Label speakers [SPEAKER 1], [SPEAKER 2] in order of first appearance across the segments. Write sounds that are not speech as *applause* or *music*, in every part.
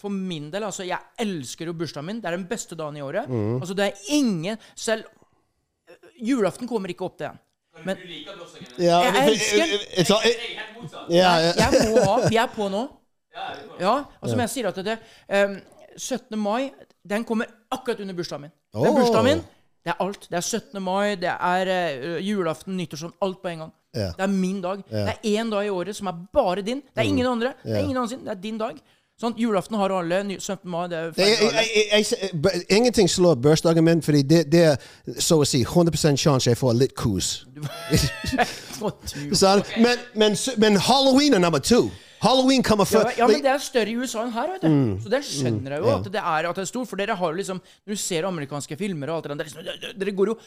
[SPEAKER 1] For min del, altså, jeg elsker jo bursdagen min. Det er den beste dagen i året. Altså, det er ingen Selv eh, julaften kommer ikke opp til en. Men
[SPEAKER 2] Ja,
[SPEAKER 1] Jeg
[SPEAKER 2] for-
[SPEAKER 1] elsker den.
[SPEAKER 2] jeg tar- Ja, ja.
[SPEAKER 1] jeg må ha Vi er på nå. Ja, og som jeg sier at det ehm, 17. mai, den kommer akkurat under bursdagen min. Den
[SPEAKER 2] Åh.
[SPEAKER 1] bursdagen min, det er alt. Det er 17. mai, det er eh, julaften, nyttårsaften, alt på en gang.
[SPEAKER 2] Ja. Mm.
[SPEAKER 1] Det er min dag. Det er én dag i året som er bare din. Det er ingen andre. Det er ingen andre sin. Det er din dag. Sånn, Julaften har alle. ny- 17. mai, det er
[SPEAKER 2] Jeg,
[SPEAKER 1] feil
[SPEAKER 2] jeg,
[SPEAKER 1] for alle.
[SPEAKER 2] jeg, jeg, jeg, b- ingenting slår bursdagen min, fordi det, det er så å si 100 sjanse jeg får litt kos.
[SPEAKER 1] Å, du.
[SPEAKER 2] Så, men, men, s- men halloween er nummer to. Halloween kommer
[SPEAKER 1] Ja,
[SPEAKER 2] før.
[SPEAKER 1] men- ja, men det er større i USA enn her, vet du.
[SPEAKER 2] Mm.
[SPEAKER 1] Så det skjønner jeg jo at det er, at det er stort. For dere har jo liksom Når du ser amerikanske filmer og alt det der, dere, liksom- dere går jo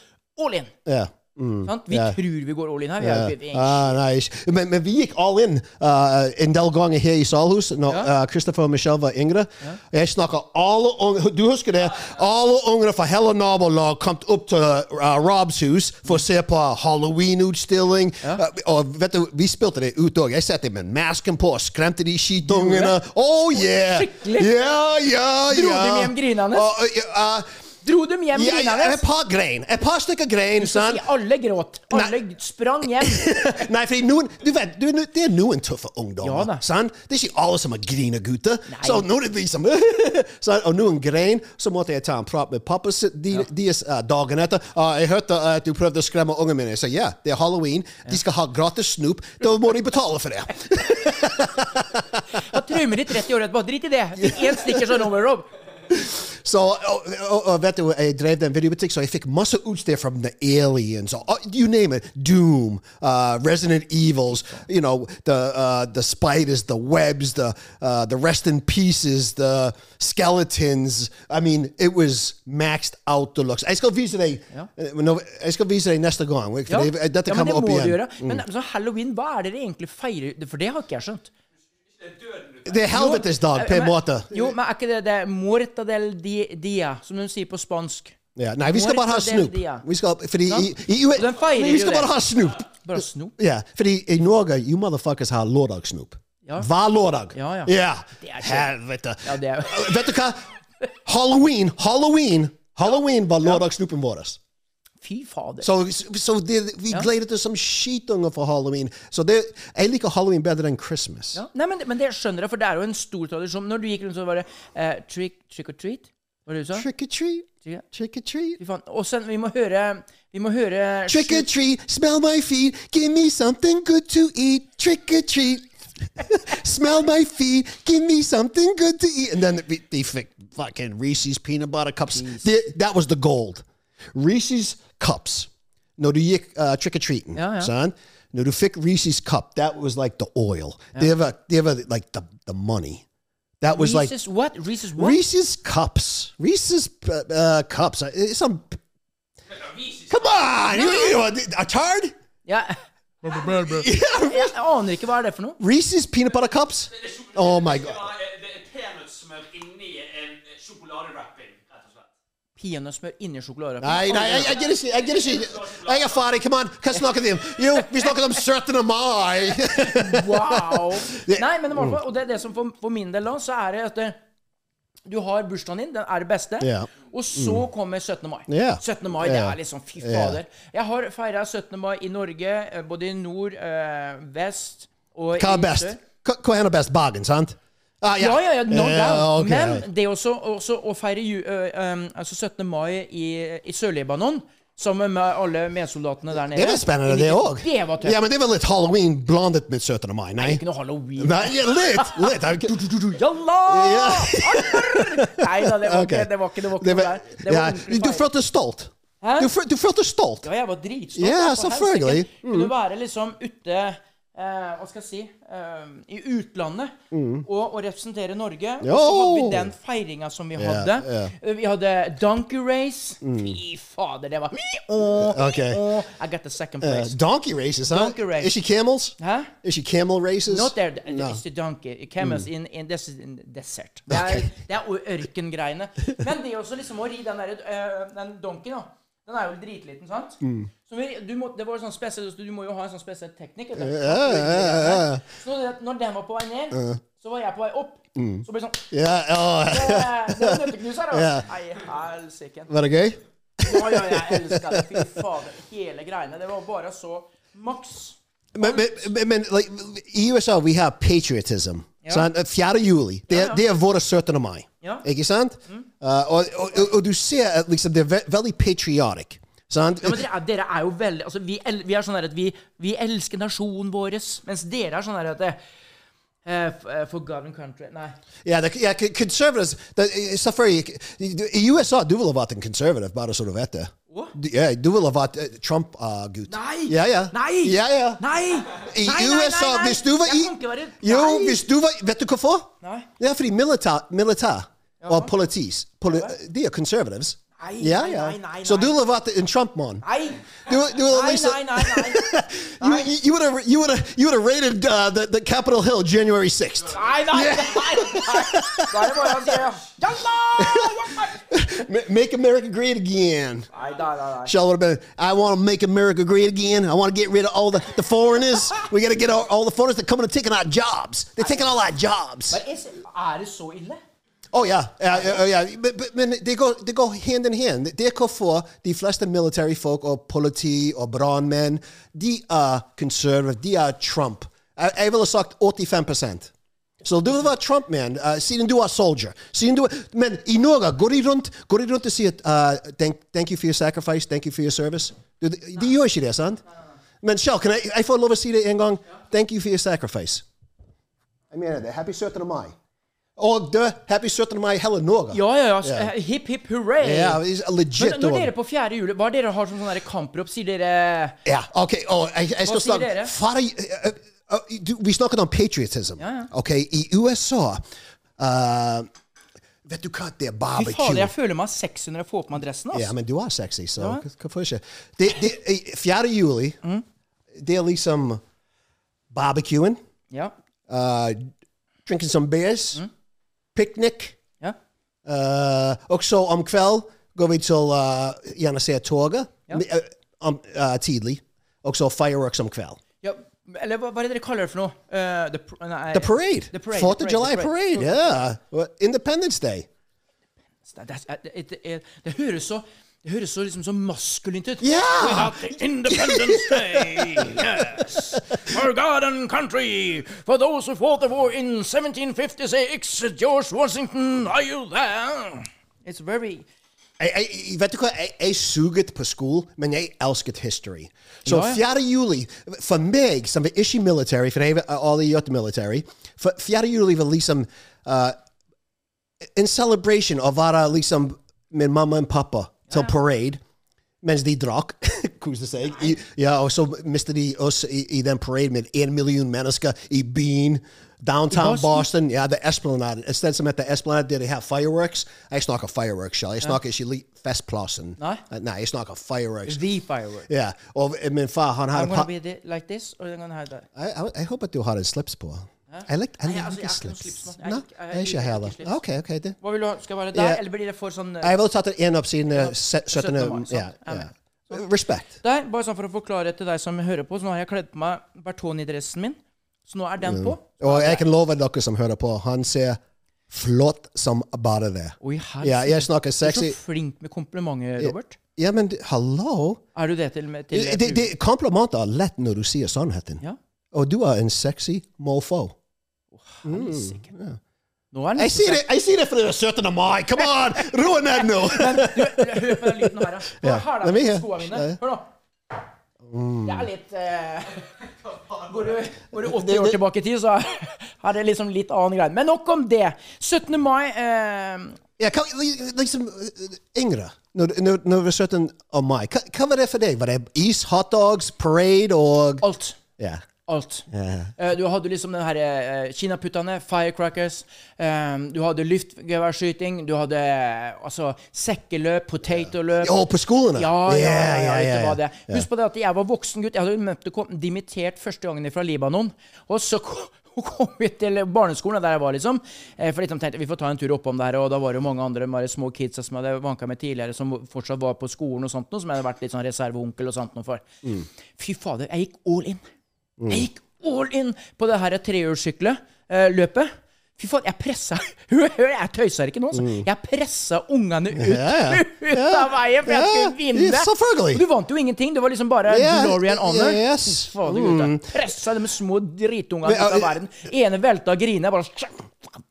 [SPEAKER 1] all in.
[SPEAKER 2] Ja.
[SPEAKER 1] Sant? Vi tror vi går all in her. Vi er
[SPEAKER 2] Mm. Ja.
[SPEAKER 1] jo ikke
[SPEAKER 2] Ah, nei, ikke- men, men vi gikk all in uh, en del ganger her i Salhus når
[SPEAKER 1] Ja.
[SPEAKER 2] uh, Christopher og Michelle var yngre. Jeg snakker alle unge, Du husker det? Alle ungene fra hele nabolaget kom opp til uh, Robs hus for å se på Halloween-utstilling. Uh, og vet du, vi spilte det ut òg. Jeg satte med masken på og skremte de skitungene. Oh yeah!
[SPEAKER 1] Skikkelig?
[SPEAKER 2] Ja, ja, ja.
[SPEAKER 1] Dro dem hjem grinende?
[SPEAKER 2] Og, uh, ja, uh,
[SPEAKER 1] Dro dem hjem
[SPEAKER 2] ja, ja,
[SPEAKER 1] grinende?
[SPEAKER 2] et par grein. Et par stykker grein. sant?
[SPEAKER 1] Si alle gråt. Alle sprang hjem.
[SPEAKER 2] *laughs* Nei, fordi noen, du vet, du, det er noen tøffe ungdommer.
[SPEAKER 1] Ja da.
[SPEAKER 2] sant? Det er ikke alle som er grinegutter.
[SPEAKER 1] Nei.
[SPEAKER 2] Så noen er de som *laughs* sant? Og noen grein, så måtte jeg ta en prat med pappa så de, de, eh, dagen etter. «Ah, jeg hørte at du prøvde å skremme ungene mine. Jeg sa ja, det er halloween. De skal ha gratis snop. Da må de betale
[SPEAKER 1] *laughs*
[SPEAKER 2] for det.
[SPEAKER 1] Og traumer i 30 år etterpå. Drit i det. Fikk én stikker som Rover Rob.
[SPEAKER 2] Så og, og, og vet du, jeg drev den videobutikk, så jeg fikk masse utstyr fra The Aliens. Og, og you name it. Doom, uh, Resident Evils, you know, the, uh, the spiders, the webs, the, uh, the rest in pieces, the skeletons. I mean, it was maxed out deluxe. Jeg skal vise deg,
[SPEAKER 1] Ja.
[SPEAKER 2] eh, nå- jeg skal vise deg neste gang. For
[SPEAKER 1] Ja.
[SPEAKER 2] det, dette
[SPEAKER 1] ja, men det
[SPEAKER 2] kommer opp
[SPEAKER 1] må
[SPEAKER 2] igjen. Mm.
[SPEAKER 1] du gjøre. Men altså, halloween, hva er det dere egentlig feirer? For det har ikke jeg skjønt. eh,
[SPEAKER 2] Det er helvetes dag, på en
[SPEAKER 1] Men-
[SPEAKER 2] måte.
[SPEAKER 1] Jo, men er ikke det det er Muerta del di, dia, som de sier på spansk?
[SPEAKER 2] Ja, nei, vi skal bare ha
[SPEAKER 1] Morta del
[SPEAKER 2] snop.
[SPEAKER 1] dia.
[SPEAKER 2] Vi skal, fordi i, i,
[SPEAKER 1] Og den feirer
[SPEAKER 2] vi
[SPEAKER 1] jo
[SPEAKER 2] skal
[SPEAKER 1] det.
[SPEAKER 2] bare ha snop.
[SPEAKER 1] Bare snop?
[SPEAKER 2] Ja, fordi i Norge, you motherfuckers har lørdagssnop.
[SPEAKER 1] Ja.
[SPEAKER 2] Hver lørdag.
[SPEAKER 1] Ja, ja. er ikke-
[SPEAKER 2] Helvete.
[SPEAKER 1] Ja, det er-
[SPEAKER 2] *laughs* Vet du hva? Halloween, Halloween, Halloween var lørdagssnopen vår.
[SPEAKER 1] Fy fader.
[SPEAKER 2] Så så det- vi gledet oss som skitunger for halloween. Så det, jeg liker halloween bedre enn Christmas.
[SPEAKER 1] Ja. Nei, men, men det skjønner jeg, for det er jo en stor tradisjon. Når du gikk rundt, så var det eh, trick, trick or treat. Hva var det du sa?
[SPEAKER 2] Trick or treat,
[SPEAKER 1] Trick-
[SPEAKER 2] trick or treat.
[SPEAKER 1] Fy faen. Og sen, vi må høre Vi må høre
[SPEAKER 2] Trick or treat, smell my feet, give me something good to eat. Trick or treat, *laughs* smell my feet, give me something good to eat. And then they, they fi- fucking Reese's peanut butter cups. They- that was the gold. Reese's cups. No, do you uh, trick or treating,
[SPEAKER 1] Yeah, yeah.
[SPEAKER 2] son? No, do fick Reese's cup. That was like the oil. They ever, they ever like the the money. That was like
[SPEAKER 1] Reese's what? Reese's what?
[SPEAKER 2] Reese's cups. Reese's uh, uh, cups. Uh, It's some. Come on, you, you, a tard?
[SPEAKER 1] Ja. *laughs* Jeg aner ikke hva er det for noe.
[SPEAKER 2] Reese's peanut butter cups. Oh my
[SPEAKER 3] Det
[SPEAKER 2] god.
[SPEAKER 3] var, eh, det er peanøttsmør inni en sjokoladewrapping, rett og slett.
[SPEAKER 1] Peanøttsmør inni sjokolade.
[SPEAKER 2] Nei, nei, jeg, jeg gidder ikke. Jeg gidder ikke. Jeg er ferdig. Come on. Hva snakker vi om? Jo, vi snakker om 17. mai. *laughs*
[SPEAKER 1] Wow! Nei, men i hvert
[SPEAKER 2] Mm.
[SPEAKER 1] fall, og det er det som for, for min del da, så er det at det, du har bursdagen din, den er det beste,
[SPEAKER 2] Ja. Mm.
[SPEAKER 1] og så kommer 17. mai.
[SPEAKER 2] Ja.
[SPEAKER 1] 17. mai, det
[SPEAKER 2] Ja.
[SPEAKER 1] er liksom, fy fader. Jeg har feiret 17. mai i Norge, eh, både i nord, eh, vest, og
[SPEAKER 2] Hva
[SPEAKER 1] i
[SPEAKER 2] er best?
[SPEAKER 1] sør.
[SPEAKER 2] Hva hva er best? Bagen, sant? Ah,
[SPEAKER 1] Ja, ja, ja, no
[SPEAKER 2] Ja,
[SPEAKER 1] doubt.
[SPEAKER 2] ok.
[SPEAKER 1] Men det også, også å feire ju, eh, um, altså 17. mai i, i Sør-Libanon, sammen med alle medsoldatene der nede
[SPEAKER 2] Det var spennende, det òg.
[SPEAKER 1] Det var tøft.
[SPEAKER 2] Ja, men det var litt halloween blandet med 17. mai, nei?
[SPEAKER 1] Ikke noe halloween.
[SPEAKER 2] Nei, ja, litt! litt. Jeg-
[SPEAKER 1] *laughs* Jalla!
[SPEAKER 2] Ja.
[SPEAKER 1] Nei da, det var,
[SPEAKER 2] Ok.
[SPEAKER 1] ikke, det var ikke det var ikke
[SPEAKER 2] Det
[SPEAKER 1] noe
[SPEAKER 2] var-
[SPEAKER 1] der. Det var
[SPEAKER 2] ja,
[SPEAKER 1] ordentlig
[SPEAKER 2] Du
[SPEAKER 1] feil.
[SPEAKER 2] følte stolt.
[SPEAKER 1] Hæ?
[SPEAKER 2] Du, fø- du følte stolt.
[SPEAKER 1] Ja, jeg var dritstolt.
[SPEAKER 2] Ja,
[SPEAKER 1] da, for
[SPEAKER 2] selvfølgelig. Mm.
[SPEAKER 1] helsike. Kunne være liksom ute eh, Hva skal jeg si eh, I utlandet og, og representere Norge. Og så
[SPEAKER 2] Mm. Jo.
[SPEAKER 1] hadde vi den feiringa som vi hadde.
[SPEAKER 2] ja. Mm.
[SPEAKER 1] Eh, Vi hadde donkey race. Fy fader, det var Åh,
[SPEAKER 2] Ok.
[SPEAKER 1] åh, I got the second
[SPEAKER 2] Uh,
[SPEAKER 1] place.
[SPEAKER 2] donkey races, huh?
[SPEAKER 1] Donkey race.
[SPEAKER 2] Is she camels?
[SPEAKER 1] Hæ?
[SPEAKER 2] Is she camel races?
[SPEAKER 1] Not there. Mm. th- It's the donkey. It comes in, in, this is in *laughs* desert. Det er, det er o- ørkengreiene. Men det også liksom å ri den, der, øh, den donkeyen, da. Den er jo dritliten, sant? Så vi, du må, det var sånn spesiell, du må jo ha en sånn spesiell teknikk. vet du.
[SPEAKER 2] Eh,
[SPEAKER 1] Så når den- når den var på vei ned, så var jeg på vei opp. Så ble det sånn
[SPEAKER 2] Ja,
[SPEAKER 1] «Åh,
[SPEAKER 2] ja.
[SPEAKER 1] Det var nøtteknuser, da.
[SPEAKER 2] Ja.
[SPEAKER 1] Nei, *laughs* helsike.
[SPEAKER 2] Var det gøy?
[SPEAKER 1] Ja, ja, jeg elska det. Fy fader. Hele greiene. Det var bare så maks.
[SPEAKER 2] Men, men, men, men like, i USA vi har patriotism. Sant? 4. juli. Det, er- det er vår 17. mai.
[SPEAKER 1] Ja. Mhm.
[SPEAKER 2] Ikke sant? Uh, og, og, og, og du ser at liksom, det er ve veldig patriotic. Sant?
[SPEAKER 1] Ja, men dere, er, dere er jo veldig altså, vi, el, vi er sånn der at vi, vi elsker nasjonen vår, mens dere er sånn der at det, eh, f- eh, For God and country Nei.
[SPEAKER 2] Ja, det, ja k- conservatives det, Selvfølgelig du- I USA du ville vært en konservativ, bare så du vet det.
[SPEAKER 1] Hva?
[SPEAKER 2] Du, ja, du ville vært eh, Trump-gutt.
[SPEAKER 1] Nei!
[SPEAKER 2] Ja, ja.
[SPEAKER 1] Nei!
[SPEAKER 2] Ja, ja.
[SPEAKER 1] Nei!
[SPEAKER 2] I
[SPEAKER 1] Nei, nei, nei,
[SPEAKER 2] USA,
[SPEAKER 1] nei!
[SPEAKER 2] hvis du var i
[SPEAKER 1] Jeg kan ikke være
[SPEAKER 2] Jo,
[SPEAKER 1] Nei!
[SPEAKER 2] hvis du var Vet du hvorfor?
[SPEAKER 1] Nei.
[SPEAKER 2] Det er fordi militær, militær og politis poli, De er conservatives.
[SPEAKER 1] Nei,
[SPEAKER 2] ja,
[SPEAKER 1] nei,
[SPEAKER 2] ja.
[SPEAKER 1] nei, nei,
[SPEAKER 2] Så
[SPEAKER 1] nei.
[SPEAKER 2] du ville vært en Trump-mann?
[SPEAKER 1] Nei!
[SPEAKER 2] Du, du ville
[SPEAKER 1] Nei,
[SPEAKER 2] liksom-
[SPEAKER 1] nei, nei, nei.
[SPEAKER 2] You, you, you would have you would have you would have raided uh, the, the Capitol Hill January
[SPEAKER 1] *laughs*
[SPEAKER 2] sixth.
[SPEAKER 1] Nei, nei,
[SPEAKER 2] *laughs*
[SPEAKER 1] nei, nei. Da er det bare å si ja. Jalla! Walmart!
[SPEAKER 2] Make America great again.
[SPEAKER 1] Nei, nei, nei, nei.
[SPEAKER 2] Shell would have been, I want to make America great again. I want to get rid of all the, the foreigners. we got to get all, all the foreigners that coming and taking our jobs. They're taking all our jobs.
[SPEAKER 1] Men er, er det så ille?
[SPEAKER 2] Oh, yeah. Uh, yeah, oh, yeah. But, but, men they, go, they go hand in hand. Therefore, for the flesta military folk or politi or brandmen, they are conservative. They are Trump. I, I will have sucked 85%. Så du var Trump-man, uh, siden du var soldier. Siden du, men i Norge går de rundt, går de rundt og sier uh, thank, thank you for your sacrifice, thank you for your service. Du, de, de gjør ikke det, sant? Men Kjell, kan jeg, jeg få lov å si det en gang? Thank you for your sacrifice. Jeg mener det. Happy 17. mai. Og du, Oh, happy 17. mai hele Norge.
[SPEAKER 1] Ja, ja, ja. s- eh, Hipp, hipp, hurra!
[SPEAKER 2] Ja, det er legit.
[SPEAKER 1] Men når
[SPEAKER 2] dog.
[SPEAKER 1] dere på fjerde juli, hva er det dere har som sånn der kamprop? Sier dere
[SPEAKER 2] Ja, ok. Og jeg, jeg skal
[SPEAKER 1] Hva sier
[SPEAKER 2] snakke
[SPEAKER 1] dere?
[SPEAKER 2] Far, eh, eh, eh, du, Vi snakket om patriotism. Ok, i USA eh, Vet du hva, det er
[SPEAKER 1] Fy fader,
[SPEAKER 2] barbecue.
[SPEAKER 1] jeg føler meg sexy når jeg får på meg dressen.
[SPEAKER 2] Ja,
[SPEAKER 1] Altså.
[SPEAKER 2] men du er sexy, så hva- hvorfor ikke? Det, det, eh, 4. juli,
[SPEAKER 1] Mm.
[SPEAKER 2] det er liksom barbecuing,
[SPEAKER 1] Ja.
[SPEAKER 2] eh, drinking some beers,
[SPEAKER 1] Mm.
[SPEAKER 2] picnic.
[SPEAKER 1] Ja.
[SPEAKER 2] Eh, og så om kveld går vi til uh, gjerne se toget eh, om, eh, tidlig. Og så fireworks om kveld.
[SPEAKER 1] ja. Eller hva, hva er det dere kaller det for noe? Eh, the, pr- nei,
[SPEAKER 2] The parade.
[SPEAKER 1] The parade.
[SPEAKER 2] Fourth
[SPEAKER 1] the
[SPEAKER 2] of July
[SPEAKER 1] the
[SPEAKER 2] parade. Yeah. Well, Independence Day.
[SPEAKER 1] Det, det, det, det, det, det høres så det høres så liksom så maskulint ut.
[SPEAKER 2] Yeah.
[SPEAKER 1] Independence Day, yes. For God and country, for those who fought the war in 1756, George Washington, are you there? It's very...
[SPEAKER 2] Jeg, jeg, vet du hva? Jeg, jeg suget på skole, men jeg elsket history. Så
[SPEAKER 1] Ja, ja.
[SPEAKER 2] 4. juli, for meg som var ikke military, for eh, jeg har aldri gjort military, for 4. juli var liksom eh, en celebration av å være liksom min mamma og pappa til parade, mens de *laughs* drakk, koste seg. oh, I, ja, og så mistet de oss i, i den parade med en million mennesker i byen. downtown
[SPEAKER 4] Boston?
[SPEAKER 2] Boston. yeah, the Esplanade. Instead som heter Esplanade, der de har fireworks. Jeg snakker fireworks selv. Jeg snakker ikke li- Festplassen.
[SPEAKER 1] Nei?
[SPEAKER 2] Nei, jeg snakker fireworks.
[SPEAKER 1] The firework.
[SPEAKER 2] Ja, eh, og min far, han har
[SPEAKER 1] I'm
[SPEAKER 2] en
[SPEAKER 1] gonna
[SPEAKER 2] pa...
[SPEAKER 1] be the, like this, or I'm gonna have that.
[SPEAKER 2] Jeg, jeg, jeg håper at du har en slips på. Jeg likte jeg
[SPEAKER 1] Nei,
[SPEAKER 2] liker
[SPEAKER 1] altså, jeg har ikke noen
[SPEAKER 2] slips.
[SPEAKER 1] slips, mann. Jeg
[SPEAKER 2] Nei,
[SPEAKER 1] liker- jeg
[SPEAKER 2] jeg er
[SPEAKER 1] liker
[SPEAKER 2] ikke
[SPEAKER 1] ikke
[SPEAKER 2] heller.
[SPEAKER 1] slips.
[SPEAKER 2] Ok, ok. Det.
[SPEAKER 1] Hva vil du ha? Skal jeg være der,
[SPEAKER 2] Ja.
[SPEAKER 1] eller blir det for sånn eh,
[SPEAKER 2] Jeg ville tatt en opp siden eh, se- 17.
[SPEAKER 1] syttende mai, sant?
[SPEAKER 2] Ja,
[SPEAKER 1] Ja,
[SPEAKER 2] ja. Respekt.
[SPEAKER 1] Der, bare sånn for å forklare til deg som hører på, så nå har jeg kledd på meg Bertoni-dressen min. Så nå er den
[SPEAKER 2] Mm.
[SPEAKER 1] på.
[SPEAKER 2] Og jeg kan love dere som hører på, han ser flott som bare det.
[SPEAKER 1] Oi,
[SPEAKER 2] Ja,
[SPEAKER 1] helsike.
[SPEAKER 2] jeg snakker
[SPEAKER 1] Du er så
[SPEAKER 2] sexy.
[SPEAKER 1] flink med komplimenter, Robert.
[SPEAKER 2] Ja, men du- hallo?
[SPEAKER 1] Er du det til, med- til
[SPEAKER 2] Det, det, komplimenter er lett når du sier sannheten.
[SPEAKER 1] Ja.
[SPEAKER 2] Og du er en sexy mofo.
[SPEAKER 1] Helsike. Nå er den
[SPEAKER 2] Jeg sier det, jeg sier det for det er 17. mai! Come *laughs* on! Ro ned nå!
[SPEAKER 1] Hør på den lyden
[SPEAKER 2] *laughs*
[SPEAKER 1] her, da.
[SPEAKER 2] Ja.
[SPEAKER 1] Hva har
[SPEAKER 2] Let
[SPEAKER 1] du
[SPEAKER 2] me
[SPEAKER 1] på
[SPEAKER 2] hear.
[SPEAKER 1] skoene mine?
[SPEAKER 2] Ja. Mm.
[SPEAKER 1] Hør nå. Det er litt eh, Går du går du 80 år tilbake i tid, så er det liksom litt annen greie. Men nok om det. 17. mai eh,
[SPEAKER 2] Ja, hva, liksom, eh, Yngre, når, når, når det var 17. av mai, hva, hva var det for deg? Var det is, hotdogs, parade og
[SPEAKER 1] Alt.
[SPEAKER 2] Ja.
[SPEAKER 1] Alt. Eh, Du hadde liksom den her eh, kinaputtene, firecrackers. eh, Du hadde luftgeværskyting. Du hadde eh, altså sekkeløp, potetoløp.
[SPEAKER 2] Og på skolene?
[SPEAKER 1] Ja, ja, ja. ja,
[SPEAKER 2] ja,
[SPEAKER 1] vet du
[SPEAKER 2] ja.
[SPEAKER 1] hva det er. Husk på det at jeg var voksen gutt. Jeg hadde møtt og kom- dimittert første gangen fra Libanon. Og så ko- *laughs* kom vi til barneskolen, der jeg var, liksom. Eh, For liksom tenkte vi får ta en tur oppom der, og da var det jo mange andre bare små kids som jeg hadde vanka med tidligere, som fortsatt var på skolen og sånt noe, som jeg hadde vært litt sånn reserveonkel og sånt noe for.
[SPEAKER 2] Mm.
[SPEAKER 1] Fy fader, jeg gikk all in. Jeg gikk all in på det her trehjulssykleløpet. Fy faen, jeg pressa *laughs* Hør, hør, jeg tøyser ikke nå. Altså. Jeg pressa ungene ut,
[SPEAKER 2] Mm. Ja, ja.
[SPEAKER 1] *laughs* ut av veien, for jeg
[SPEAKER 2] Ja,
[SPEAKER 1] skulle vinne.
[SPEAKER 2] ja, selvfølgelig.
[SPEAKER 1] Og Du vant jo ingenting. Det var liksom bare
[SPEAKER 2] Ja,
[SPEAKER 1] glory and honor.
[SPEAKER 2] ja, yes. Mm.
[SPEAKER 1] Fy fader, gutta. Pressa de små dritungene
[SPEAKER 2] Men,
[SPEAKER 1] ut av
[SPEAKER 2] ja,
[SPEAKER 1] verden. Ene velta og grina. Bare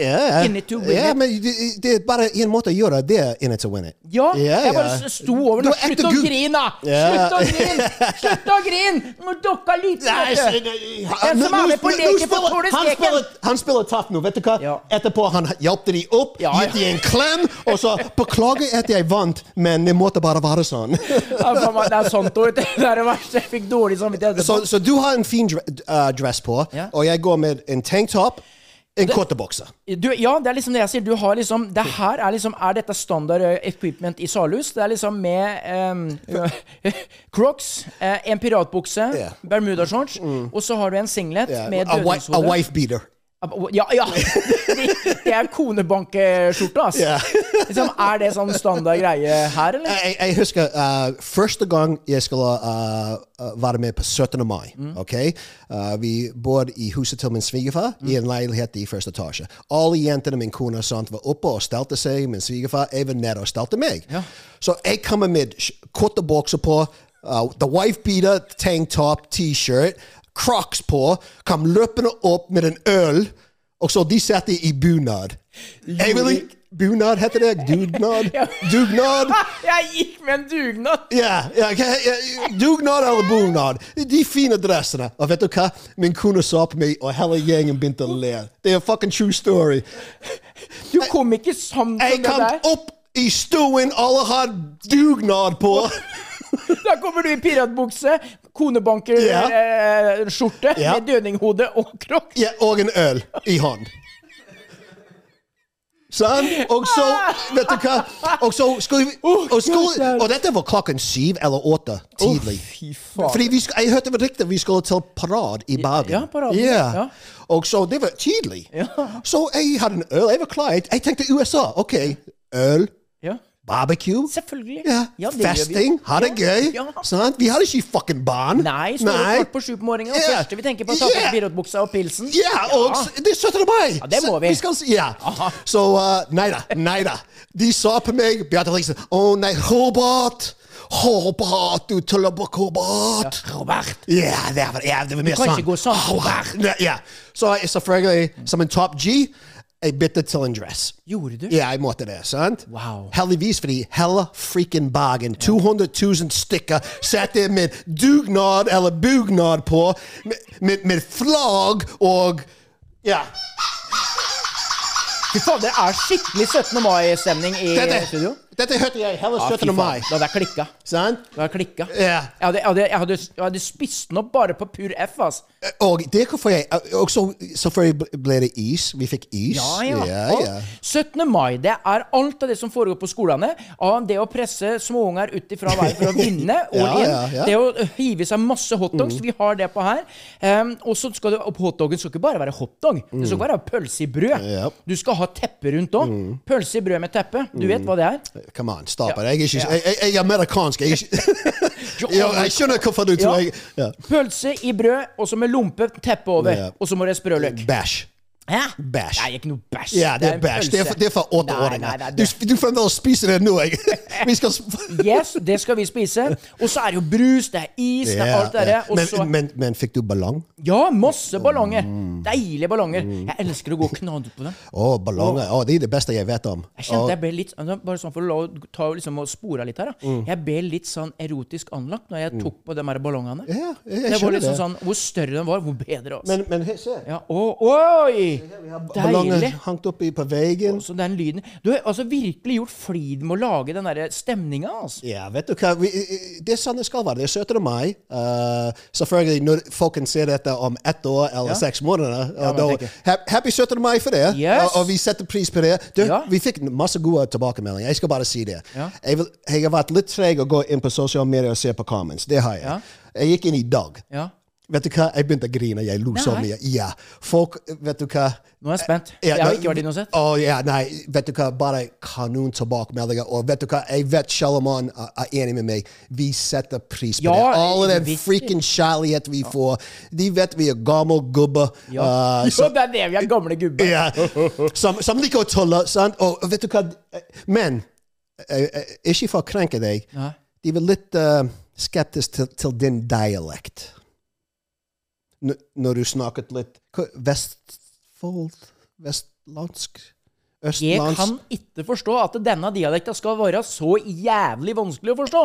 [SPEAKER 2] Ja,
[SPEAKER 1] In it to win
[SPEAKER 2] ja
[SPEAKER 1] it.
[SPEAKER 2] men det, det er bare en måte å gjøre det in it to win it.
[SPEAKER 1] Ja, jeg bare
[SPEAKER 2] ja.
[SPEAKER 1] s- sto over
[SPEAKER 2] Du
[SPEAKER 1] den.
[SPEAKER 2] er ekte
[SPEAKER 1] Slutt å
[SPEAKER 2] gutt.
[SPEAKER 1] grine, da!
[SPEAKER 2] Ja.
[SPEAKER 1] Slutt å
[SPEAKER 2] *laughs*
[SPEAKER 1] grine! Slutt å grine! Du må dukke lite.
[SPEAKER 2] Nei,
[SPEAKER 1] vet du.
[SPEAKER 2] se, nei,
[SPEAKER 1] Den
[SPEAKER 2] nå-
[SPEAKER 1] som er
[SPEAKER 2] nå-
[SPEAKER 1] med på
[SPEAKER 2] nå- nå
[SPEAKER 1] leken, får
[SPEAKER 2] spiller-
[SPEAKER 1] tåle
[SPEAKER 2] han
[SPEAKER 1] steken.
[SPEAKER 2] spiller- Han spiller tøff nå, vet du hva?
[SPEAKER 1] Ja.
[SPEAKER 2] Etterpå han hjalp de opp,
[SPEAKER 1] Ja,
[SPEAKER 2] gitt de en klem, og så 'Beklager at jeg vant, men det måtte bare
[SPEAKER 1] *laughs*
[SPEAKER 2] være sånn'.
[SPEAKER 1] Ja, faen meg, Det er sånt ord. *laughs* Det er det verste. Jeg fikk dårlig samvittighet.
[SPEAKER 2] så, så du har en fin dre eh, dress på,
[SPEAKER 1] Ja.
[SPEAKER 2] og jeg går med en tanktop, en kortebokse.
[SPEAKER 1] Du, ja, det er liksom det jeg sier. Du har liksom Det her er liksom Er dette standard eh, equipment i Salhus? Det er liksom med ehm, *laughs* Crocs, eh, en piratbukse,
[SPEAKER 2] Ja.
[SPEAKER 1] bermudashorts, og så har du en singlet
[SPEAKER 2] Yeah.
[SPEAKER 1] med
[SPEAKER 2] A, wi- a
[SPEAKER 1] dødningshode.
[SPEAKER 2] wife beater.
[SPEAKER 1] Ja, ja!
[SPEAKER 2] *laughs*
[SPEAKER 1] Det, det er konebankeskjorte, ass.
[SPEAKER 2] Ja.
[SPEAKER 1] Liksom, er det sånn standard greie her, eller?
[SPEAKER 2] Jeg, jeg husker eh, første gang jeg skulle eh, være med på 17. mai. ok? Eh, vi bodde i huset til min svigerfar i en leilighet i første etasje. Alle jentene min kone og sånt var oppe og stelte seg. Min svigerfar jeg var nede og stelte meg. Så jeg kommer med sh- korte bukser på, eh, the wife beater, tank top, T-shirt, crocs på, kom løpende opp med en øl, og så de satte i bunad. Jeg vil ikke Bunad heter det. Dugnad. Dugnad.
[SPEAKER 1] *laughs* Jeg gikk med en dugnad!
[SPEAKER 2] Ja, ja, ja, ja, dugnad eller bunad. De fine dressene. Og vet du hva? Min kone sa på meg, og hele gjengen begynte å le. Det er en fucking true story.
[SPEAKER 1] Du kom ikke sammen
[SPEAKER 2] Jeg
[SPEAKER 1] med
[SPEAKER 2] kom
[SPEAKER 1] deg.
[SPEAKER 2] opp i stuen, alle har dugnad på.
[SPEAKER 1] Da kommer du i piratbukse,
[SPEAKER 2] Ja.
[SPEAKER 1] konebankerskjorte
[SPEAKER 2] Ja.
[SPEAKER 1] med dødninghode og crocs.
[SPEAKER 2] Ja, og en øl i hånd. Sånn. Og så, vet du hva? Og så skulle vi Og, skulle, og dette var klokken syv eller åtte tidlig.
[SPEAKER 1] Fy faen.
[SPEAKER 2] Fordi vi, sk- jeg hørte det riktig, vi skulle til parade i Bergen.
[SPEAKER 1] ja, paraden, ja.
[SPEAKER 2] Og så det var tidlig. Så jeg hadde en øl, jeg var klar. Jeg, jeg tenkte USA, ok, øl,
[SPEAKER 1] ja.
[SPEAKER 2] barbecue.
[SPEAKER 1] Selvfølgelig.
[SPEAKER 2] Ja.
[SPEAKER 1] Ja, det gjør vi.
[SPEAKER 2] Festing, ha det
[SPEAKER 1] Ja,
[SPEAKER 2] gøy.
[SPEAKER 1] ja.
[SPEAKER 2] Sant? Vi hadde ikke fucking barn.
[SPEAKER 1] Nei, står opp kvart på sju på morgenen, og
[SPEAKER 2] Ja.
[SPEAKER 1] første vi tenker på, er å ta på
[SPEAKER 2] Ja.
[SPEAKER 1] oss piratbuksa og pilsen.
[SPEAKER 2] Ja, og s- det er 17. mai!
[SPEAKER 1] det må
[SPEAKER 2] Så
[SPEAKER 1] vi.
[SPEAKER 2] skal, s- ja. Så uh, nei da, nei da. De sa på meg, Beate Lisen, å nei, Robert! Robert, du tullebukk, Robert!
[SPEAKER 1] Robert.
[SPEAKER 2] Ja, det var, ja, det var mer
[SPEAKER 1] kan
[SPEAKER 2] sånn.
[SPEAKER 1] ikke gå sånn,
[SPEAKER 2] Robert. Ne- Ja. Så jeg selvfølgelig, som en top G, jeg bytte til en dress.
[SPEAKER 1] Gjorde du?
[SPEAKER 2] Ja, jeg måtte det, sant?
[SPEAKER 1] Wow.
[SPEAKER 2] Heldigvis fordi hele freaking bagen, 200 000 stykker, satt der med dugnad eller bugnad på, med, med, med flagg og Ja.
[SPEAKER 1] Fy faen, det er skikkelig 17. mai-stemning i
[SPEAKER 2] Dette,
[SPEAKER 1] studio.
[SPEAKER 2] Dette hørte jeg hele
[SPEAKER 1] Ja, fy
[SPEAKER 2] 17.
[SPEAKER 1] faen.
[SPEAKER 2] mai.
[SPEAKER 1] Da hadde jeg klikka.
[SPEAKER 2] Sant?
[SPEAKER 1] Da hadde jeg klikka.
[SPEAKER 2] Ja.
[SPEAKER 1] Jeg, hadde, jeg, hadde, jeg, hadde, jeg hadde spist den opp bare på pur F, ass.
[SPEAKER 2] Og det er hvorfor jeg Og så selvfølgelig ble det is. Vi fikk is.
[SPEAKER 1] Ja, ja.
[SPEAKER 2] ja,
[SPEAKER 1] Og
[SPEAKER 2] ja.
[SPEAKER 1] 17. mai, det er alt av det som foregår på skolene. Av det å presse småunger ut ifra veien
[SPEAKER 2] *laughs*
[SPEAKER 1] for å vinne, all
[SPEAKER 2] Ja,
[SPEAKER 1] in.
[SPEAKER 2] ja, Mm. ja.
[SPEAKER 1] Det å uh, hive seg masse hotdogs. Vi har det på her. Um, og så skal du, og hotdogen skal ikke bare være hotdog. Det skal ikke bare være pølse i brød.
[SPEAKER 2] Mm. Ja. Mm.
[SPEAKER 1] Du skal ha teppe rundt òg. Pølse i brød med teppe. Du vet hva det er?
[SPEAKER 2] Come on, stop
[SPEAKER 1] Ja.
[SPEAKER 2] it. Jeg, er ikke,
[SPEAKER 1] Ja.
[SPEAKER 2] jeg, jeg, jeg er amerikansk. Jeg, er *laughs* ikke- jeg, jeg skjønner hvorfor du tror jeg ja.
[SPEAKER 1] Pølse i brød, og så med lompe, teppe over.
[SPEAKER 2] Ja.
[SPEAKER 1] Og så må det sprø løk.
[SPEAKER 2] Bæsj.
[SPEAKER 1] Hæ?
[SPEAKER 2] Bæsj.
[SPEAKER 1] Nei, ikke noe bæsj.
[SPEAKER 2] Ja, det er
[SPEAKER 1] en
[SPEAKER 2] bæsj. Det er
[SPEAKER 1] pølse.
[SPEAKER 2] for, det er for
[SPEAKER 1] Nei, nei,
[SPEAKER 2] åtteåringer.
[SPEAKER 1] nei,
[SPEAKER 2] Du,
[SPEAKER 1] det-
[SPEAKER 2] sp- du fremdeles spiser det nå. Jeg. Vi skal sp-
[SPEAKER 1] Yes, det skal vi spise. Og så er det jo brus, det er is, det er alt det
[SPEAKER 2] Ja,
[SPEAKER 1] der.
[SPEAKER 2] ja.
[SPEAKER 1] Og så
[SPEAKER 2] Men, men, men fikk du ballong?
[SPEAKER 1] Ja, masse ballonger! Deilige ballonger.
[SPEAKER 2] Mm.
[SPEAKER 1] Jeg elsker å gå og knadde på dem.
[SPEAKER 2] Å, ballonger. Å, det er det Oh, beste jeg vet om.
[SPEAKER 1] Jeg kjente jeg ble litt Bare sånn for å la- ta, liksom, og spore litt her, da.
[SPEAKER 2] Mm.
[SPEAKER 1] Jeg ble litt sånn erotisk anlagt når jeg tok på de her ballongene.
[SPEAKER 2] Ja, jeg- jeg
[SPEAKER 1] det var
[SPEAKER 2] skjønner
[SPEAKER 1] liksom
[SPEAKER 2] det.
[SPEAKER 1] sånn Hvor større den var, hvor bedre. Altså.
[SPEAKER 2] Men, men he- se.
[SPEAKER 1] ja, å, oi!
[SPEAKER 2] Ballonger
[SPEAKER 1] Deilig!
[SPEAKER 2] hangt opp i på veggen.
[SPEAKER 1] Så den lyden Du har altså virkelig gjort flid med å lage den der stemninga, altså.
[SPEAKER 2] Ja, vet du hva? Vi, det er sånn det skal være. Det er 17. mai. Eh, selvfølgelig når folk ser dette om ett år eller
[SPEAKER 1] Ja.
[SPEAKER 2] seks måneder. og
[SPEAKER 1] Ja, men
[SPEAKER 2] da-
[SPEAKER 1] tenker jeg.
[SPEAKER 2] ha- happy 17. mai for det.
[SPEAKER 1] Yes.
[SPEAKER 2] Og, og vi setter pris på det. Du,
[SPEAKER 1] Ja.
[SPEAKER 2] Vi fikk masse gode tilbakemeldinger. Jeg skal bare si det.
[SPEAKER 1] Ja.
[SPEAKER 2] Jeg, vil, jeg har vært litt treg å gå inn på sosiale medier og se på comments. Det har jeg.
[SPEAKER 1] Ja.
[SPEAKER 2] Jeg gikk inn i dag.
[SPEAKER 1] Ja.
[SPEAKER 2] Vet du hva? Jeg begynte å grine. Jeg lo så
[SPEAKER 1] Nei.
[SPEAKER 2] mye. Ja. Folk, vet du hva?
[SPEAKER 1] Nå er jeg spent.
[SPEAKER 2] Ja,
[SPEAKER 1] jeg har
[SPEAKER 2] da-
[SPEAKER 1] ikke vært inne og sett.
[SPEAKER 2] Å ja, nei, vet du hva, bare kanon tilbakemeldinger. Og vet du hva, jeg vet Shalomon er er enig med meg. Vi setter pris på
[SPEAKER 1] Ja,
[SPEAKER 2] det. All den
[SPEAKER 1] visst.
[SPEAKER 2] freaking kjærlighet vi får. De vet vi er gamle gubber.
[SPEAKER 1] Ja. *laughs*
[SPEAKER 2] eh,
[SPEAKER 1] jo,
[SPEAKER 2] som-
[SPEAKER 1] det er det vi er gamle gubber.
[SPEAKER 2] ja, som, som liker å tulle, sant? Og vet du hva, men eh, eh, ikke for å krenke deg,
[SPEAKER 1] Nei.
[SPEAKER 2] de var litt eh, skeptiske til, til din dialekt. N når du snakket litt hva- Vestfold? Vestlandsk?
[SPEAKER 1] Jeg
[SPEAKER 2] Østlandsk?
[SPEAKER 1] kan ikke forstå at denne dialekta skal være så jævlig vanskelig å forstå.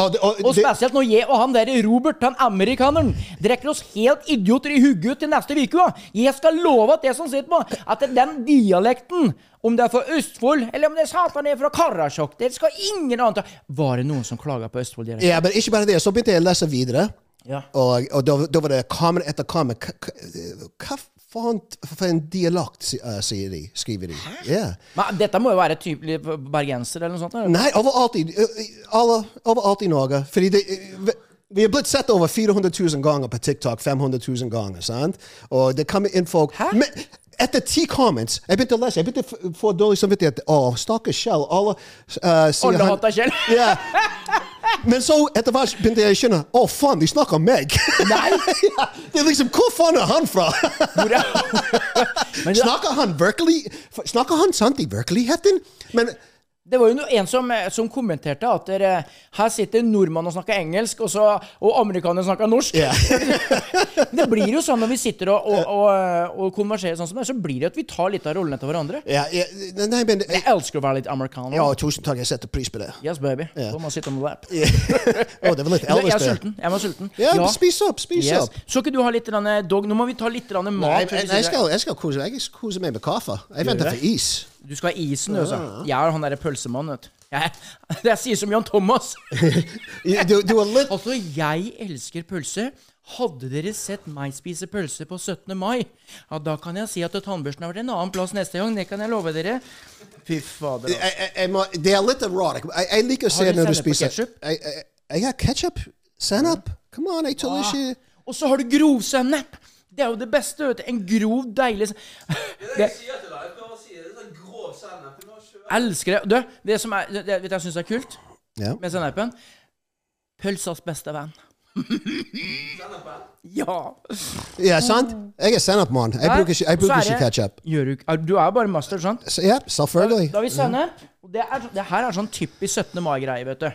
[SPEAKER 2] Og det- og
[SPEAKER 1] Og
[SPEAKER 2] det-
[SPEAKER 1] spesielt når jeg og han der Robert, han amerikaneren, drikker oss helt idioter i hugget til neste uke. va. Jeg skal love at det som sitter på, at den dialekten, om det er fra Østfold, eller om det er satan er fra Karasjok, det skal ingen annet ta. Var det noen som klaga på Østfold-dialekten?
[SPEAKER 2] Ja, men ikke bare det. Så begynte jeg å lese videre.
[SPEAKER 1] Ja.
[SPEAKER 2] Og, og da, da var det kamer etter kamer. K- k- Hva faen for en dialekt, si- eh, sier de, skriver de. Ja.
[SPEAKER 1] Men dette må jo være typelig bergenser eller noe sånt? Eller?
[SPEAKER 2] Nei, overalt i, eh, alle, overalt i Norge. Fordi det, eh, vi- vi er blitt sett over 400 000 ganger på TikTok. 500 000 ganger, sant? Og det kommer inn folk
[SPEAKER 1] Hæ?
[SPEAKER 2] Men etter ti comments Jeg begynte å lese. Jeg begynte å f- få dårlig samvittighet. Å, stakkars Kjell. Alle eh, sier
[SPEAKER 1] Alle
[SPEAKER 2] han-
[SPEAKER 1] hater Kjell.
[SPEAKER 2] *laughs* Ja. Men så etter hvert begynte jeg å skjønne Å, faen, de snakker om *laughs* meg! Nei! ja, det er liksom, Hvor faen er han fra?
[SPEAKER 1] Hvor er- Men det-
[SPEAKER 2] snakker han virkelig Snakker han sant i virkeligheten? Men
[SPEAKER 1] Det var jo no- en som, eh, som kommenterte at dere, eh, her sitter nordmannen og snakker engelsk, og, så, og amerikaneren snakker norsk.
[SPEAKER 2] Ja.
[SPEAKER 1] *laughs* det blir jo sånn når vi sitter og, og, og, og konverserer sånn som det, er, så blir det at vi tar litt av rollene til hverandre.
[SPEAKER 2] ja, ja, Nei, men
[SPEAKER 1] Jeg elsker å være litt amerikaner.
[SPEAKER 2] Ja, tusen takk. Jeg setter pris på det.
[SPEAKER 1] Yes, baby. Come on, sit on the lap.
[SPEAKER 2] *laughs* Å, det var litt
[SPEAKER 1] Jeg
[SPEAKER 2] Elvis
[SPEAKER 1] er
[SPEAKER 2] der.
[SPEAKER 1] sulten. Jeg var sulten.
[SPEAKER 2] Ja, men spis opp, spis
[SPEAKER 1] Yes.
[SPEAKER 2] opp.
[SPEAKER 1] Så ikke du ha litt grann eh, dog? Nå må vi ta litt grann
[SPEAKER 2] Nei,
[SPEAKER 1] mat.
[SPEAKER 2] jeg, jeg, jeg, skal, jeg skal kose meg. Jeg skal kose meg med kaffe. Jeg venter for is.
[SPEAKER 1] Du skal ha isen, du. altså. Jeg er han derre pølsemannen, vet du. Jeg, *laughs* jeg sier som Jan Thomas.
[SPEAKER 2] Du, du er litt
[SPEAKER 1] Altså, jeg elsker pølse. Hadde dere sett meg spise pølse på 17. mai, ja, da kan jeg si at tannbørsten har vært en annen plass neste gang. Det kan jeg love dere. Fy fader. altså.
[SPEAKER 2] jeg, jeg, jeg må, Det er litt erotic. Jeg, jeg liker å se
[SPEAKER 1] du
[SPEAKER 2] når du
[SPEAKER 1] sennep og
[SPEAKER 2] spiser
[SPEAKER 1] ketchup?
[SPEAKER 2] Jeg, jeg, jeg har ketsjup. Sennep. Come on, jeg
[SPEAKER 1] Ah.
[SPEAKER 2] tåler ikke
[SPEAKER 1] Og så har du grovsennep. Det er jo det beste. vet du. En grov, deilig sen- det,
[SPEAKER 3] sier til deg, jeg prøver å si det, det er sånn grå sennep. Du må kjøpe
[SPEAKER 1] Elsker det. Du, det som er, det, det, vet du, jeg syns er kult
[SPEAKER 2] Ja.
[SPEAKER 1] med sennepen Pølsas beste venn.
[SPEAKER 3] sennepen.
[SPEAKER 1] Ja.
[SPEAKER 2] ja, sant? Jeg er sennepmann. Jeg bruker ikke, jeg bruker
[SPEAKER 1] Så er
[SPEAKER 2] ikke
[SPEAKER 1] det-
[SPEAKER 2] ketsjup.
[SPEAKER 1] Gjør du ikke- er- Du er jo bare master, sant?
[SPEAKER 2] Så Ja, selvfølgelig.
[SPEAKER 1] Da har vi sennep. Og det, er, det her er sånn typisk 17. mai-greie, vet du.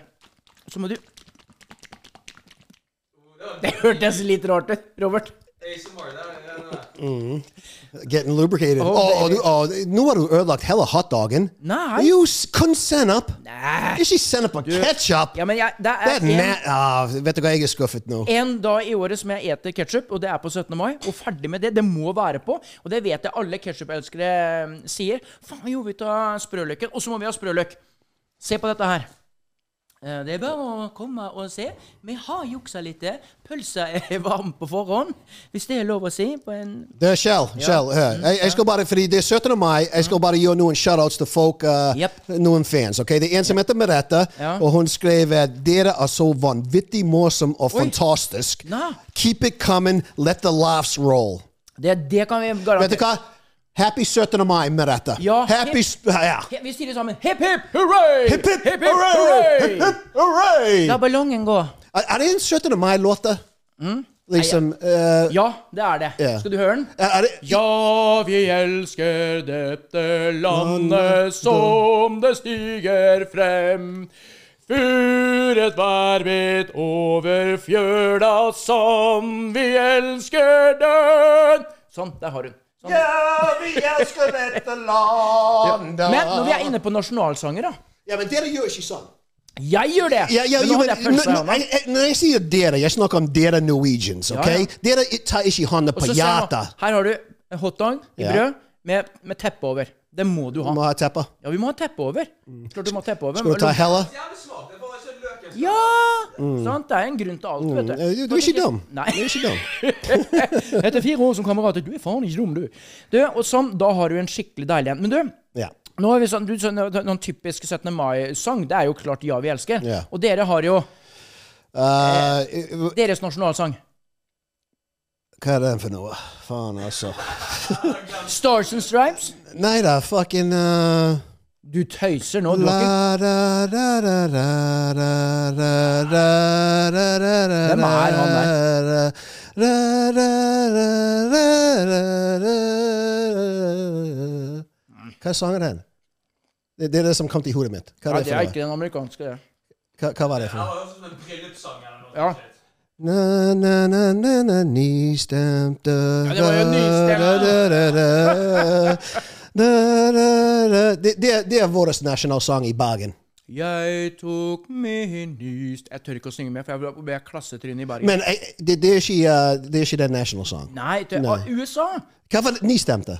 [SPEAKER 1] Så må du Det hørtes litt rart ut, Robert.
[SPEAKER 3] ASMR, det er det. er-
[SPEAKER 2] Getting lubricated. Å,
[SPEAKER 1] Oh, baby.
[SPEAKER 2] du- å, nå har du ødelagt hele hotdogen.
[SPEAKER 1] Nei.
[SPEAKER 2] Jo, s- kun sennep.
[SPEAKER 1] Nei.
[SPEAKER 2] Ikke sennep og ketsjup.
[SPEAKER 1] Ja, men jeg, det
[SPEAKER 2] Det
[SPEAKER 1] er
[SPEAKER 2] er
[SPEAKER 1] en,
[SPEAKER 2] næ- ah, Vet du hva, jeg er skuffet nå.
[SPEAKER 1] en dag i året som jeg eter ketsjup, og det er på 17. mai. Og ferdig med det. Det må være på. Og det vet jeg alle ketsjupelskere mm, sier. Faen, jo, vi tar sprøløken. Og så må vi ha sprøløk. Se på dette her. Eh, Det er bare å komme og se. Vi har juksa litt. eh. Pølsa er varm på forhånd, hvis det er lov å si. På en
[SPEAKER 2] Det er Kjell. Kjell her.
[SPEAKER 1] Mm-hmm.
[SPEAKER 2] Jeg, jeg skal bare, fordi det er 17. mai. Jeg skal bare gjøre noen shoutouts til folk, eh,
[SPEAKER 1] Yep.
[SPEAKER 2] noen fans. ok? Det er en som heter Merete,
[SPEAKER 1] Ja.
[SPEAKER 2] og hun skrev at dere er så vanvittig morsom og fantastisk.
[SPEAKER 1] Nei.
[SPEAKER 2] Keep it coming. Let the laughs roll.
[SPEAKER 1] Det, det kan vi
[SPEAKER 2] Vet du
[SPEAKER 1] garantere.
[SPEAKER 2] hva? Happy 17. mai, Merete.
[SPEAKER 1] Ja,
[SPEAKER 2] Happy
[SPEAKER 1] hip-
[SPEAKER 2] s- ja.
[SPEAKER 1] He- Vi sier det sammen. Hipp, hipp, hurra!
[SPEAKER 2] Hip, hip,
[SPEAKER 1] hipp,
[SPEAKER 2] hooray! Hip,
[SPEAKER 1] hurra!
[SPEAKER 2] hip, hooray!
[SPEAKER 1] La ballongen gå.
[SPEAKER 2] Er, er det en 17. mai-låt, da? Liksom eh,
[SPEAKER 1] Mm. Ja, det er det.
[SPEAKER 2] Ja.
[SPEAKER 1] Skal du høre den?
[SPEAKER 2] Er det
[SPEAKER 1] Ja, vi elsker dette landet som det stiger frem. Furet varvet over fjøla som vi elsker den. Sånn, der har hun. Sånn.
[SPEAKER 2] vi elsker dette landet
[SPEAKER 1] Men når vi er inne på nasjonalsanger, da.
[SPEAKER 2] Ja, men dere gjør ikke sånn.
[SPEAKER 1] Jeg gjør det!
[SPEAKER 2] Ja, ja,
[SPEAKER 1] Men
[SPEAKER 2] jo,
[SPEAKER 1] nå
[SPEAKER 2] men,
[SPEAKER 1] hadde jeg pølsa i
[SPEAKER 2] når,
[SPEAKER 1] hånda.
[SPEAKER 2] når jeg sier dere, jeg snakker om dere Norwegians. ok?
[SPEAKER 1] Ja, ja.
[SPEAKER 2] Dere tar ikke hånda
[SPEAKER 1] Og
[SPEAKER 2] på
[SPEAKER 1] så ser jeg nå,
[SPEAKER 2] hjertet.
[SPEAKER 1] Her har du en hotdog i
[SPEAKER 2] Ja.
[SPEAKER 1] brød med, med teppe over. Det må du ha.
[SPEAKER 2] Må ha teppe.
[SPEAKER 1] Ja, vi må ha teppe over. Klart du må ha teppe over.
[SPEAKER 2] Skal du ta Hella?
[SPEAKER 1] Ja! Sant? Det er en grunn til alt, vet
[SPEAKER 2] Eh, Du,
[SPEAKER 1] du.
[SPEAKER 2] du er ikke dum.
[SPEAKER 1] Nei.
[SPEAKER 2] Du er ikke dum.
[SPEAKER 1] Etter fire år som kamerat, du er faen ikke dum, du. du og sånn, da har du en skikkelig deilig en. Men du,
[SPEAKER 2] Ja.
[SPEAKER 1] nå er vi sånn, du, sånn noen typisk 17. mai-sang. Det er jo klart 'Ja, vi elsker'.
[SPEAKER 2] Ja.
[SPEAKER 1] Og dere har jo
[SPEAKER 2] Eh,
[SPEAKER 1] deres nasjonalsang.
[SPEAKER 2] hva er den for noe? Faen, altså.
[SPEAKER 1] Stars and Stripes.
[SPEAKER 2] Nei da, fucking eh,
[SPEAKER 1] Du tøyser nå. Du har ikke
[SPEAKER 2] La da da da da da da da da da da
[SPEAKER 1] Hvem er han
[SPEAKER 2] der? Da da da da da da Hva sang er den? Det, det er det som kom til hodet mitt.
[SPEAKER 1] ja,
[SPEAKER 2] Hva, er det
[SPEAKER 1] Det
[SPEAKER 2] for
[SPEAKER 1] er
[SPEAKER 2] noe?
[SPEAKER 1] ikke den amerikanske, det.
[SPEAKER 2] hva, hva var det for noe?
[SPEAKER 3] var jo som en bryllupssang eller noe.
[SPEAKER 1] Ja.
[SPEAKER 3] sånt.
[SPEAKER 2] Na na na na na nystemte
[SPEAKER 1] Ja, det var jo nystemte.
[SPEAKER 2] da, da, da, da. Da, da,
[SPEAKER 1] *laughs*
[SPEAKER 2] da. Det, det, er- det er vår nasjonalsang i Bergen.
[SPEAKER 1] Jeg tok min nyst Jeg tør ikke å synge mer, for jeg ble klassetryne i Bergen.
[SPEAKER 2] Men eh, det, det, er ikke, eh, det er ikke den national song.
[SPEAKER 1] Nei, det,
[SPEAKER 2] Nei.
[SPEAKER 1] ah, USA!
[SPEAKER 2] Hva var det? Ni stemte?
[SPEAKER 1] er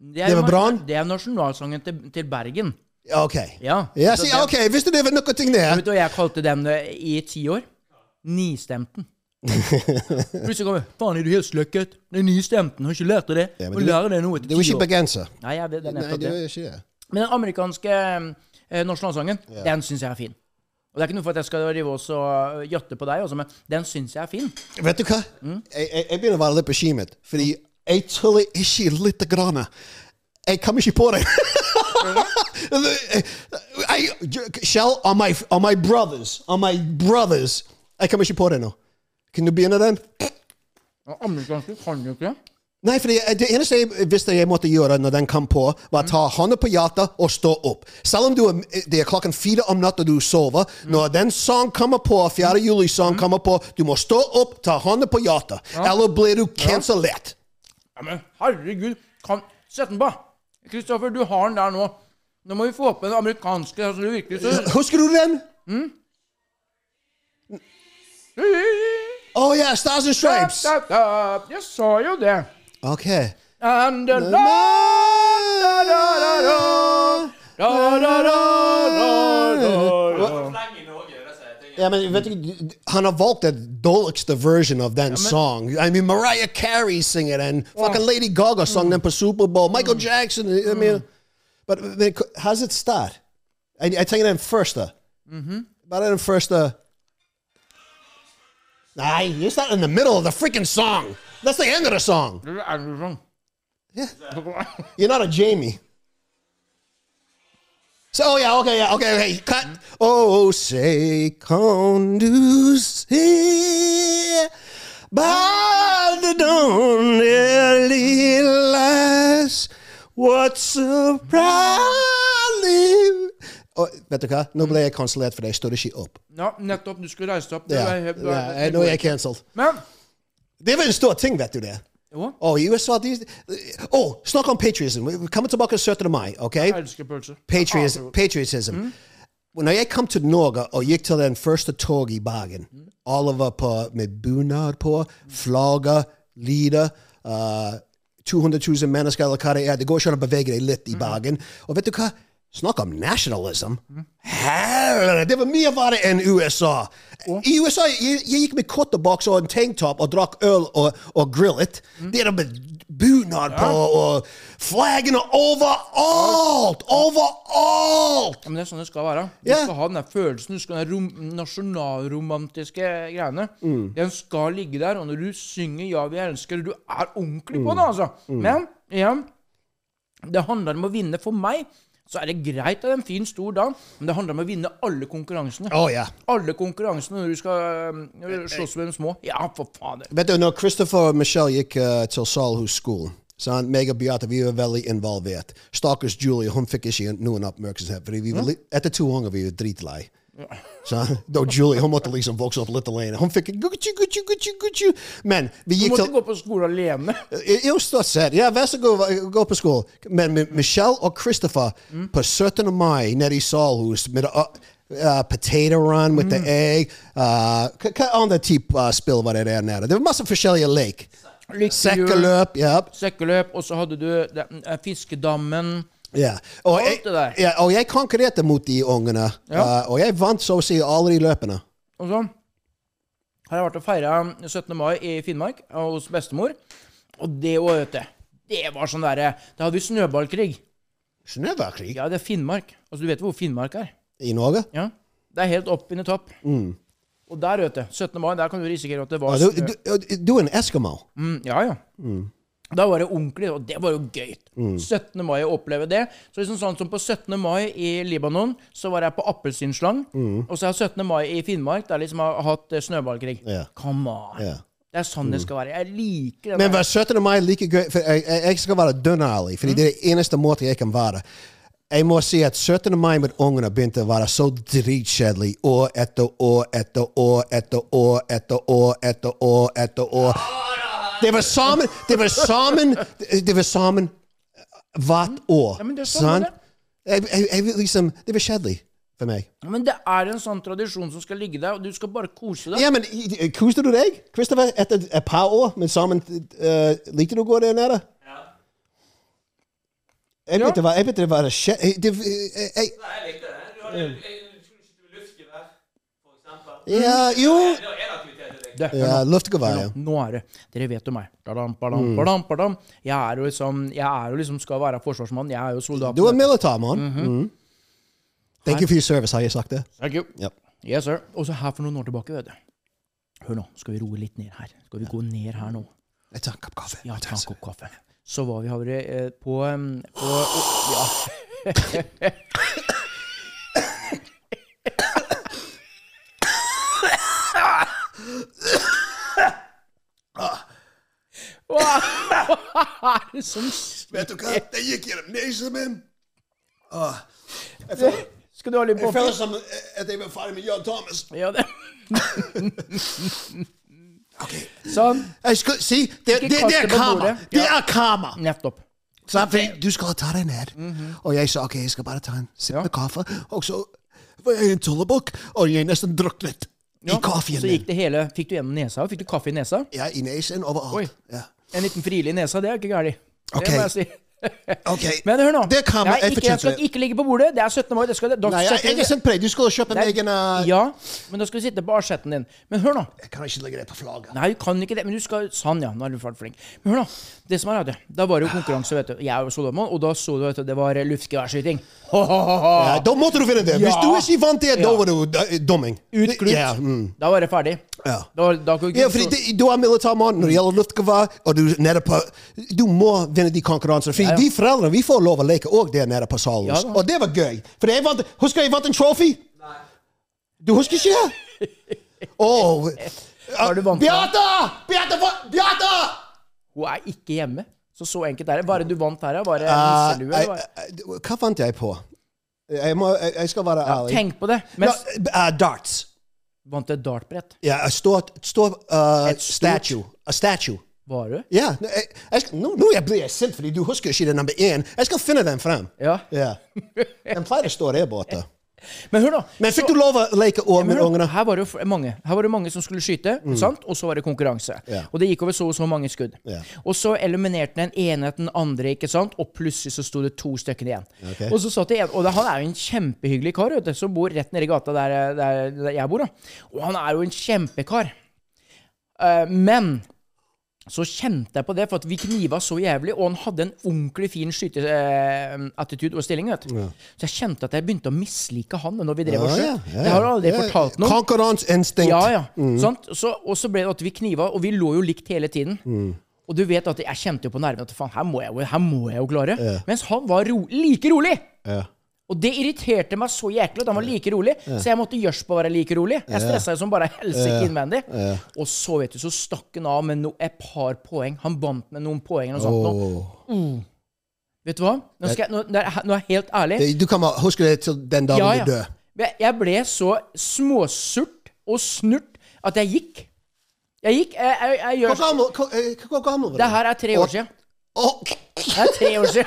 [SPEAKER 2] Det var
[SPEAKER 1] nas-
[SPEAKER 2] Brann?
[SPEAKER 1] Det er nasjonalsangen til, til Bergen.
[SPEAKER 2] Ok.
[SPEAKER 1] Ja.
[SPEAKER 2] Ja,
[SPEAKER 1] Så
[SPEAKER 2] si,
[SPEAKER 1] det-
[SPEAKER 2] ok, Visste dere noe ting
[SPEAKER 1] Jeg
[SPEAKER 2] der?
[SPEAKER 1] Vet du hva jeg kalte den eh, i ti år?
[SPEAKER 2] *laughs*
[SPEAKER 1] Nistemten. Plutselig kommer Faen, er du helt sløkket? Det er nistemten. Har ikke lært deg det?
[SPEAKER 2] Ja, men
[SPEAKER 1] Må
[SPEAKER 2] du-
[SPEAKER 1] lære deg noe
[SPEAKER 2] Det
[SPEAKER 1] etter
[SPEAKER 2] var
[SPEAKER 1] ti
[SPEAKER 2] ikke
[SPEAKER 1] år.
[SPEAKER 2] bergenser.
[SPEAKER 1] Nei, jeg vet det er
[SPEAKER 2] Nei,
[SPEAKER 1] nettopp
[SPEAKER 2] det
[SPEAKER 1] det.
[SPEAKER 2] var ikke det.
[SPEAKER 1] Men den amerikanske eh, nasjonalsangen, den syns jeg er fin. Og det er ikke noe for at jeg skal drive også og jatte på deg, også, men den syns jeg er fin.
[SPEAKER 2] Vet du hva?
[SPEAKER 1] Mm.
[SPEAKER 2] Jeg, jeg, jeg begynner å være litt bekymret, fordi jeg tuller ikke lite grann. Jeg kom ikke på det. *laughs* I, Shell, on my, on my brothers, on my brothers. Jeg kom ikke på det nå. Kan du begynne den?
[SPEAKER 1] Den Amerikanske kan jo ikke.
[SPEAKER 2] Nei, fordi jeg- det eneste jeg visste jeg måtte gjøre når den kom på, var å ta hånda på hjertet og stå opp. Selv om du er, det er klokken fire om natta og du sover, når den sang kommer på, 4. juli-sang kommer på, du må stå opp, ta hånda på hjertet, eller blir du kansellert.
[SPEAKER 1] Ja, men herregud, kan Sett den på! Kristoffer, du har den der nå. Nå må vi få opp den amerikanske, så du virkelig så
[SPEAKER 2] *laughs* Husker du den? Å ja, Oh, Stars and Stripes.
[SPEAKER 1] Da, da, da. Jeg sa jo det.
[SPEAKER 2] Ok.
[SPEAKER 1] And the la-la-la-la-la-la-la-la-la.
[SPEAKER 3] Fleng i Norge, det sier jeg. tenker
[SPEAKER 2] Ja, men vet du, han har valgt den dårligste version av den song. I mean, Mariah Carey synger den. Fucking Lady Gaga sang den på Superbowl. Michael Jackson. I mean, but, men, how's it start? I, I tenker den første. Bare den første. Nei, it's not in the middle of the freaking song. That's the end of the song.
[SPEAKER 1] Det er Anderson.
[SPEAKER 2] You're not a Jamie. So, oh yeah, okay, yeah, okay, okay. Cut. Oh, say conduce by the dawn early lies. What's a problem? Oh, vet du hva? Nå ble jeg kansellert, for jeg stod ikke opp.
[SPEAKER 1] Ja, nettopp. Du skulle reist opp. Det
[SPEAKER 2] Ja,
[SPEAKER 1] var
[SPEAKER 2] ja,
[SPEAKER 1] helt- det var helt-
[SPEAKER 2] jeg- nå er jeg cancelled.
[SPEAKER 1] Men
[SPEAKER 2] Det var en stor ting, vet du det.
[SPEAKER 1] Jo,
[SPEAKER 2] Oh, i USA de, oh, Snakk om patriotism. Vi kommer tilbake 17. mai. ok?
[SPEAKER 1] jeg elsker pølser.
[SPEAKER 2] Patriots, patriotism. Når jeg kom til Norge og gikk til den første toget i Bergen, alle var på, med bunad på, flagget, lyder, uh, 200 000 mennesker eller hva det er, det går ikke an å bevege deg litt i Bergen. Og vet du hva? Snakker om nationalism. Herre, det var mye verre enn USA. I USA jeg, jeg gikk med kortebukse og en tanktop og drakk øl og, og grillet. Det er det med bunad på og flaggene overalt! Overalt!
[SPEAKER 1] Ja, men Det er sånn det skal være. Du
[SPEAKER 2] Ja.
[SPEAKER 1] skal ha den der følelsen, du skal ha den rom nasjonalromantiske greiene.
[SPEAKER 2] Mm.
[SPEAKER 1] Den skal ligge der, og når du synger 'Ja, vi elsker', du er ordentlig
[SPEAKER 2] Mm.
[SPEAKER 1] på det, altså. Men igjen, det handler om å vinne. For meg så er det greit at det er en fin, stor dag, men det handler om å vinne alle konkurransene.
[SPEAKER 2] Å ja. Eh,
[SPEAKER 1] Alle konkurransene når du skal øhm, når du slåss med de små. Ja, for fader.
[SPEAKER 2] Vet du, når nou, Christopher og Michelle gikk eh, til Salhus-skolen sant? Meg og Beate vi var veldig involvert. Stakkars Julie hun fikk ikke noen oppmerksomhet. Fordi vi var li etter to ganger vi var dritlei. *laughs* Sant? Da Julie hun måtte liksom vokse opp litt alene. Hun fikk gucci, gucci, gucci, gucci. Men vi
[SPEAKER 1] Du
[SPEAKER 2] gikk
[SPEAKER 1] måtte
[SPEAKER 2] til
[SPEAKER 1] gå på skole
[SPEAKER 2] *laughs*
[SPEAKER 1] alene.
[SPEAKER 2] Jo, stort sett. Ja, vær så god, gå på skolen. Men Mi- Michelle og Christopher
[SPEAKER 1] Mm.
[SPEAKER 2] på 17. mai nede i Salhus med uh, uh, potato run with the
[SPEAKER 1] Mm.
[SPEAKER 2] egg uh, Hva hva andre type uh, spill var det der nede? Det var masse forskjellige lek. Sekkeløp. Ja.
[SPEAKER 1] Sekkeløp, og så hadde du den, øh, fiskedammen.
[SPEAKER 2] ja. Og,
[SPEAKER 1] Alt
[SPEAKER 2] jeg,
[SPEAKER 1] det der.
[SPEAKER 2] ja, og jeg konkurrerte mot de ungene, uh, og jeg vant så å si alle de løpene.
[SPEAKER 1] Og så har jeg vært og feira 17. mai i Finnmark hos bestemor. Og det òg, vet du. Det var sånn derre Da hadde vi snøballkrig.
[SPEAKER 2] Snøværkrig
[SPEAKER 1] Ja, det er Finnmark. Altså, du vet hvor Finnmark er?
[SPEAKER 2] i Norge?
[SPEAKER 1] Ja. Det er helt opp under topp. Og der, vet du. 17. mai, der kan du risikere at det var
[SPEAKER 2] Du,
[SPEAKER 1] snø.
[SPEAKER 2] du, du er en eskimo.
[SPEAKER 1] Mm, ja, ja. Da var det ordentlig, og det var jo gøy. 17. mai å oppleve det. Så liksom sånn som på 17. mai i Libanon, så var jeg på appelsinslang. Og så er 17. mai i Finnmark, der liksom har hatt eh, snøballkrig.
[SPEAKER 2] Ja.
[SPEAKER 1] Come on.
[SPEAKER 2] Ja.
[SPEAKER 1] Det er sånn det skal være. Jeg liker det.
[SPEAKER 2] Mm. Men
[SPEAKER 1] der.
[SPEAKER 2] hver 17. mai like gøy for jeg, jeg jeg skal være dønn ærlig, fordi det er den eneste måten jeg kan være. Jeg må si at 17. mai med ungene begynte å være så dritkjedelig år etter år etter år etter år etter år etter år etter år. Det var sammen Det var sammen Det var sammen hvert år.
[SPEAKER 1] Ja, men det er sånn
[SPEAKER 2] sant?
[SPEAKER 1] det er.
[SPEAKER 2] Jeg, jeg, jeg liksom Det var kjedelig for meg.
[SPEAKER 1] Men det er en sånn tradisjon som skal ligge der, og du skal bare kose deg.
[SPEAKER 2] Ja, men i- i- koste du deg, Christopher, etter et par år men sammen? eh, likte du å gå der nede?
[SPEAKER 3] Ja.
[SPEAKER 2] Jeg
[SPEAKER 1] Ja.
[SPEAKER 2] vet det var, jeg vet det var det skje... jeg- det- øh, jeg- jeg-
[SPEAKER 3] Nei, jeg likte det. Du hadde jeg, jeg skulle skyte med luftgevær, for eksempel.
[SPEAKER 2] Ja, jo
[SPEAKER 3] Det var en aktivitet jeg likte.
[SPEAKER 1] Det,
[SPEAKER 2] Ja, luftgevær, ja.
[SPEAKER 1] Nå, nå er det Dere vet jo meg. Badam, badam,
[SPEAKER 2] Mm.
[SPEAKER 1] badam, badam. Jeg er jo liksom Jeg er jo liksom skal være forsvarsmann. Jeg er jo soldat.
[SPEAKER 2] Du er militær, mann. Mhm. Thank you for your service, har jeg sagt det?
[SPEAKER 1] Thank you.
[SPEAKER 2] Yep.
[SPEAKER 1] Yes, sir. Og så her for noen år tilbake, vet du. Hør nå, skal vi roe litt ned her. Skal vi gå ned her nå?
[SPEAKER 2] Jeg tar en kopp kaffe.
[SPEAKER 1] Ja, ta en kopp kaffe. Så var vi har vært eh, på, em, på å, Ja. Hva er det som skjer?
[SPEAKER 2] Vet du hva? Det gikk gjennom nesen min.
[SPEAKER 1] Skal du ha litt kaffe?
[SPEAKER 2] som øh, at jeg var ferdig med John Thomas.
[SPEAKER 1] Ja, det. Sånn.
[SPEAKER 2] Jeg skal si, det, det, det er
[SPEAKER 1] kaste på
[SPEAKER 2] karma.
[SPEAKER 1] bordet.
[SPEAKER 2] Det
[SPEAKER 1] Ja.
[SPEAKER 2] er karma.
[SPEAKER 1] Nettopp.
[SPEAKER 2] Så fordi du skal ta deg ned. Og jeg sa ok, jeg skal bare ta en sipp
[SPEAKER 1] Mhm. Ja.
[SPEAKER 2] med kaffe. Og så var jeg i en tullebukk, og jeg nesten druknet i kaffen
[SPEAKER 1] Så gikk
[SPEAKER 2] min.
[SPEAKER 1] det hele Fikk du gjennom nesa? Fikk du kaffe i nesa?
[SPEAKER 2] Ja, i nesen
[SPEAKER 1] Oi.
[SPEAKER 2] overalt. Ja.
[SPEAKER 1] En liten frilig i nesa, det er ikke gærent.
[SPEAKER 2] Ok.
[SPEAKER 1] Det må jeg si.
[SPEAKER 2] Ok.
[SPEAKER 1] Men hør nå.
[SPEAKER 2] Det kan man.
[SPEAKER 1] Nei,
[SPEAKER 2] Jeg
[SPEAKER 1] ikke, jeg
[SPEAKER 2] fortjente
[SPEAKER 1] skal
[SPEAKER 2] det.
[SPEAKER 1] ikke ligge på bordet. Det er 17. mai. Det skal, da
[SPEAKER 2] Nei, jeg,
[SPEAKER 1] setter
[SPEAKER 2] jeg er sendt preg. Du skulle kjøpe en
[SPEAKER 1] Nei,
[SPEAKER 2] egen uh,
[SPEAKER 1] Ja, men da skal vi sitte på asjetten din. Men hør nå.
[SPEAKER 2] Jeg kan ikke legge det på flagget.
[SPEAKER 1] Nei, du kan ikke det. Men du skal Sann, ja. Nå er du fælt flink. Men hør nå. Det som er, vet du. Da var det jo konkurranse, vet du. Jeg og Solomon, og da så du, vet du, det var luftgeværskyting. Ho-ho-ho-ho.
[SPEAKER 2] Ja, Eh, da måtte du finne det. Hvis
[SPEAKER 1] Ja.
[SPEAKER 2] du ikke vant det, da var du uh, dumming.
[SPEAKER 1] Utklutt.
[SPEAKER 2] Ja, mm.
[SPEAKER 1] Da var det ferdig.
[SPEAKER 2] Ja.
[SPEAKER 1] Da, da kunne
[SPEAKER 2] Ja, fordi det- du er militærmann når det gjelder luftgevær, og du er nede på Du må vinne de konkurransene. Fordi vi foreldre vi får lov å leke òg der nede på salen.
[SPEAKER 1] Ja da.
[SPEAKER 2] og det var gøy. For jeg vant, husker jeg vant en trophy? Du husker ikke
[SPEAKER 1] *laughs*
[SPEAKER 2] det? Åh
[SPEAKER 1] Har du vant den?
[SPEAKER 2] Beate! Beate! hva- Beate!
[SPEAKER 1] Hun er ikke hjemme. Så så enkelt er det. Hva er det du vant her, da? Var det
[SPEAKER 2] Eh,
[SPEAKER 1] nisselue?
[SPEAKER 2] jeg-
[SPEAKER 1] eller hva?
[SPEAKER 2] jeg- Hva vant jeg på? Jeg, må, jeg, jeg skal være ærlig.
[SPEAKER 1] Tenk på det.
[SPEAKER 2] Nå,
[SPEAKER 1] Mens
[SPEAKER 2] eh, darts.
[SPEAKER 1] vant et dartbrett.
[SPEAKER 2] Ja, et stort, et stort, eh,
[SPEAKER 1] Et stort-
[SPEAKER 2] statue. A statue.
[SPEAKER 1] Var du?
[SPEAKER 2] Ja, nå- jeg, jeg skal, nå, nå jeg blir jeg sint
[SPEAKER 1] *laughs*
[SPEAKER 2] fordi du husker ikke det nummer én. Jeg skal finne den frem.
[SPEAKER 1] Ja.
[SPEAKER 2] Ja. Den pleier å stå der borte.
[SPEAKER 1] Men hør, da.
[SPEAKER 2] Men fikk
[SPEAKER 1] så-
[SPEAKER 2] du lov å leke år
[SPEAKER 1] Ja, men
[SPEAKER 2] med
[SPEAKER 1] hør da,
[SPEAKER 2] ungene? Mm.
[SPEAKER 1] Her var det jo f- mange Her var det mange som skulle skyte, sant? og så var det konkurranse.
[SPEAKER 2] Ja.
[SPEAKER 1] Og det gikk over så og så mange skudd.
[SPEAKER 2] Ja.
[SPEAKER 1] Og så eliminerte den ene etter den andre, ikke sant? og plutselig så sto det to stykker igjen.
[SPEAKER 2] Ok.
[SPEAKER 1] Og så satt det en, og det, han er jo en kjempehyggelig kar vet du, som bor rett nedi gata der, der, der jeg bor. Da. Og han er jo en kjempekar. Eh, men så kjente jeg på det, for at vi kniva så jævlig, og han hadde en ordentlig fin skyteattitude og stilling. vet du. Så jeg kjente at jeg begynte å mislike han når vi drev og
[SPEAKER 2] Ja,
[SPEAKER 1] skjøt.
[SPEAKER 2] ja, ja,
[SPEAKER 1] Det har jeg aldri
[SPEAKER 2] ja. Mm.
[SPEAKER 1] fortalt noen.
[SPEAKER 2] Konkurranseinstinkt.
[SPEAKER 1] Ja, ja. Sant? Så, og så ble det at vi kniva, og vi lå jo likt hele tiden.
[SPEAKER 2] Mm.
[SPEAKER 1] Og du vet at jeg kjente jo på nervene at faen, her må jeg jo, her må jeg jo klare. Mens han var ro like rolig. Og det irriterte meg så jæklig at han var like rolig, så jeg måtte gjørs på å være like rolig. Jeg stressa jo som bare helsike innvendig. Og så, vet du, så stakk han av med no, et par poeng. Han vant med noen poeng eller noe sånt. nå. Mm. Vet du hva? Nå, skal jeg, nå, nå er jeg- nå er jeg helt ærlig.
[SPEAKER 2] Eh, Du kan bare huske det til den dagen du dør.
[SPEAKER 1] Jeg- Jeg ble så småsurt og snurt at jeg gikk. Jeg gikk jeg, jeg, jeg
[SPEAKER 2] Hvor
[SPEAKER 1] gjør,
[SPEAKER 2] gammel, hvor, eh, hvor gammel var du?
[SPEAKER 1] Det her er tre år siden.
[SPEAKER 2] Å,
[SPEAKER 1] Det er tre år siden.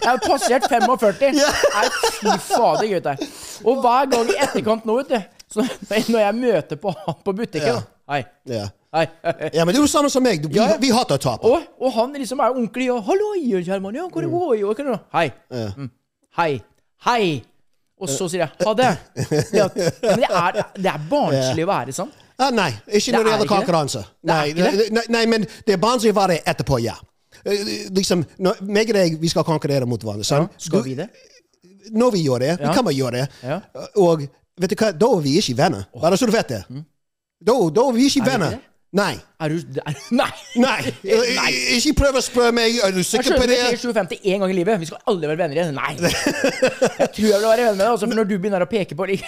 [SPEAKER 1] Jeg har passert 45. Nei, fy fader, gutter. Og hver gang i etterkant nå, vet du så *laughs* Når jeg møter på han på butikken da. Hei.
[SPEAKER 2] ja.
[SPEAKER 1] Hei. *laughs*
[SPEAKER 2] ja, men du er jo samme som meg. Du, vi,
[SPEAKER 1] Ja, ja.
[SPEAKER 2] vi hater å tape.
[SPEAKER 1] Og, og han liksom er ordentlig og 'Halloi, Kjerman. Ja, hvor går det?' Og hva er det nå? Hei. Mm. Hei. Hei. Og så sier jeg 'ha det'. Det, at, ja, men det, er, det er barnslig å være sånn.
[SPEAKER 2] Ah, nei, ikke når
[SPEAKER 1] Det
[SPEAKER 2] det
[SPEAKER 1] er
[SPEAKER 2] gjelder
[SPEAKER 1] ikke det.
[SPEAKER 2] konkurranse.
[SPEAKER 1] Det er
[SPEAKER 2] Nei,
[SPEAKER 1] ikke det.
[SPEAKER 2] nei, nei, men det er barnslig å være etterpå, ja. Eh, Liksom, når, meg og deg, vi skal konkurrere mot hverandre. sant?
[SPEAKER 1] Skal
[SPEAKER 2] Du-
[SPEAKER 1] vi det?
[SPEAKER 2] Når vi gjør det, vi
[SPEAKER 1] Ja.
[SPEAKER 2] kan bare gjøre det. Eh,
[SPEAKER 1] Ja.
[SPEAKER 2] Og vet du hva, da er vi ikke venner. Bare så du vet det. Da, da er vi ikke
[SPEAKER 1] Mm. vi
[SPEAKER 2] venner.
[SPEAKER 1] ikke det?
[SPEAKER 2] Nei.
[SPEAKER 1] Er du er, Nei!
[SPEAKER 2] Nei.
[SPEAKER 1] *laughs*
[SPEAKER 2] Eh,
[SPEAKER 1] Nei.
[SPEAKER 2] Ikke prøv å spørre meg er du
[SPEAKER 1] Jeg
[SPEAKER 2] sikker på
[SPEAKER 1] skjønner
[SPEAKER 2] det.
[SPEAKER 1] ikke 750 én gang i livet. Vi skal aldri være venner igjen. Nei! Jeg tror jeg vil være venn med deg, altså, for når du begynner å peke på det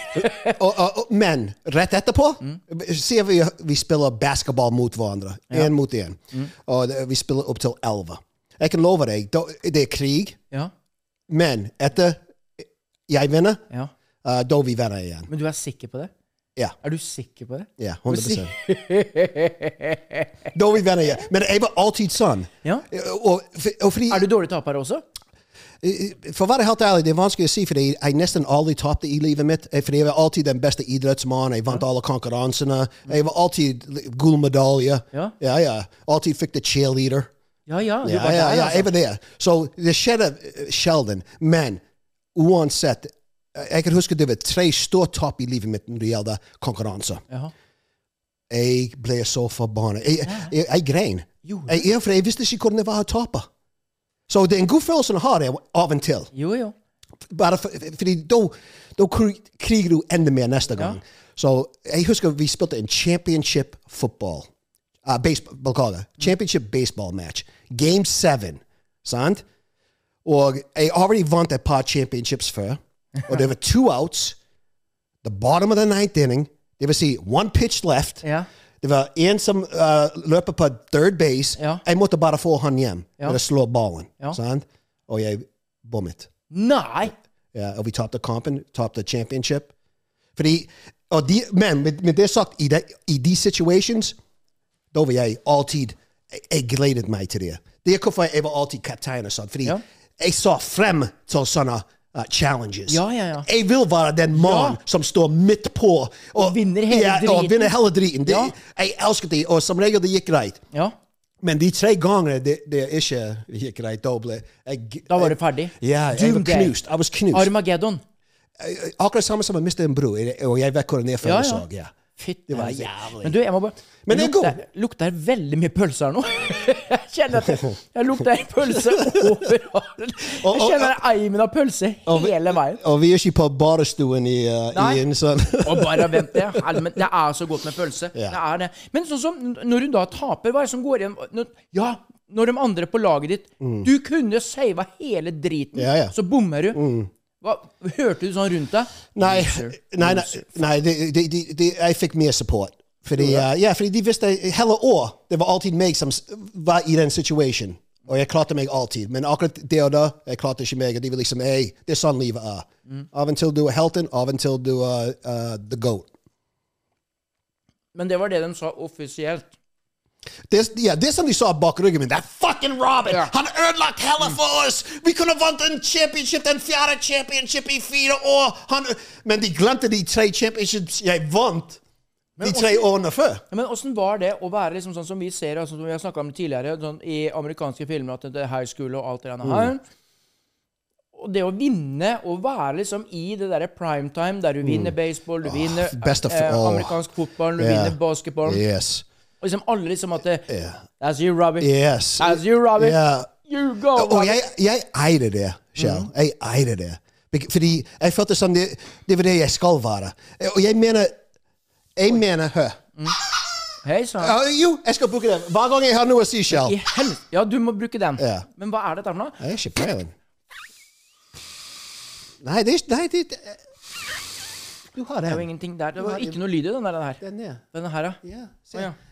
[SPEAKER 2] Og, og, og, men rett etterpå
[SPEAKER 1] Mm.
[SPEAKER 2] ser vi vi spiller basketball mot hverandre. Én mot én.
[SPEAKER 1] Mm.
[SPEAKER 2] Og det- vi spiller opp til elleve. Jeg kan love deg, da, det er krig,
[SPEAKER 1] Ja.
[SPEAKER 2] men etter jeg vinner,
[SPEAKER 1] ja.
[SPEAKER 2] eh, da er vi venner igjen.
[SPEAKER 1] Men du er sikker på det?
[SPEAKER 2] Ja.
[SPEAKER 1] Er du sikker på det?
[SPEAKER 2] Ja, 100 Da er vi venner igjen. Men jeg var alltid sånn.
[SPEAKER 1] Ja.
[SPEAKER 2] Og, for- og fordi, Eh,
[SPEAKER 1] Er du dårlig taper også?
[SPEAKER 2] for å være helt ærlig, det er vanskelig å si, fordi jeg nesten aldri tapte i livet mitt. Eh, Fordi jeg var alltid den beste idrettsmannen. Jeg vant alle konkurransene. Jeg var alltid li- gull medalje.
[SPEAKER 1] Ja.
[SPEAKER 2] ja. ja. Alltid fikk the cheerleader.
[SPEAKER 1] Ja, ja. Du
[SPEAKER 2] Ja,
[SPEAKER 1] var
[SPEAKER 2] ja,
[SPEAKER 1] der,
[SPEAKER 2] ja,
[SPEAKER 1] altså.
[SPEAKER 2] jeg var der. Så det skjedde eh, sjelden. Men uansett, eh, jeg kan huske det var tre store tap i livet mitt når det gjelder konkurranse.
[SPEAKER 1] Jaha.
[SPEAKER 2] Jeg ble så forbanna. Jeg, jeg, jeg grein.
[SPEAKER 1] Gjorde
[SPEAKER 2] Jeg, ja, for jeg visste ikke hvordan det var å tape. Så det er en god følelse å ha det av og til.
[SPEAKER 1] Jo, jo.
[SPEAKER 2] Bare for, fordi da, da kri- kriger du enda mer neste gang. Så jeg husker vi spilte en championship football. Uh, baseball,
[SPEAKER 1] Mm.
[SPEAKER 2] beklager. Championship baseball match. Game seven. Sant? Og jeg already vant et par championships før.
[SPEAKER 1] *laughs*
[SPEAKER 2] Og det var two outs. The bottom of the ninth inning. Det vil si one pitch left.
[SPEAKER 1] Ja.
[SPEAKER 2] Det var en som uh, løper på third base.
[SPEAKER 1] Ja.
[SPEAKER 2] Jeg måtte bare få han hjem
[SPEAKER 1] Ja.
[SPEAKER 2] for å slå ballen.
[SPEAKER 1] Ja.
[SPEAKER 2] Sant? Og jeg bommet.
[SPEAKER 1] Nei!
[SPEAKER 2] Ja, og vi tapte kampen, tapte championship. oh, Fordi, og de, men med, med det sagt, i de, i de E situations, da var jeg alltid Jeg, jeg gledet meg til det. Det er hvorfor jeg var alltid kaptein og sånn. Fordi
[SPEAKER 1] Ja.
[SPEAKER 2] jeg så frem til sånne uh, challenges.
[SPEAKER 1] Ja, ja, ja.
[SPEAKER 2] Jeg vil være den mannen som står midt på og,
[SPEAKER 1] vinner hele
[SPEAKER 2] ja,
[SPEAKER 1] driten.
[SPEAKER 2] Og vinner hele driten. Det,
[SPEAKER 1] Ja.
[SPEAKER 2] Jeg elsket det, og som regel det gikk greit.
[SPEAKER 1] Ja.
[SPEAKER 2] Men de tre gangene det, det ikke gikk greit, da ble jeg
[SPEAKER 1] Da var det ferdig.
[SPEAKER 2] Ja, jeg var
[SPEAKER 1] Doomday.
[SPEAKER 2] knust. Jeg var knust.
[SPEAKER 1] Armageddon.
[SPEAKER 2] Akkurat samme som å miste en bror, og jeg vet hvordan det er for
[SPEAKER 1] Ja,
[SPEAKER 2] oss
[SPEAKER 1] ja.
[SPEAKER 2] òg. Ja.
[SPEAKER 1] Fytti
[SPEAKER 2] Det var
[SPEAKER 1] helsike.
[SPEAKER 2] jævlig.
[SPEAKER 1] Men du, jeg må bare
[SPEAKER 2] Men det er god.
[SPEAKER 1] lukter, lukter veldig mye pølse her nå. *laughs* Jeg kjenner at jeg, jeg lukter pølse overalt.
[SPEAKER 2] Og-
[SPEAKER 1] Jeg
[SPEAKER 2] og-
[SPEAKER 1] kjenner eimen av pølse hele veien.
[SPEAKER 2] Og vi er ikke på badstuen i, uh,
[SPEAKER 1] Nei.
[SPEAKER 2] i en sånn
[SPEAKER 1] Og bare vent det. Helmen, det er så godt med pølse.
[SPEAKER 2] Ja.
[SPEAKER 1] Det er det. Men sånn som n- når hun da taper, hva er det som går igjen? Når, ja, når de andre på laget ditt Du kunne sava hele driten,
[SPEAKER 2] Mm. Ja, ja.
[SPEAKER 1] så bommer du. Hva, hørte du sånn rundt deg?
[SPEAKER 2] *laughs* Nei,
[SPEAKER 1] Loser.
[SPEAKER 2] nei, nei,
[SPEAKER 1] Loser.
[SPEAKER 2] nei de, de, de, de, jeg fikk mer support. Fordi, uh, ja, fordi de visste hele år det var alltid meg som s- var i den situasjonen. Og jeg klarte meg alltid. Men akkurat det og da jeg klarte ikke meg. og De var liksom hey, Det er sånn livet er.
[SPEAKER 1] Mm.
[SPEAKER 2] Av og til du er helten, av og til du er uh, the goat.
[SPEAKER 1] Men det var det de sa offisielt.
[SPEAKER 2] There's, yeah, there's somebody saw Buck Ruggeman. That fucking Robin.
[SPEAKER 1] Ja.
[SPEAKER 2] Han ødela hele for oss! Vi kunne vunnet en championship, den fjerde championship i fire år! Han, men de glemte de tre championships jeg vant de tre årene før.
[SPEAKER 1] Ja, Men åssen var det å være liksom sånn som vi ser, altså, som vi har snakka om tidligere, sånn, i amerikanske filmer, at det er high school og alt det
[SPEAKER 2] Mm.
[SPEAKER 1] der her. Og det å vinne, og være liksom i det derre primetime der du vinner baseball, du vinner
[SPEAKER 2] Mm. Ah,
[SPEAKER 1] eh,
[SPEAKER 2] best of all.
[SPEAKER 1] amerikansk fotball, du
[SPEAKER 2] Yeah.
[SPEAKER 1] vinner basketball
[SPEAKER 2] Yes.
[SPEAKER 1] Og liksom alle liksom at det, That's you, Robbie.
[SPEAKER 2] Yes.
[SPEAKER 1] That's you, Oh, Robbie.
[SPEAKER 2] Yeah. Oh,
[SPEAKER 1] You go,
[SPEAKER 2] Og
[SPEAKER 1] Robbie.
[SPEAKER 2] jeg, jeg eide det, Kjell. Jeg eide det. Bek- Fordi jeg følte som det, det var det jeg skal være. Og jeg mener Jeg mener hør.
[SPEAKER 1] Hei sann.
[SPEAKER 2] Ja, Jo, jeg skal bruke det hver gang jeg har noe å si, Kjell.
[SPEAKER 1] I hel... Ja, du må bruke den.
[SPEAKER 2] Ja.
[SPEAKER 1] Men hva er dette for noe?
[SPEAKER 2] Jeg er ikke peiling. Nei, det er ikke Nei, det det- Du har
[SPEAKER 1] Det var
[SPEAKER 2] den.
[SPEAKER 1] ingenting der. Det var ikke noe lyd i den der. Den her,
[SPEAKER 2] Den er
[SPEAKER 1] Denne her ja.
[SPEAKER 2] Ja. se.
[SPEAKER 1] Å, Oh ja.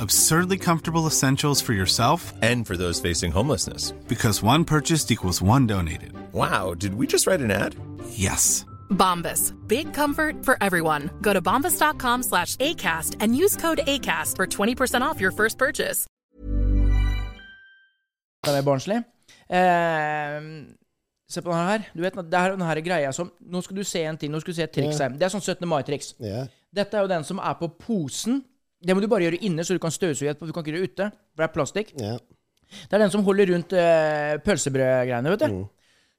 [SPEAKER 5] Absurdly comfortable essentials for yourself
[SPEAKER 6] And for those facing homelessness.
[SPEAKER 5] because one purchased equals one donated.
[SPEAKER 6] Wow, did we just write an ad?
[SPEAKER 5] Yes.
[SPEAKER 7] Bombas. Big comfort for everyone. Go to bombas.com slash ACAST and use code ACAST for 20% off your first purchase.
[SPEAKER 1] mer barnslig. Eh, se på denne her. Du vet, det er denne her greia som Nå skal du se en ting. Nå skal du se et triks her. Det er sånn 17. mai-triks.
[SPEAKER 2] Ja.
[SPEAKER 1] Dette er jo den som er på posen. Det må du bare gjøre inne, så du kan støvsuge etterpå. Du kan ikke gjøre det ute, for det er plastikk.
[SPEAKER 2] ja.
[SPEAKER 1] Det er den som holder rundt uh, pølsebrødgreiene, vet
[SPEAKER 2] Mm.
[SPEAKER 1] du.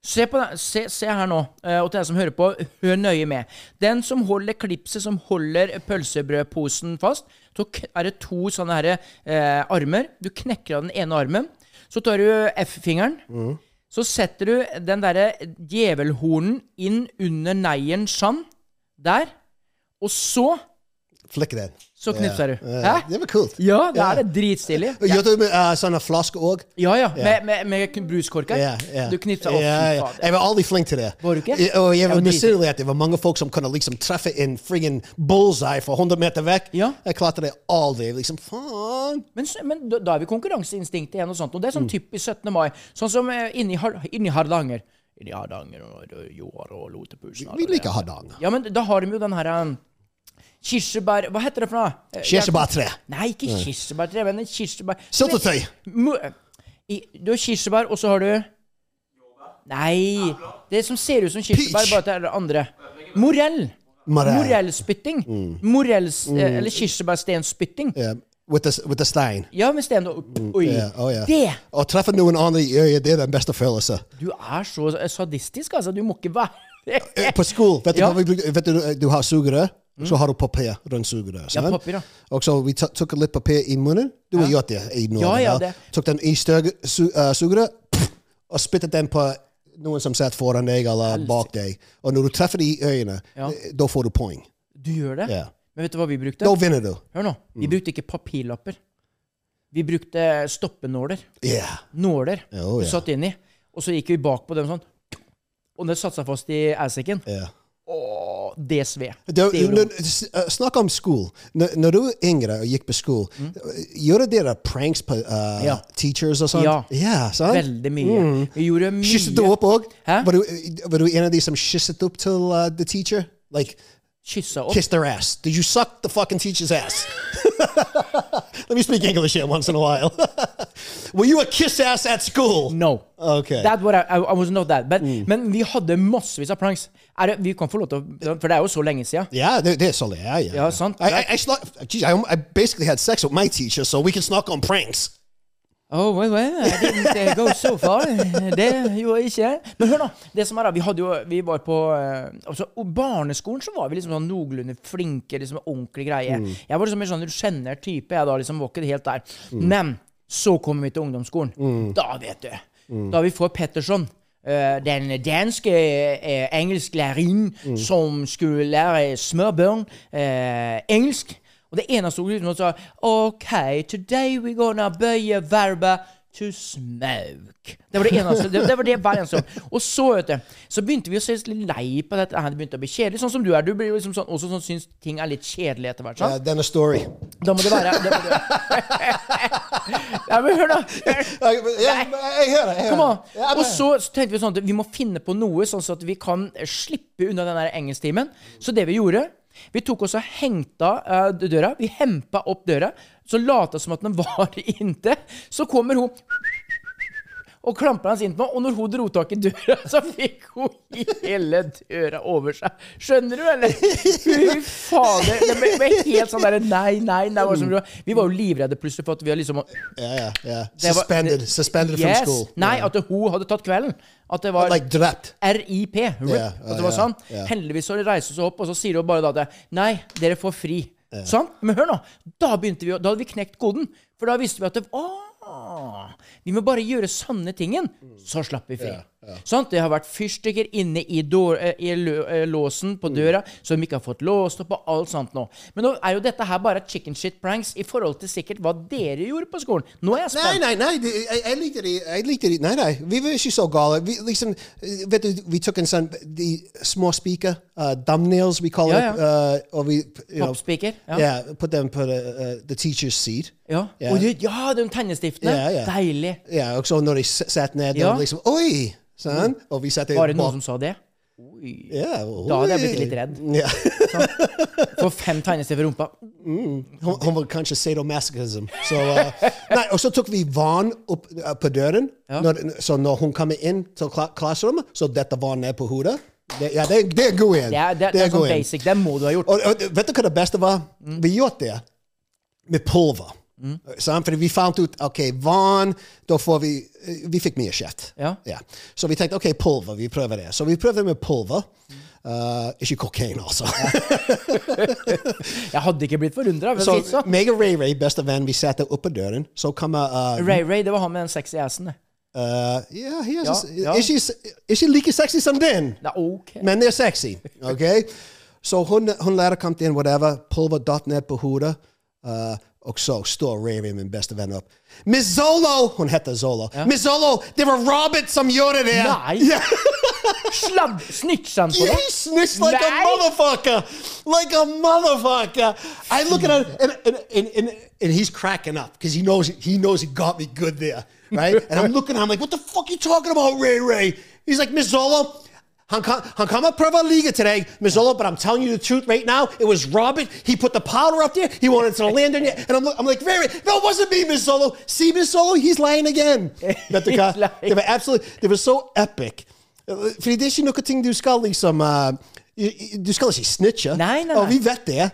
[SPEAKER 1] Se, på den, se, se her nå, eh, og til deg som hører på, hør nøye med. Den som holder klipset som holder pølsebrødposen fast, så k- er det to sånne her, eh, armer. Du knekker av den ene armen. Så tar du F-fingeren.
[SPEAKER 2] Mm.
[SPEAKER 1] Så setter du den derre djevelhornen inn under neien sand. Der. Og så
[SPEAKER 2] Flikke den.
[SPEAKER 1] Så knipser du.
[SPEAKER 2] Ja.
[SPEAKER 1] Hæ?
[SPEAKER 2] Det var kult.
[SPEAKER 1] Ja, det
[SPEAKER 2] Ja.
[SPEAKER 1] er det dritstilig.
[SPEAKER 2] Og Gjør du med eh, sånne flasker òg?
[SPEAKER 1] Ja, ja. Med, med, med bruskorker.
[SPEAKER 2] Ja, ja.
[SPEAKER 1] Du knipser opp.
[SPEAKER 2] Ja, ja. Jeg var aldri flink til det.
[SPEAKER 1] Var du ikke?
[SPEAKER 2] Jeg- Og jeg
[SPEAKER 1] Jeg
[SPEAKER 2] var
[SPEAKER 1] var dritflink.
[SPEAKER 2] misunnelig at det var mange folk som kunne liksom treffe en friggin bullseye fra 100 meter vekk.
[SPEAKER 1] Ja. Nou,
[SPEAKER 2] Jeg klarte det aldri. Liksom, faen!
[SPEAKER 1] Men, s- men da, da er vi konkurranseinstinktet igjen, og sånt, og det er
[SPEAKER 2] Mm.
[SPEAKER 1] sånn typisk 17. mai. Sånn som eh, inni, Har- inni Hardanger. Inni Hardanger og og Joar og Lotepusen.
[SPEAKER 2] Vi liker Hardanger.
[SPEAKER 1] Ja, men da har de jo den her um, Kirsebær... Hva heter det for noe? Eh,
[SPEAKER 2] Kirsebærtre.
[SPEAKER 1] jeg- Nei, ikke kirsebærtre, men en kirsebær...
[SPEAKER 2] Syltetøy.
[SPEAKER 1] Mu- i- Du har kirsebær, og så har du Nei. Det som ser ut som kirsebær,
[SPEAKER 2] Peach.
[SPEAKER 1] bare at det er det andre. Morell.
[SPEAKER 2] Morell. Mm.
[SPEAKER 1] Morellspytting. Morells... eh, Eller kirsebærstenspytting.
[SPEAKER 2] Ja, with the, with the stein.
[SPEAKER 1] Ja, men Sten, da- oi.
[SPEAKER 2] Ja, oh, ja.
[SPEAKER 1] Det!
[SPEAKER 2] Å treffe noen andre i øyet, det er den beste følelsen.
[SPEAKER 1] Du er så sadistisk, altså. Du må ikke være
[SPEAKER 2] Eh, På skolen, vet du
[SPEAKER 1] Ja. Mm.
[SPEAKER 2] hva vi brukte? Vet du, eh, du har sugerør, så har du papir rundt sugerøret.
[SPEAKER 1] Ja,
[SPEAKER 2] sant?
[SPEAKER 1] papir, ja.
[SPEAKER 2] Og så vi ta- tok litt papir i munnen. Du har gjort det i Norge.
[SPEAKER 1] Ja, ja,
[SPEAKER 2] da.
[SPEAKER 1] det.
[SPEAKER 2] Tok den i større su eh, sugerør, pff, og spyttet den på noen som satt foran deg eller bak deg. Og når du treffer de i øynene,
[SPEAKER 1] Ja.
[SPEAKER 2] eh, da får du poeng.
[SPEAKER 1] Du gjør det.
[SPEAKER 2] Ja. Mm.
[SPEAKER 1] Men vet du hva vi brukte?
[SPEAKER 2] Da vinner du.
[SPEAKER 1] Hør nå. Vi brukte ikke papirlapper. Vi brukte stoppenåler.
[SPEAKER 2] Yeah.
[SPEAKER 1] Nåler.
[SPEAKER 2] Jo, ja.
[SPEAKER 1] Du satt inni. Og så gikk vi bak på dem sånn. Og det satte seg fast i æsekken.
[SPEAKER 2] Yeah.
[SPEAKER 1] Åh, det sved.
[SPEAKER 2] Du,
[SPEAKER 1] Det gjorde
[SPEAKER 2] når- s- eh, snakk om skole. Når, når du var yngre og gikk på skole, gjorde dere pranks på eh,
[SPEAKER 1] Mm. Ja.
[SPEAKER 2] teachers og sånt?
[SPEAKER 1] Ja.
[SPEAKER 2] sant?
[SPEAKER 1] veldig mye. Vi gjorde mye.
[SPEAKER 2] Mm. Kysset du opp òg?
[SPEAKER 1] Hæ?
[SPEAKER 2] Var, du- var du en av de som kysset opp til uh, the teacher? Like,
[SPEAKER 1] Kyssa opp.
[SPEAKER 2] kiss their ass. Did you suck the fucking teacher's ass? *laughs* Let me speak English here once in a while. *laughs* Were you a kiss ass at school?
[SPEAKER 1] No.
[SPEAKER 2] Okay.
[SPEAKER 1] That what I, I, I was not that. Men,
[SPEAKER 2] Mm.
[SPEAKER 1] men vi hadde massevis av pranks. Er det, vi kan få lov til å For det er jo så lenge siden.
[SPEAKER 2] Yeah, they, they're solid. Yeah, yeah.
[SPEAKER 1] Yeah, son.
[SPEAKER 2] I, I, I, snuck- geez, I, I basically had sex with my teacher, so we can snuck on pranks.
[SPEAKER 1] Oh, well, well, I didn't eh, go so far. Det gjorde jeg ikke. Men hør nå, det som er da, vi, hadde jo, vi var på eh, altså, og barneskolen, så var vi liksom sånn noenlunde flinke, liksom ordentlig greie.
[SPEAKER 8] Mm.
[SPEAKER 1] Jeg var liksom en sånn sjenert type, jeg da liksom var ikke helt der.
[SPEAKER 8] Mm.
[SPEAKER 1] Men så kommer vi til ungdomsskolen. Da, vet du,
[SPEAKER 8] Mm.
[SPEAKER 1] da vi får Petterson. eh, den danske uh, engelsklærerinnen som skulle lære smørbarn eh, engelsk. Og det eneste ordet hun sa OK, today we're gonna bøye verba to smoke. Det var det eneste. Det, det var det hver eneste gang. Og så, vet du, så begynte vi å se litt lei på dette her. Det begynte å bli kjedelig. Sånn som du er. Du blir jo liksom sånn, også sånn syns ting er litt kjedelig etter hvert.
[SPEAKER 2] Ja,
[SPEAKER 1] sant?
[SPEAKER 2] den er story.
[SPEAKER 1] Da må det være da må det... *laughs* Ja, men hør, da.
[SPEAKER 2] jeg hører, jeg hører.
[SPEAKER 1] Kom an.
[SPEAKER 2] Ja, men-
[SPEAKER 1] Og så, så tenkte vi sånn at vi må finne på noe, sånn at vi kan slippe unna den der engelsktimen. Så det vi gjorde Vi tok oss og hengta eh, døra. Vi hempa opp døra. Så lata som at den var inntil. Så kommer hun og klampa hans innpå, og når hun dro tak i døra, så fikk hun hele døra over seg. Skjønner du, eller? Fy fader. Det ble, ble helt sånn derre nei, nei, nei. Var som, vi var jo livredde plutselig for at vi hadde liksom
[SPEAKER 2] Ja, ja, ja.
[SPEAKER 1] det var-
[SPEAKER 2] Suspended.
[SPEAKER 1] det-
[SPEAKER 2] Suspended
[SPEAKER 1] yes.
[SPEAKER 2] from school.
[SPEAKER 1] Nei, at hun hadde tatt kvelden. At det var
[SPEAKER 2] Like drept.
[SPEAKER 1] RIP. RIP.
[SPEAKER 2] Ja,
[SPEAKER 1] at det
[SPEAKER 2] ja,
[SPEAKER 1] var sånn.
[SPEAKER 2] ja.
[SPEAKER 1] Heldigvis så reiser hun seg opp, og så sier hun bare da at Nei, dere får fri. Sant? Men hør nå. Da begynte vi å- Da hadde vi knekt koden. For da visste vi at det, å, Vi må bare gjøre sanne tingen, så slapp vi fri. Sant? Det har vært fyrstikker inne i, dår, eh, i lø, eh, låsen på døra
[SPEAKER 2] Mm.
[SPEAKER 1] som ikke har fått låst opp, og alt sånt nå. Men nå er jo dette her bare chicken shit pranks i forhold til sikkert hva dere gjorde på skolen. Nå er jeg
[SPEAKER 2] Nei,
[SPEAKER 1] spent.
[SPEAKER 2] nei, nei. det- Jeg, jeg likte de, jeg likte de. Nei, nei. Vi var ikke så gale. Vi, liksom, eh, vet du, vi tok en sånn De små spiker, uh, thumbnails, we call
[SPEAKER 1] Ja,
[SPEAKER 2] it. Uh, og vi you know,
[SPEAKER 1] Popspiker, ja.
[SPEAKER 2] Yeah, put them på the, uh, the teacher's seat.
[SPEAKER 1] Ja.
[SPEAKER 2] Yeah.
[SPEAKER 1] Og det, ja, de tennestiftene.
[SPEAKER 2] Ja, ja.
[SPEAKER 1] Deilig.
[SPEAKER 2] Ja, og så når de s- satt ned, de
[SPEAKER 1] Ja.
[SPEAKER 2] var liksom Oi! Sånn. Og vi satte
[SPEAKER 1] Var det noen som sa det?
[SPEAKER 2] Ja,
[SPEAKER 1] Da hadde jeg
[SPEAKER 2] oi.
[SPEAKER 1] blitt litt redd.
[SPEAKER 2] Ja.
[SPEAKER 1] Få fem tegnestiffer i rumpa.
[SPEAKER 2] Hun, hun var kanskje sadomasochism. Så, uh, nei, og så tok vi vann opp uh, på døren. Når, så når hun kommer inn til kla klasserommet, så dette var ned på hodet. Det, ja, det, det er god en.
[SPEAKER 1] Det er, det, det er
[SPEAKER 2] god
[SPEAKER 1] sånn
[SPEAKER 2] en.
[SPEAKER 1] basic. Mm. Det må du ha gjort.
[SPEAKER 2] Og, og vet du hva det beste var? Vi gjorde det med pulver.
[SPEAKER 1] Mm.
[SPEAKER 2] Sant? Fordi vi fant ut ok, vann da får vi, eh, vi fikk mye kjeft. Ja. Så vi tenkte ok, pulver. Vi prøver det. Så vi prøver med pulver.
[SPEAKER 1] Mm.
[SPEAKER 2] Uh, ikke kokain, altså. *laughs*
[SPEAKER 1] Jeg hadde ikke blitt forundra.
[SPEAKER 2] så meg og Ray Ray, beste venn, vi satte oppå døren. Så kommer uh,
[SPEAKER 1] Ray Ray, det var han med den sexy assen. det.
[SPEAKER 2] Uh, yeah, he has
[SPEAKER 1] Ja, ja.
[SPEAKER 2] a- Ikke, ikke like sexy som den, men det er sexy. ok? Så hun, hun lærer kom inn, whatever, pulver datt ned på hodet, uh, og så står Rary, min beste venn, opp. Miss Zolo! Hun heter Zolo. Miss Zolo, det var Robert som gjorde det!
[SPEAKER 1] Nei!
[SPEAKER 2] Ja.
[SPEAKER 1] Sladd, snitcha han på
[SPEAKER 2] Yeah,
[SPEAKER 1] det?
[SPEAKER 2] he snitched like
[SPEAKER 1] Nei.
[SPEAKER 2] a motherfucker, like a motherfucker. I look at him and, and, and, and, and he's cracking up because he knows he knows he got me good there, right? and I'm looking at him like, what the fuck you talking about, Ray Ray? He's like, Miss Zolo, Hong Kong, Hong Kong Preva Liga today, Miss Zolo, but I'm telling you the truth right now. It was Robert. He put the powder up there. He wanted to land on you. And I'm, look- I'm like, Ray Ray, no, it wasn't me, Miss Zolo. See, Miss Zolo, he's lying again. That the guy, they were absolutely, they were so epic. Fordi det er ikke noe ting du skal liksom eh, i- i- Du skal ikke snitche. Og vi vet det,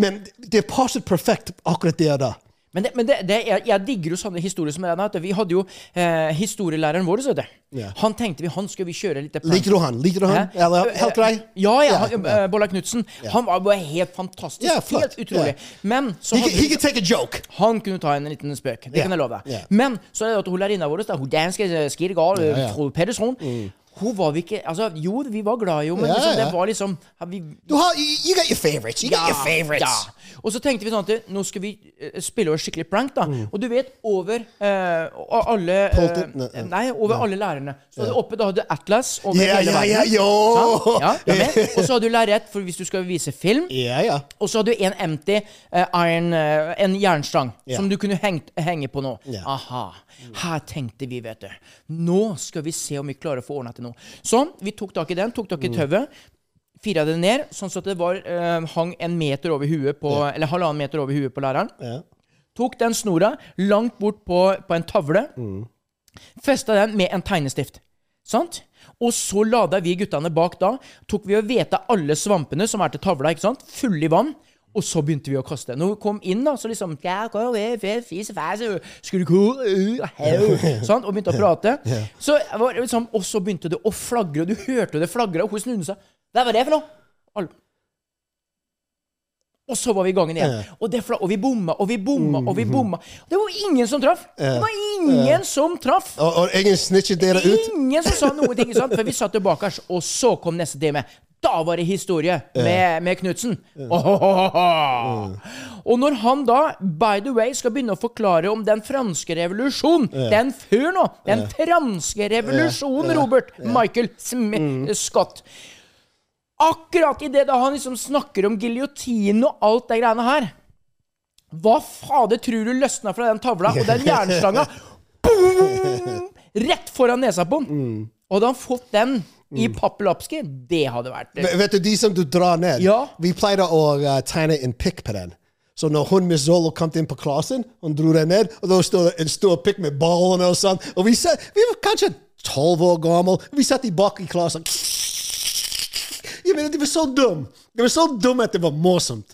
[SPEAKER 2] men det passet perfekt akkurat der da.
[SPEAKER 1] Men, det, men det, det, jeg, jeg digger jo sånne historier som den her. Vi hadde jo eh, historielæreren vår, vet du.
[SPEAKER 2] Ja.
[SPEAKER 1] Han tenkte vi, han skulle vi kjøre litt
[SPEAKER 2] Liker du han? Liker du han?
[SPEAKER 1] Hæ?
[SPEAKER 2] Eller helt grei?
[SPEAKER 1] Ja, ja.
[SPEAKER 2] Ja,
[SPEAKER 1] han- eh, Bolla Knutsen. Han var bare helt fantastisk.
[SPEAKER 2] Ja, flott.
[SPEAKER 1] helt utrolig.
[SPEAKER 2] Ja.
[SPEAKER 1] Men så
[SPEAKER 2] He
[SPEAKER 1] hadde
[SPEAKER 2] could- he
[SPEAKER 1] vi-
[SPEAKER 2] could take a joke.
[SPEAKER 1] Han kunne ta en liten spøk. Det
[SPEAKER 2] Ja.
[SPEAKER 1] kan jeg love deg.
[SPEAKER 2] Ja.
[SPEAKER 1] Men så er det at hun lærerinna vår, da, hun danske eh, skirgal,
[SPEAKER 2] Ja, ja.
[SPEAKER 1] Frode Pedersen Hun var vi ikke Altså, jo, vi var glad i henne, men
[SPEAKER 2] Ja,
[SPEAKER 1] liksom,
[SPEAKER 2] ja.
[SPEAKER 1] det var liksom vi,
[SPEAKER 2] Du har, you you got your favorites. You got your favorites.
[SPEAKER 1] ja. Og så tenkte vi sånn at nå skal vi eh, spille over skikkelig prank, da. Og du vet, over eh, og alle eh,
[SPEAKER 2] Mm. Polter- ne- ne-
[SPEAKER 1] Nei, over alle lærerne. Så hadde oppe da hadde du Atlas over
[SPEAKER 2] Ja,
[SPEAKER 1] hele
[SPEAKER 2] ja,
[SPEAKER 1] verden.
[SPEAKER 2] ja, jo!
[SPEAKER 1] Sant? Ja, du er med. Og så hadde du lerret for hvis du skal vise film. Og så hadde du en empty eh, iron eh, En jernstang
[SPEAKER 8] Ja.
[SPEAKER 1] som du kunne hengt, henge på nå.
[SPEAKER 8] Ja.
[SPEAKER 1] Aha. Her tenkte vi, vet du. Nå skal vi se om vi klarer å få ordna til noe. Sånn. Vi tok tak i den, tok tak i
[SPEAKER 8] Mm.
[SPEAKER 1] tauet. Fira det ned, sånn at det var, eh, hang en meter over huet på,
[SPEAKER 8] Ja.
[SPEAKER 1] eller halvannen meter over huet på læreren. Tok den snora langt bort på, på en tavle. Festa den med en tegnestift. Sant? Og så lada vi guttene bak da. Tok vi og veta alle svampene som er til tavla, ikke sant? fulle i vann. Og så begynte vi å kaste. Når vi kom inn, da, så liksom "Ja, kom, eh, fe- fis, fæs, skulle ko- uh, heu," *laughs* sånn, Og begynte å prate.
[SPEAKER 8] Ja.
[SPEAKER 1] Så var det liksom, og så begynte det å flagre, og du hørte det flagre, og hun snudde seg. Hva var det for noe? Alle- Og så var vi i gangen igjen.
[SPEAKER 8] Ja.
[SPEAKER 1] Og, det fla og vi bomma, og vi bomma, og vi
[SPEAKER 2] Mhm.
[SPEAKER 1] bomma. Det var ingen som traff!
[SPEAKER 2] Ja.
[SPEAKER 1] Det var ingen
[SPEAKER 2] Ja.
[SPEAKER 1] som traff!
[SPEAKER 2] Og, og ingen snitchet dere ut?
[SPEAKER 1] Ingen som sa noen ting, ikke sant? for vi satt jo bakers, og så kom neste time. Da var det historie med, med Knutsen. Og når han da, by the way, skal begynne å forklare om den franske revolusjon Den før nå! Den
[SPEAKER 8] Ja.
[SPEAKER 1] franske
[SPEAKER 8] Ja.
[SPEAKER 1] revolusjon,
[SPEAKER 8] Mm. Ja.
[SPEAKER 1] Robert Michael Sm Scott. Akkurat idet han liksom snakker om giljotinen og alt det greiene her Hva fader tror du løsna fra den
[SPEAKER 8] *laughs*
[SPEAKER 1] tavla og den jernstanga? Boom! Rett foran nesa på han.
[SPEAKER 2] Mm.
[SPEAKER 1] Og hadde han fått den i pappelapske, det hadde vært eh,
[SPEAKER 2] V- Vet du, de som du drar ned Vi pleide å uh, tegne en pikk på den. Så når hun med Zolo kom inn på klassen, hun dro den ned, og da stod det en stor pikk med ballene og sånn. Og vi, satt, vi var kanskje tolv år gammel, vi satt i bak i klassen. Jeg mener, de var så dumme. De var så dumme at det var morsomt.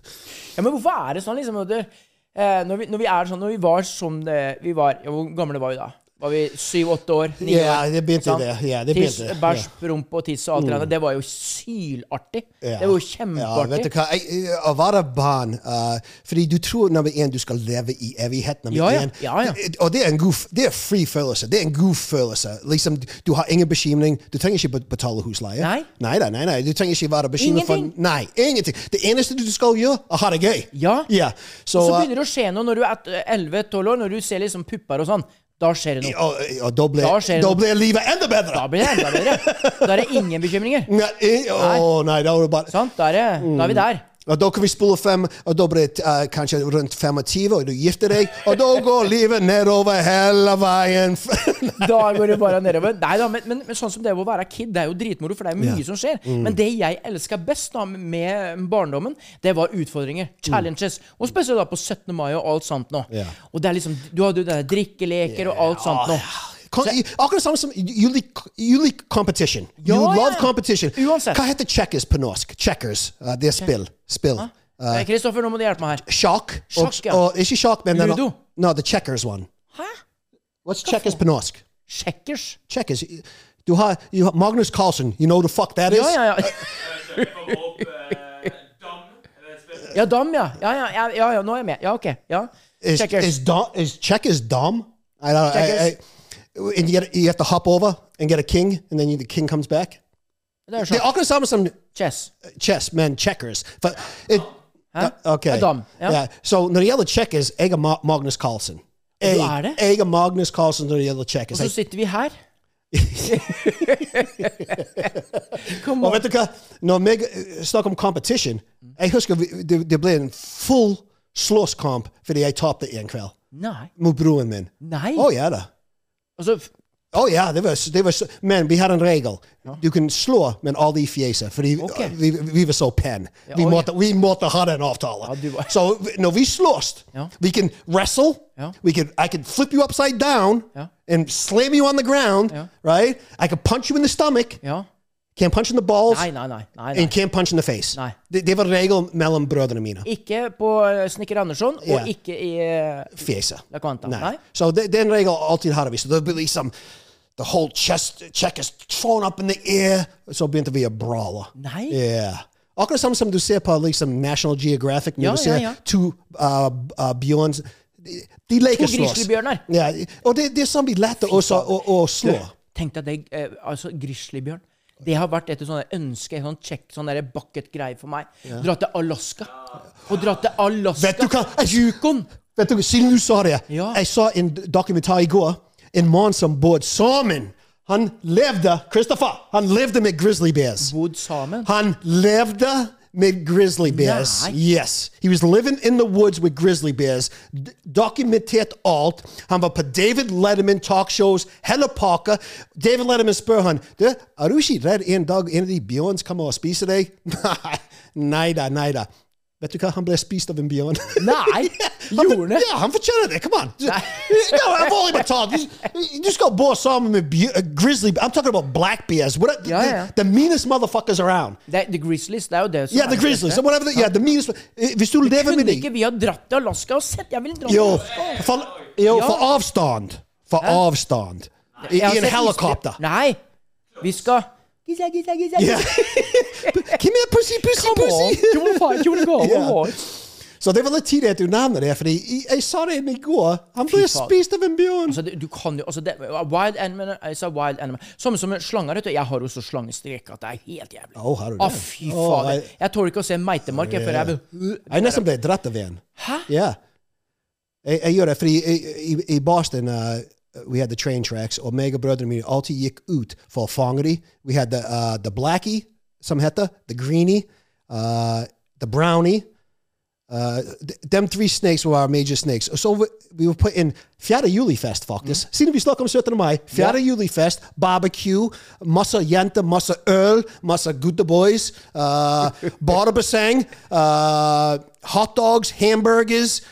[SPEAKER 1] Ja, men hvorfor er det sånn, liksom? at det- eh, når, vi, når vi er sånn, når vi var som det, vi var ja, Hvor gamle var vi da? Var vi syv-åtte år? Ni
[SPEAKER 2] Ja,
[SPEAKER 1] år?
[SPEAKER 2] det begynte
[SPEAKER 1] sant?
[SPEAKER 2] det, ja, det
[SPEAKER 1] Tiss,
[SPEAKER 2] begynte det,
[SPEAKER 1] bæsj,
[SPEAKER 2] ja.
[SPEAKER 1] promp og tiss og alt det
[SPEAKER 2] Mm.
[SPEAKER 1] der. Det var jo sylartig.
[SPEAKER 2] Ja.
[SPEAKER 1] Det var jo
[SPEAKER 2] Ja, vet du
[SPEAKER 1] kjempeartig.
[SPEAKER 2] hva? Jeg, jeg- å være barn eh, Fordi du tror nummer én du skal leve i evighet. Nummer
[SPEAKER 1] Ja, ja.
[SPEAKER 2] én. Det- Og det er en god f- det er fri følelse. Det er en god følelse. Liksom, du har ingen bekymring. Du trenger ikke be- betale husleie.
[SPEAKER 1] Nei.
[SPEAKER 2] Nei, nei, nei, nei. Du trenger ikke være bekymret for
[SPEAKER 1] Ingenting.
[SPEAKER 2] Nei, ingenting. Det eneste du skal gjøre, er å ha det gøy.
[SPEAKER 1] Ja.
[SPEAKER 2] Så,
[SPEAKER 1] og så
[SPEAKER 2] eh,
[SPEAKER 1] begynner det å skje noe når du er 11-12 år, når du ser liksom pupper og sånn. Da skjer det noe.
[SPEAKER 2] eh, og, og da blir,
[SPEAKER 1] Da skjer det
[SPEAKER 2] da
[SPEAKER 1] noe.
[SPEAKER 2] blir livet enda bedre!
[SPEAKER 1] Da blir det enda bedre. Da er det ingen bekymringer.
[SPEAKER 2] *laughs* Nei, eh, å, nei, da er det bare
[SPEAKER 1] Sant? Da er, det, da er vi der.
[SPEAKER 2] Og da kan vi spole fem, og da blir det eh, kanskje rundt 25, og du gifter deg, og da *laughs* går livet nedover hele *laughs* veien.
[SPEAKER 1] Da går det bare nedover. Nei da, men, men, men sånn som det å være kid, det er jo dritmoro, for det er jo mye
[SPEAKER 2] Ja.
[SPEAKER 1] som skjer.
[SPEAKER 2] Mm.
[SPEAKER 1] Men det jeg elska best da med barndommen, det var utfordringer. Challenges. Og spesielt da på 17. mai og alt sånt nå.
[SPEAKER 2] Mm. Ja.
[SPEAKER 1] Og det er liksom Du hadde jo det der drikkeleker og alt sånt nå.
[SPEAKER 2] Kon- Akkurat samme som You like, you like competition. You
[SPEAKER 1] Ja, ja.
[SPEAKER 2] love competition. Hva heter checkers på norsk? Checkers. eh, det er spill. Spill.
[SPEAKER 1] Nei,
[SPEAKER 2] Eh,
[SPEAKER 1] Kristoffer, nå må du hjelpe meg her.
[SPEAKER 2] Sjakk. og,
[SPEAKER 1] Sjakk, ja.
[SPEAKER 2] og, ikke sjakk, men den-
[SPEAKER 1] Ludo.
[SPEAKER 2] No, the checkers one.
[SPEAKER 1] Hæ?
[SPEAKER 2] What's checkers på norsk?
[SPEAKER 1] Checkers?
[SPEAKER 2] Checkers. Du har, you har Magnus Carlsen. You know who the fuck that is?
[SPEAKER 1] Ja,
[SPEAKER 2] *laughs*
[SPEAKER 1] ja, ja.
[SPEAKER 3] eh,
[SPEAKER 1] Ja, dam, ja. Ja, ja, ja, ja, ja nå er jeg med. Ja, OK. Ja.
[SPEAKER 2] Is,
[SPEAKER 1] Checkers.
[SPEAKER 2] Is, dom, is checkers dumb? I don't know. I,
[SPEAKER 1] Checkers.
[SPEAKER 2] I, and you, get, you have to hop over and get a king, and then you, the king comes back.
[SPEAKER 1] Det er
[SPEAKER 2] Det er
[SPEAKER 1] sjakk.
[SPEAKER 2] akkurat samme som
[SPEAKER 1] Chess.
[SPEAKER 2] chess, men checkers. For, it, uh,
[SPEAKER 1] Hæ?
[SPEAKER 2] Ja, ok.
[SPEAKER 1] Det er dam, ja.
[SPEAKER 2] Så når det gjelder checkers, jeg er Ma Magnus Carlsen. Jeg,
[SPEAKER 1] Du er det?
[SPEAKER 2] jeg er Magnus Carlsen når det gjelder
[SPEAKER 1] Og
[SPEAKER 2] checkers.
[SPEAKER 1] så
[SPEAKER 2] Jeg,
[SPEAKER 1] sitter vi
[SPEAKER 2] *laughs*
[SPEAKER 1] her. Come
[SPEAKER 2] og
[SPEAKER 1] on.
[SPEAKER 2] vet du hva? Når meg eh, snakker om competition, jeg husker vi, det, det ble en full slåsskamp fordi jeg tapte en kveld
[SPEAKER 1] Nei.
[SPEAKER 2] mot broren min.
[SPEAKER 1] Nei.
[SPEAKER 2] Å ja da.
[SPEAKER 1] Altså,
[SPEAKER 2] Å Oh, ja, det var, det var så, men vi har en regel. Du kan slå, men aldri fjese. Fordi
[SPEAKER 1] Ok.
[SPEAKER 2] vi, vi var så pen.
[SPEAKER 1] Ja,
[SPEAKER 2] vi,
[SPEAKER 1] å,
[SPEAKER 2] måtte, vi måtte ha den avtalen. så vi- når vi slåss, vi kan wrestle.
[SPEAKER 8] Ja.
[SPEAKER 2] We can, I can flip you upside down and slam you on the ground. Right? I can punch you in the stomach. Can't punch in the balls.
[SPEAKER 1] Nei, nei, nei. nei,
[SPEAKER 2] And
[SPEAKER 1] nei.
[SPEAKER 2] can't punch in the face. Det, det var regel mellom brødrene mine.
[SPEAKER 1] Ikke på eh, Snekker Andersson, og
[SPEAKER 2] Ja.
[SPEAKER 1] ikke i eh,
[SPEAKER 2] Fjese.
[SPEAKER 1] La Quanta.
[SPEAKER 2] Nei.
[SPEAKER 1] Nei.
[SPEAKER 2] Så det, den regel alltid har vi. Så det blir liksom The whole chest check is thrown up in the air. Så begynte vi å brawle.
[SPEAKER 1] Nei?
[SPEAKER 2] Yeah. Akkurat samme som du ser på liksom National Geographic. Når
[SPEAKER 1] Ja,
[SPEAKER 2] du ser
[SPEAKER 1] ja, ja.
[SPEAKER 2] to uh, uh, bjørns De, de leker
[SPEAKER 1] To
[SPEAKER 2] slåss.
[SPEAKER 1] grizzlybjørner.
[SPEAKER 2] Ja, og det, det er sånn vi lærte også å, å slå.
[SPEAKER 1] Du, Tenk deg det, eh, altså grizzlybjørn. Det har vært et sånt ønske, sånn check, sånn der bucket-greie for meg.
[SPEAKER 2] Ja.
[SPEAKER 1] Dra til Alaska. Og dra til Alaska.
[SPEAKER 2] Vet du hva? Yukon! Vet du, siden du sa det, jeg så en dokumentar i går. En mann som bodde sammen. Han levde Christopher, han levde med grizzly bears.
[SPEAKER 1] Bodde sammen?
[SPEAKER 2] Han levde med grizzly bears.
[SPEAKER 1] Nei.
[SPEAKER 2] Yes. He was living in the woods with grizzly bears. D dokumentert alt. Han var på David Letterman talkshows, hele pakka. David Letterman spør han, du, er du ikke redd en dag en av de bjørnene kommer og spiser *laughs* deg? Nei, nei da, nei da. Vet du hva? *laughs* Han ble spist av en bjørn.
[SPEAKER 1] Nei!
[SPEAKER 2] Han gjorde det? Ja, han fortjener det.
[SPEAKER 1] *laughs*
[SPEAKER 2] Come on. no, I've only been told. You, you just go bore some with be- uh, grizzly. I'm talking about black bears. What, the,
[SPEAKER 1] Ja, ja.
[SPEAKER 2] The, the meanest motherfuckers around.
[SPEAKER 1] Det er, the Grizzlies, det er jo det som
[SPEAKER 2] Yeah, the
[SPEAKER 1] er
[SPEAKER 2] grizzlies.
[SPEAKER 1] dette.
[SPEAKER 2] Whatever the, yeah, the meanest. eh, Hvis du lever med
[SPEAKER 1] Kunne
[SPEAKER 2] dem
[SPEAKER 1] ikke vi ha dratt til Alaska og sett? Jeg vil dra til
[SPEAKER 2] Jo,
[SPEAKER 1] Alaska.
[SPEAKER 2] for, jo,
[SPEAKER 1] Ja.
[SPEAKER 2] for avstand. For
[SPEAKER 1] Hæ?
[SPEAKER 2] avstand. I,
[SPEAKER 1] Jeg har
[SPEAKER 2] i en
[SPEAKER 1] sett
[SPEAKER 2] helikopter.
[SPEAKER 1] isbjørn- Nei, vi skal Gizza, gizza, gizza,
[SPEAKER 2] Yeah. *laughs*
[SPEAKER 1] gizza.
[SPEAKER 2] Give me a pussy, pussy, pussy.
[SPEAKER 1] Do you wanna fight? Do you wanna
[SPEAKER 2] *laughs*
[SPEAKER 1] go?
[SPEAKER 2] Ja.
[SPEAKER 1] Come on.
[SPEAKER 2] Så det var litt tidlig at du navnet det, fordi i- jeg sa det i går. Han ble
[SPEAKER 1] Fy faen.
[SPEAKER 2] spist av en bjørn.
[SPEAKER 1] Altså, det, du kan jo altså, det, Wild animal is a wild animal. Samme som slanger. vet du. Jeg har også slangestrek. At det er helt jævlig.
[SPEAKER 2] Å, har du det?
[SPEAKER 1] Å, fy
[SPEAKER 2] Å,
[SPEAKER 1] fader.
[SPEAKER 2] nei.
[SPEAKER 1] Jeg tåler ikke å se en meitemark. Jeg, før jeg vil
[SPEAKER 2] Jeg er nesten ble dratt av en. Yeah. Jeg, jeg gjør det fordi i, i, i Boston uh, we had the train tracks, og meg og brødrene mine alltid gikk ut for å fange dem. We had the, uh, the blackie, som heter, the greenie, uh, the brownie. Uh, th- them three snakes were our major snakes. So we, we were put in fjärde julifest faktiskt. Mm. Siden vi snackade om 17 maj, fjärde julifest, barbecue, massa jäntor, massa öl, massa good boys, uh, barbesäng, uh, hot dogs, hamburgers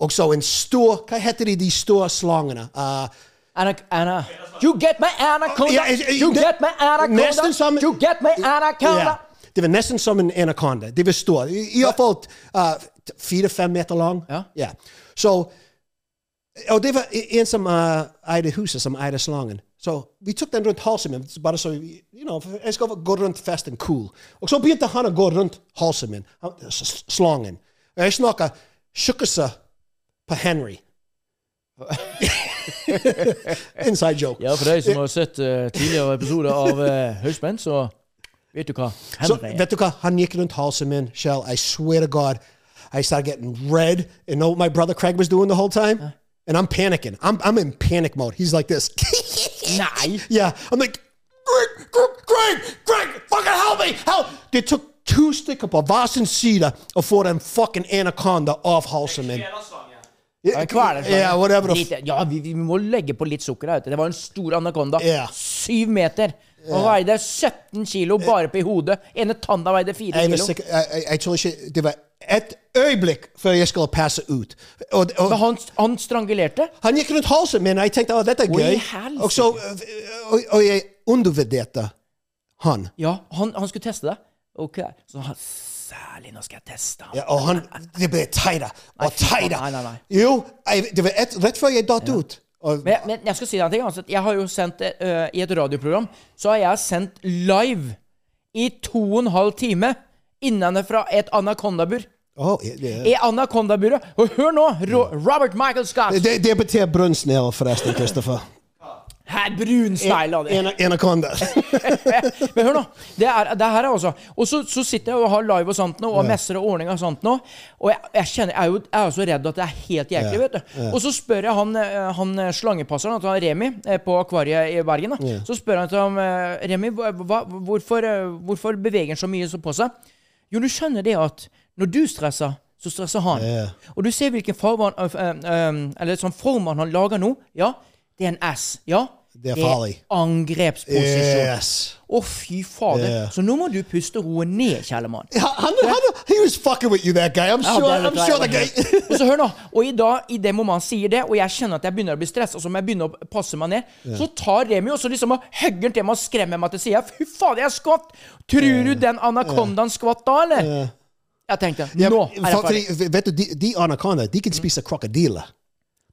[SPEAKER 2] och så en stor, vad heter det de stora slangarna? Uh,
[SPEAKER 1] Anna, Anna. You get my anaconda!
[SPEAKER 2] Ja, eh, eh,
[SPEAKER 1] you
[SPEAKER 2] ne-
[SPEAKER 1] get my anaconda!
[SPEAKER 2] Nästan som...
[SPEAKER 1] You get my anaconda!
[SPEAKER 2] Ja. Det var nesten som en anaconda. Det var stor. I hvert fall E, uh, fire-fem meter lang. Ja. Så... og det var en som eh, eide huset, som eide slangen. Så vi tok den rundt halsen min, bare så vi- you know, for jeg skal gå rundt festen cool. Oh, Og så begynte han å gå rundt halsen min, han- uh, s- s- slangen. Og jeg snakket tjukkelse på Henry. Inside joke.
[SPEAKER 1] Ja, for deg som har sett eh, tidligere episoder av uh, Høyspent, så vet du hva.
[SPEAKER 2] So,
[SPEAKER 1] Henry
[SPEAKER 2] vet du hva? Han gikk rundt halsen min, Shell. I swear to God, I started getting red. And know what my brother Craig was doing the whole time? And I'm panicking. I'm, I'm in panic mode. He's like this. *laughs*
[SPEAKER 1] Nei!
[SPEAKER 2] yeah. I'm like, Greg, Greg, Greg, Greg, fucking help me, help. They took two stick up of Voss and Cedar before them fucking anaconda off halsen min.
[SPEAKER 1] Ja, hva er det for?
[SPEAKER 2] Yeah, whatever the
[SPEAKER 1] Litt, ja vi, vi må legge på litt sukker her ute. Det var en stor anakonda.
[SPEAKER 2] Ja.
[SPEAKER 1] Syv meter. Han veide 17 kilo bare på i hodet. Ene tanna veide fire
[SPEAKER 2] Jeg, var
[SPEAKER 1] kilo.
[SPEAKER 2] sikker, jeg, jeg, jeg tror ikke Det var et øyeblikk før jeg skulle passe ut. Og, og,
[SPEAKER 1] Men han, han strangulerte.
[SPEAKER 2] han gikk rundt halsen min, og jeg tenkte at dette er
[SPEAKER 1] Oi,
[SPEAKER 2] gøy.
[SPEAKER 1] helsike.
[SPEAKER 2] Og, så, og, og jeg undervurderte han.
[SPEAKER 1] Ja, han, han skulle teste det. Ok. Så han Særlig nå skal jeg teste ham.
[SPEAKER 2] Ja, og han Det ble teitere
[SPEAKER 1] Nei,
[SPEAKER 2] og
[SPEAKER 1] fy faen,
[SPEAKER 2] teitere.
[SPEAKER 1] nei, nei, nei.
[SPEAKER 2] Jo, jeg, det var et, rett før jeg datt ut. Og,
[SPEAKER 1] Men, men jeg skal si deg en ting. Altså, at jeg har jo sendt eh, I et radioprogram så har jeg sendt live i to og en halv time innenfra et anakondabur.
[SPEAKER 2] Å, ja, det-
[SPEAKER 1] I anakondaburet. Og hør nå! Ro Robert Michael Scott.
[SPEAKER 2] det, det betyr brunnsnegl, forresten,
[SPEAKER 1] *laughs*
[SPEAKER 2] Christopher.
[SPEAKER 1] Her, brunsteil av det.
[SPEAKER 2] En-
[SPEAKER 1] *laughs*
[SPEAKER 2] Anaconda.
[SPEAKER 1] Men hør nå. Det, er, det her er også Og så, så sitter jeg og har live og sånt nå, og messer og ordning og sånt nå. Og jeg, jeg kjenner Jeg er jo jeg er jo så redd at det er helt jæklig, vet du. Og så spør jeg han, eh, han eh, slangepasseren, at han Remi, eh, på Akvariet i Bergen, da. Så spør han til ham eh, Remi, hva, hva- hvorfor, eh, hvorfor beveger han så mye så på seg? Jo, du skjønner det at når du stresser, så stresser han. Og du ser hvilken farve han, eh, eh, eller sånn form han lager nå. Ja, det er en S. Ja,
[SPEAKER 2] Det er farlig.
[SPEAKER 1] angrepsposisjon.
[SPEAKER 2] Yes.
[SPEAKER 1] Å, fy fader.
[SPEAKER 2] Yeah.
[SPEAKER 1] Så nå må du puste roen ned, Kjellermann.
[SPEAKER 2] Han, han, han, he was fucking with you, that guy. I'm
[SPEAKER 1] Ja,
[SPEAKER 2] sure,
[SPEAKER 1] det er
[SPEAKER 2] I'm
[SPEAKER 1] det
[SPEAKER 2] sure
[SPEAKER 1] der,
[SPEAKER 2] the guy
[SPEAKER 1] det Og så hør nå, og i dag, i det momentet han sier det, og jeg kjenner at jeg begynner å bli stressa, så må jeg begynne å passe meg ned, så tar Remi og så liksom og hugger til meg og skremmer meg til sida. Fy fader, jeg skvatt! Tror du den anakondaen skvatt da, eller? Jeg tenkte,
[SPEAKER 2] Ja,
[SPEAKER 1] nå
[SPEAKER 2] men
[SPEAKER 1] er jeg
[SPEAKER 2] for-
[SPEAKER 1] ferdig.
[SPEAKER 2] fordi, vet du, de, de anaconda, de kan spise krokodiller.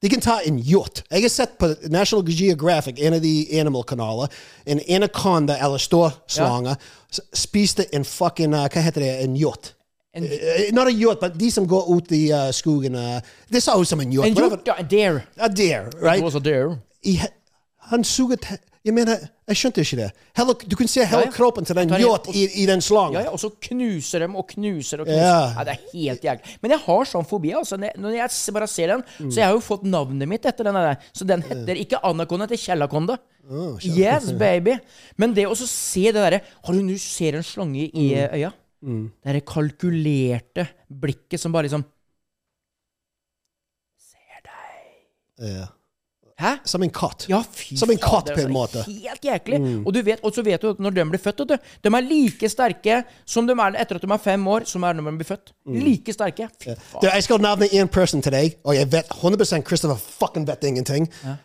[SPEAKER 2] De kan ta en hjort. Jeg har sett på National Geographic, en av de animal-kanaler, en anaconda eller stor slange s- spiste en fucking, uh, hva heter det, en hjort.
[SPEAKER 1] En-
[SPEAKER 2] Eh, not a hjort, men de som går ut i uh, skogen. Uh, det ser ut som en hjort.
[SPEAKER 1] En
[SPEAKER 2] whatever.
[SPEAKER 1] hjort, ja. en Dare.
[SPEAKER 2] A deer, right?
[SPEAKER 1] Det var så dare.
[SPEAKER 2] I, he- han suget, jeg mener, jeg skjønte ikke det. Hele, du kan se hele
[SPEAKER 1] Ja, ja.
[SPEAKER 2] kroppen til den
[SPEAKER 1] Tar en-
[SPEAKER 2] hjort i, i den slangen.
[SPEAKER 1] Ja, ja, og så knuser dem og knuser og knuser.
[SPEAKER 2] Ja.
[SPEAKER 1] Ja, det er helt jævlig. Men jeg har sånn fobi. altså. Når jeg- Når jeg s- bare ser den,
[SPEAKER 2] Mm.
[SPEAKER 1] Så jeg har jo fått navnet mitt etter den der. Så den heter ikke Anakonda, den heter Kjellakonda. yes, baby. Men det å så se det derre Har du nå ser en slange i
[SPEAKER 2] Mm.
[SPEAKER 1] eh, øya? Det derre kalkulerte blikket som bare liksom
[SPEAKER 2] Ja.
[SPEAKER 1] Hæ?
[SPEAKER 2] Som en katt.
[SPEAKER 1] Ja, fy
[SPEAKER 2] Som en
[SPEAKER 1] fader,
[SPEAKER 2] katt, på en
[SPEAKER 1] altså.
[SPEAKER 2] måte.
[SPEAKER 1] Helt jæklig.
[SPEAKER 2] Mm.
[SPEAKER 1] Og, du vet, og så vet du at når de blir født, vet du, de er like sterke som de er etter at de er fem år, som er når de blir født. Like sterke. Fy
[SPEAKER 2] Mm. Du,
[SPEAKER 1] faen.
[SPEAKER 2] jeg skal navne én person til deg, og jeg Oh, vet 100 Christopher fucking vet ingenting.
[SPEAKER 1] Ja.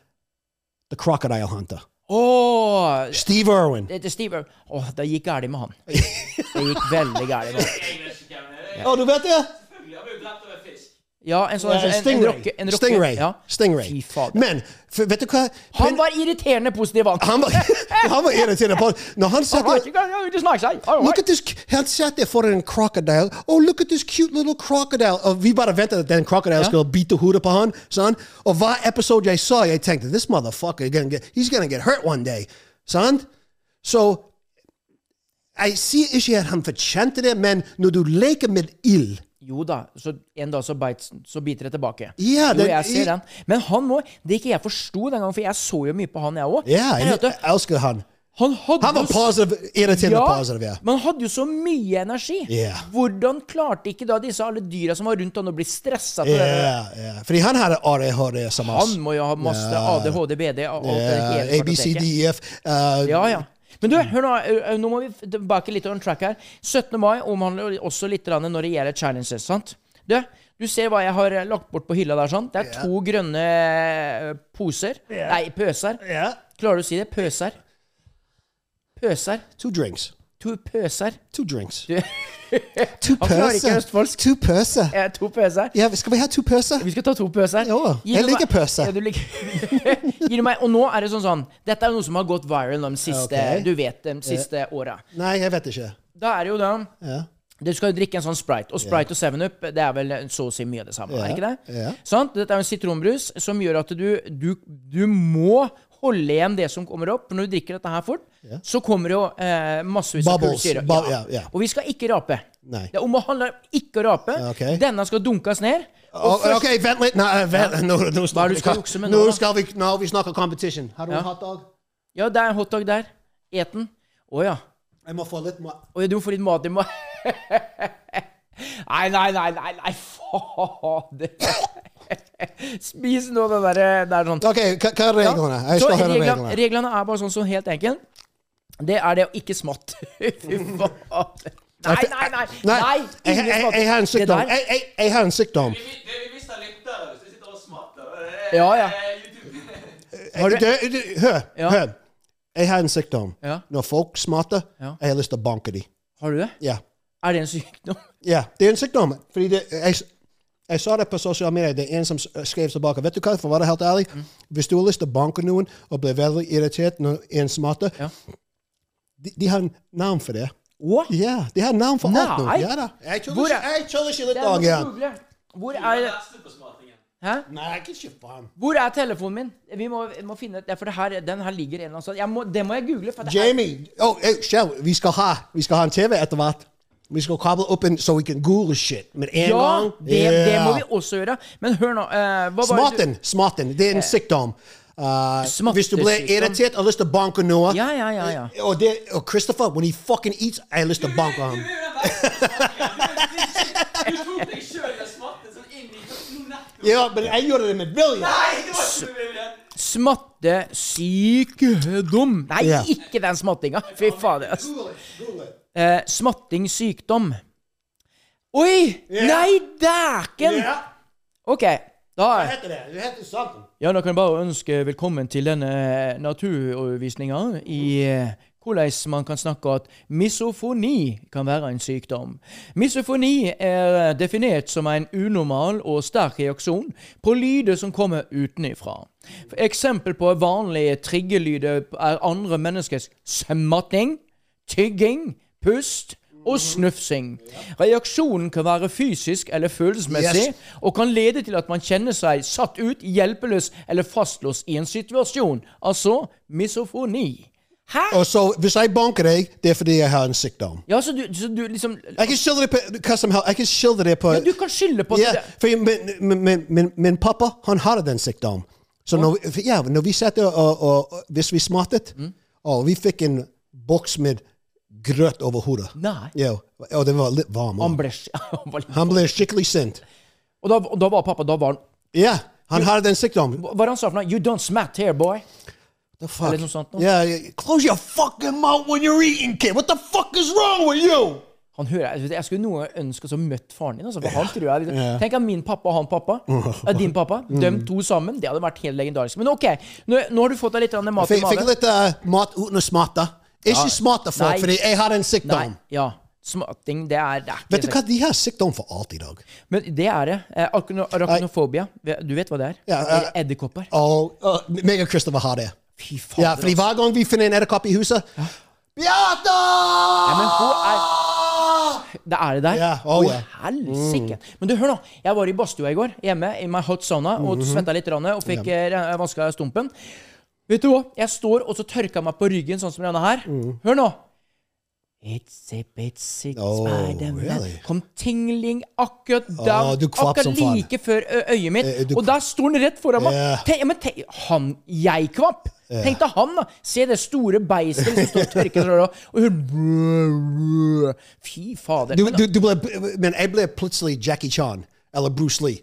[SPEAKER 2] The Crocodile Hunter.
[SPEAKER 1] Åh,
[SPEAKER 2] Steve Irwin.
[SPEAKER 1] det- det- Steve Irwin. Åh, det gikk gærent med han. Det gikk veldig gærent med han.
[SPEAKER 3] er.
[SPEAKER 2] Å, du Oh, vet det?
[SPEAKER 1] Ja, en sånn
[SPEAKER 2] Ja,
[SPEAKER 1] en, en, en
[SPEAKER 2] Stingray.
[SPEAKER 1] rocke... En rocke
[SPEAKER 2] Stingray.
[SPEAKER 1] Ja.
[SPEAKER 2] Stingray.
[SPEAKER 1] Fy fader.
[SPEAKER 2] Men for, vet du hva?
[SPEAKER 1] Han
[SPEAKER 2] *laughs*
[SPEAKER 1] var irriterende positiv, han.
[SPEAKER 2] Han
[SPEAKER 1] *laughs*
[SPEAKER 2] var, han var irriterende på Når han
[SPEAKER 1] All
[SPEAKER 2] satt
[SPEAKER 1] right,
[SPEAKER 2] der
[SPEAKER 1] you guys, you just nice, eh? All
[SPEAKER 2] Look
[SPEAKER 1] right.
[SPEAKER 2] at this, han satt der foran en crocodile. Oh, look at this cute little crocodile. Uh, Og vi bare ventet at den crocodile
[SPEAKER 1] Ja.
[SPEAKER 2] skulle bite hodet på han. Sånn. Og hver episode jeg så, jeg tenkte this motherfucker, is gonna get, he's gonna get hurt one day. Sånn? Så jeg sier ikke at han fortjente det, men når du leker med ild
[SPEAKER 1] Jo da, så en dag så, beit, så biter det tilbake.
[SPEAKER 2] Ja,
[SPEAKER 1] jo,
[SPEAKER 2] den-
[SPEAKER 1] jeg ser den. Men han må Det ikke jeg forsto den gangen, for jeg så jo mye på han, jeg òg.
[SPEAKER 2] Ja, jeg elsker han.
[SPEAKER 1] han hadde
[SPEAKER 2] Han var
[SPEAKER 1] jo-
[SPEAKER 2] positive, irriterende positive, ja.
[SPEAKER 1] Men han hadde jo så mye energi.
[SPEAKER 2] Ja.
[SPEAKER 1] Hvordan klarte ikke da disse alle dyra som var rundt han, å bli stressa? til det?
[SPEAKER 2] Ja, ja. Fordi han hadde ADHD som oss.
[SPEAKER 1] Han må jo ha masse ADHD, BD og alt det
[SPEAKER 2] Ja,
[SPEAKER 1] hele kartoteket.
[SPEAKER 2] ABCDEF. uh,
[SPEAKER 1] Ja, ja. Men du,
[SPEAKER 2] Mm.
[SPEAKER 1] hør nå, ø, ø, nå må vi tilbake litt on track her. 17. mai omhandler også litt grann når det gjelder challenges, sant? Du, du ser hva jeg har eh, lagt bort på hylla der, sant? Det er
[SPEAKER 2] Ja.
[SPEAKER 1] to grønne eh, poser. Nei, pøser.
[SPEAKER 2] Ja.
[SPEAKER 1] Klarer du å si det? Pøser. Pøser.
[SPEAKER 2] Two drinks.
[SPEAKER 1] To pøser.
[SPEAKER 2] Two drinks.
[SPEAKER 1] Du,
[SPEAKER 2] *laughs* Two
[SPEAKER 1] Han klarer ikke
[SPEAKER 2] pøser.
[SPEAKER 1] østfoldsk.
[SPEAKER 2] Two pøser.
[SPEAKER 1] eh, to pøser.
[SPEAKER 2] Ja, skal vi ha to pøser?
[SPEAKER 1] Vi skal ta to pøser.
[SPEAKER 2] Jo,
[SPEAKER 1] Gi
[SPEAKER 2] jeg
[SPEAKER 1] du meg-
[SPEAKER 2] liker pøser.
[SPEAKER 1] Ja, du liker. *laughs* Gir du meg Og nå er det sånn sånn Dette er noe som har gått viral de siste
[SPEAKER 2] Ok.
[SPEAKER 1] Du vet, de siste åra.
[SPEAKER 2] Nei, jeg vet ikke.
[SPEAKER 1] Da er det jo da
[SPEAKER 2] Ja.
[SPEAKER 1] Du skal jo drikke en sånn Sprite. Og Sprite og 7-Up det er vel så å si mye av det samme.
[SPEAKER 2] Ja,
[SPEAKER 1] er ikke det?
[SPEAKER 2] ja.
[SPEAKER 1] Sant? Dette er jo en sitronbrus som gjør at du, du, du må holde igjen det som kommer opp. For når du drikker dette her fort, så kommer det jo eh, massevis av
[SPEAKER 2] Bubbles.
[SPEAKER 1] kullsyre.
[SPEAKER 2] Bu- ja, ja.
[SPEAKER 1] Og vi skal ikke rape.
[SPEAKER 2] Nei.
[SPEAKER 1] Det er om å handle om ikke å rape.
[SPEAKER 2] Ok.
[SPEAKER 1] Denne skal dunkes ned.
[SPEAKER 2] Oh, ok, vent litt. Nei, vent. Nå, nå,
[SPEAKER 1] Hva er
[SPEAKER 2] snakker,
[SPEAKER 1] det du skal jukse med
[SPEAKER 2] nå
[SPEAKER 1] nå, da?
[SPEAKER 2] skal vi, nå, vi snakker competition. Har du
[SPEAKER 1] Ja.
[SPEAKER 2] en hotdog?
[SPEAKER 1] Ja, det er en hotdog der. Et den. Å ja.
[SPEAKER 2] Jeg må få litt mat.
[SPEAKER 1] Og du får litt mat i meg. *laughs* Nei, nei, nei, nei, nei, fader. *laughs* Spis nå den derre Det er sånn.
[SPEAKER 2] Ok, hva, hva er reglene? Jeg
[SPEAKER 1] Så
[SPEAKER 2] skal høre
[SPEAKER 1] reglene,
[SPEAKER 2] reglene.
[SPEAKER 1] reglene er bare sånn som helt enkel. Det er det å ikke smatt. *laughs* Fy fader. Nei, nei, nei!
[SPEAKER 2] Nei,
[SPEAKER 1] nei
[SPEAKER 2] jeg,
[SPEAKER 1] ingen
[SPEAKER 2] jeg,
[SPEAKER 1] smatt.
[SPEAKER 2] jeg
[SPEAKER 1] Det er
[SPEAKER 2] har en sykdom.
[SPEAKER 1] der-
[SPEAKER 2] Jeg, jeg, jeg har en sykdom.
[SPEAKER 3] Det vi mister er lyttere hvis vi sitter og er- smatter.
[SPEAKER 1] Ja, ja.
[SPEAKER 3] *laughs*
[SPEAKER 1] Har du-
[SPEAKER 2] Det- det- Hør,
[SPEAKER 1] Ja.
[SPEAKER 2] hør. Jeg har en sykdom.
[SPEAKER 1] Ja.
[SPEAKER 2] Når folk smatter,
[SPEAKER 1] Ja.
[SPEAKER 2] jeg har lyst til å banke dem.
[SPEAKER 1] Har du det?
[SPEAKER 2] Ja.
[SPEAKER 1] Er det en sykdom?
[SPEAKER 2] Ja, det er en sykdom. Fordi det, jeg, jeg så det på sosiale medier. Det er en som s- skrev tilbake. Vet du hva, for å være helt ærlig,
[SPEAKER 1] Mm.
[SPEAKER 2] hvis du har lyst til å banke noen og bli veldig irritert når en smarter,
[SPEAKER 1] Ja.
[SPEAKER 2] de, de har en navn for det.
[SPEAKER 1] Hva?
[SPEAKER 2] Ja, de har navn for alt nå.
[SPEAKER 1] Nei.
[SPEAKER 2] Ja, da. Jeg
[SPEAKER 1] Hvor
[SPEAKER 2] tuller
[SPEAKER 1] er-
[SPEAKER 2] ikke, jeg tuller
[SPEAKER 1] Det
[SPEAKER 2] ikke litt
[SPEAKER 1] er noe
[SPEAKER 2] dag
[SPEAKER 1] å
[SPEAKER 2] igjen.
[SPEAKER 1] google. Hvor er Hæ?
[SPEAKER 2] Nei, jeg gir ikke faen.
[SPEAKER 1] Hvor er telefonen min? Vi må, vi må finne ja, For det her, den her ligger en eller annen sted. Jeg må, det må jeg google. For det er-
[SPEAKER 2] Jamie, oh, hey, Shell, vi skal ha, vi skal ha en TV etter hvert. Vi skal kable opp en så vi kan google shit med en
[SPEAKER 1] Ja,
[SPEAKER 2] gang.
[SPEAKER 1] det, det må
[SPEAKER 2] Ja.
[SPEAKER 1] vi også gjøre. Men hør nå eh, hva var det du-
[SPEAKER 2] Smarten, smarten. Det er en sykdom. Uh,
[SPEAKER 1] Smartesykdom.
[SPEAKER 2] hvis du blir irritert, har lyst til å banke noe.
[SPEAKER 1] Ja, ja, ja, ja.
[SPEAKER 2] Og, det, og Oh, Christopher, when he fucking eats, jeg har lyst til å banke *laughs* ham.
[SPEAKER 3] Du tok deg sjøl i å smatte sånn inn i nettopp.
[SPEAKER 2] Ja, men jeg gjorde det med vilje.
[SPEAKER 3] Nei, det var ikke med vilje.
[SPEAKER 1] Smattesykdom. Nei,
[SPEAKER 2] Ja.
[SPEAKER 1] ikke den smattinga. Fy fader. ass. Eh, smattingsykdom. Oi! Nei, dæken!
[SPEAKER 2] Ja,
[SPEAKER 1] OK. Da
[SPEAKER 2] hva heter det? Det heter something.
[SPEAKER 1] Ja, da kan jeg bare ønske velkommen til denne naturvisninga i eh, hvordan man kan snakke at misofoni kan være en sykdom. Misofoni er definert som en unormal og sterk reaksjon på lyder som kommer utenifra. For eksempel på vanlige triggerlyder er andre menneskers smatting, tygging, pust og snufsing. Reaksjonen kan være fysisk eller følelsesmessig,
[SPEAKER 2] Yes.
[SPEAKER 1] og kan lede til at man kjenner seg satt ut, hjelpeløs eller fastlåst i en situasjon. Altså misofoni. Hæ?
[SPEAKER 2] Og så, hvis jeg banker deg, det er fordi jeg har en sykdom.
[SPEAKER 1] Ja, så du, så du liksom
[SPEAKER 2] Jeg kan skildre det på hva som helst. Jeg kan skildre det på
[SPEAKER 1] ja, Du kan skylde på
[SPEAKER 2] Ja,
[SPEAKER 1] det.
[SPEAKER 2] for min, min, min, min, min pappa, han hadde den sykdom. Så når, vi- ja, når vi satt der, og, og, og hvis vi smattet, og vi fikk en boks med grøt over hodet.
[SPEAKER 1] Nei.
[SPEAKER 2] Ja, og det var litt varm.
[SPEAKER 1] Han *laughs*
[SPEAKER 2] også.
[SPEAKER 1] ble, sk- han var litt-
[SPEAKER 2] Han ble skikkelig sint.
[SPEAKER 1] og, da, og da var pappa Da var han
[SPEAKER 2] Ja, Han hadde den sykdommen.
[SPEAKER 1] Hva er det han sa for noe? You don't smat here, boy.
[SPEAKER 2] The fuck?
[SPEAKER 1] Eller noe sånt noe.
[SPEAKER 2] Yeah, yeah, close your fucking mouth when you're eating, kid. What the fuck is wrong with you?
[SPEAKER 1] Han hører, jeg skulle noe ønske å møtt faren din. Altså, for han tror jeg, Tenk at min pappa og han
[SPEAKER 2] *laughs*
[SPEAKER 1] pappa, eh, din pappa,
[SPEAKER 2] Mm.
[SPEAKER 1] de to sammen. Det hadde vært helt legendarisk. Men OK, nå, nå har du fått deg litt grann mat i
[SPEAKER 2] Fikk, fikk
[SPEAKER 1] magen.
[SPEAKER 2] litt eh, mat uten å smate. Ikke smate folk,
[SPEAKER 1] Nei.
[SPEAKER 2] fordi jeg har en
[SPEAKER 1] Nei,
[SPEAKER 2] sykdom.
[SPEAKER 1] ja. Smating, det er, det er ikke
[SPEAKER 2] Vet du
[SPEAKER 1] så-
[SPEAKER 2] hva, de har sykdom for alt i dag.
[SPEAKER 1] Men det er det. Eh, arachno- Arachnofobia. Du vet hva det er?
[SPEAKER 2] Ja, eh,
[SPEAKER 1] Edderkopper.
[SPEAKER 2] Og uh, meg og Christopher har det.
[SPEAKER 1] Fy fader.
[SPEAKER 2] Ja, fordi hver gang vi finner en edderkopp i huset Beate!
[SPEAKER 1] Ja, men hun er Det er det der.
[SPEAKER 2] Ja, oh,
[SPEAKER 1] Å,
[SPEAKER 2] ja. Mm.
[SPEAKER 1] helsike. Men du, hør nå. Jeg var i badstua i går, hjemme i my hot sauna, og
[SPEAKER 2] Mhm.
[SPEAKER 1] sventa litt grann, og fikk yeah. vaska stumpen. Vet du hva? Jeg står og så tørka meg på ryggen, sånn som denne her.
[SPEAKER 2] Mm.
[SPEAKER 1] Hør nå. It's a bitsy
[SPEAKER 2] Oh,
[SPEAKER 1] spiderman.
[SPEAKER 2] really?
[SPEAKER 1] Kom tingling akkurat
[SPEAKER 2] Å,
[SPEAKER 1] der.
[SPEAKER 2] du kvapp
[SPEAKER 1] akkurat
[SPEAKER 2] som faen.
[SPEAKER 1] like før ø- øyet mitt.
[SPEAKER 2] Eh, du
[SPEAKER 1] og der står den rett foran meg.
[SPEAKER 2] Ja.
[SPEAKER 1] Tenk, ja, men tenk, han, jeg kvapp. Tenk deg han, da. Se det store beistet som står og tørker seg. og- Og hun Fy fader.
[SPEAKER 2] Du,
[SPEAKER 1] Men-
[SPEAKER 2] du, du ble, men jeg ble plutselig Jackie Chan eller Bruce Lee.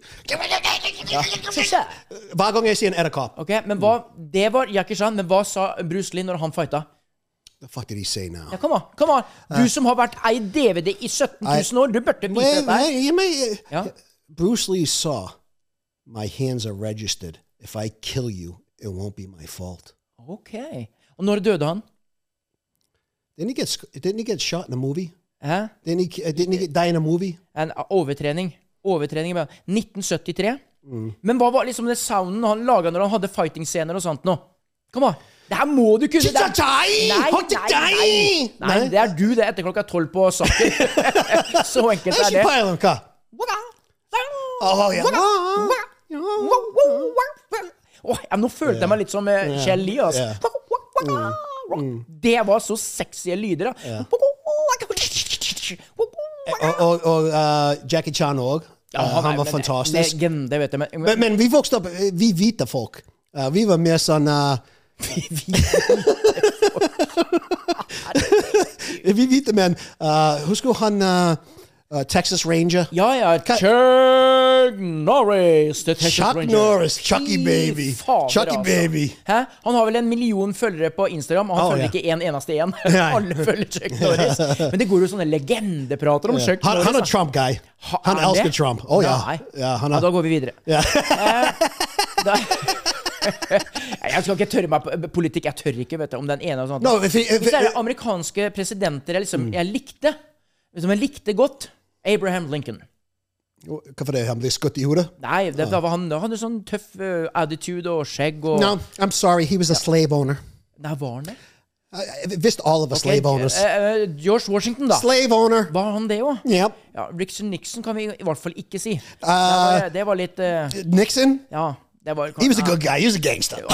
[SPEAKER 2] Hver gang jeg sier en edderkopp
[SPEAKER 1] Ok, men hva Det var Jackie Chan, men hva sa Bruce Lee når han fighta?
[SPEAKER 2] The fuck did he say now?
[SPEAKER 1] Ja, kom an, kom an. Du som har vært ei DVD i 17 000 år, du burde vite
[SPEAKER 2] Wait,
[SPEAKER 1] dette. her.
[SPEAKER 2] wait, you may- uh,
[SPEAKER 1] Ja.
[SPEAKER 2] Bruce Lee saw, my hands are registered. If I kill you, it won't be my fault.
[SPEAKER 1] Ok. Og når døde han?
[SPEAKER 2] Didn't he get sc- didn't he get shot in a movie?
[SPEAKER 1] Hæ?
[SPEAKER 2] Didn't he uh, didn't he get, die in a movie?
[SPEAKER 1] En overtrening. Overtrening i beina. 1973.
[SPEAKER 2] Mm.
[SPEAKER 1] Men hva var liksom det sounden han laga når han hadde fighting-scener og sånt nå? Kom an. Det her må du kunne. Det er-
[SPEAKER 2] Chitsatai!
[SPEAKER 1] Nei,
[SPEAKER 2] Hot
[SPEAKER 1] nei,
[SPEAKER 2] chitsatai!
[SPEAKER 1] nei. nei,
[SPEAKER 2] Nei.
[SPEAKER 1] det er du det etter klokka tolv på Saker. *laughs* Så enkelt
[SPEAKER 2] How's
[SPEAKER 1] er
[SPEAKER 2] she
[SPEAKER 1] det.
[SPEAKER 2] piling car? Oh, yeah.
[SPEAKER 1] Åh, ja, nå følte jeg meg litt som eh, Kjell Lie, altså.
[SPEAKER 2] Mm.
[SPEAKER 1] Det var så sexy lyder, da.
[SPEAKER 2] Eh, Og, og, og uh, Jackie Chan òg.
[SPEAKER 1] Ja,
[SPEAKER 2] Uh, han var
[SPEAKER 1] men-
[SPEAKER 2] fantastisk.
[SPEAKER 1] Legende, vet du. Men,
[SPEAKER 2] Men, men vi vokste opp eh, Vi hvite folk. Eh, vi var mer sånn
[SPEAKER 1] *laughs*
[SPEAKER 2] eh, Vi hvite menn. eh, husker du han eh, eh, Texas Ranger?
[SPEAKER 1] ja, ja.
[SPEAKER 2] Hva-
[SPEAKER 1] Chuck Norris. The Texas
[SPEAKER 2] Chuck
[SPEAKER 1] Ranger.
[SPEAKER 2] Norris. Chucky
[SPEAKER 1] Fy
[SPEAKER 2] Baby.
[SPEAKER 1] fader,
[SPEAKER 2] Chucky
[SPEAKER 1] altså.
[SPEAKER 2] Baby.
[SPEAKER 1] Hæ? Han har vel en million følgere på Instagram, og han
[SPEAKER 2] Å,
[SPEAKER 1] følger
[SPEAKER 2] ja.
[SPEAKER 1] ikke en eneste en.
[SPEAKER 2] Nei.
[SPEAKER 1] *laughs* Alle følger Chuck Norris.
[SPEAKER 2] *laughs*
[SPEAKER 1] Men det går jo sånne legendeprater om Chuck
[SPEAKER 2] Han,
[SPEAKER 1] Norris.
[SPEAKER 2] han
[SPEAKER 1] da.
[SPEAKER 2] er Trump-guy.
[SPEAKER 1] Ha-
[SPEAKER 2] Han
[SPEAKER 1] er han
[SPEAKER 2] elsker
[SPEAKER 1] det?
[SPEAKER 2] Trump. Å ja.
[SPEAKER 1] Nei.
[SPEAKER 2] ja. Han
[SPEAKER 1] Ja, da
[SPEAKER 2] er,
[SPEAKER 1] går vi videre.
[SPEAKER 2] Ja.
[SPEAKER 1] *laughs* Eh, da, *laughs* jeg skal ikke tørre meg på eh, politikk. Jeg tør ikke, vet du, om den ene og sånt.
[SPEAKER 2] No, if he- if-
[SPEAKER 1] Hvis det er amerikanske presidenter jeg,
[SPEAKER 2] Mm.
[SPEAKER 1] liksom, jeg likte, som jeg likte godt Abraham Lincoln.
[SPEAKER 2] hvorfor det? Han ble skutt i hodet?
[SPEAKER 1] Nei, det, da var han da hadde sånn tøff eh, attitude og skjegg og
[SPEAKER 2] No, I'm sorry. He was a slave owner.
[SPEAKER 1] Nei, var han det?
[SPEAKER 2] I visst all of us
[SPEAKER 1] Ok,
[SPEAKER 2] slave owners.
[SPEAKER 1] eh, eh, George Washington, da.
[SPEAKER 2] Slave owner.
[SPEAKER 1] Var han det òg?
[SPEAKER 2] Yep.
[SPEAKER 1] Ja, Richard Nixon kan vi i hvert fall ikke si. Det
[SPEAKER 2] Uh,
[SPEAKER 1] var, det var litt eh,
[SPEAKER 2] Nixon.
[SPEAKER 1] Ja. Det var,
[SPEAKER 2] He was a
[SPEAKER 1] ja.
[SPEAKER 2] good guy. Uh-huh. He was a gangster.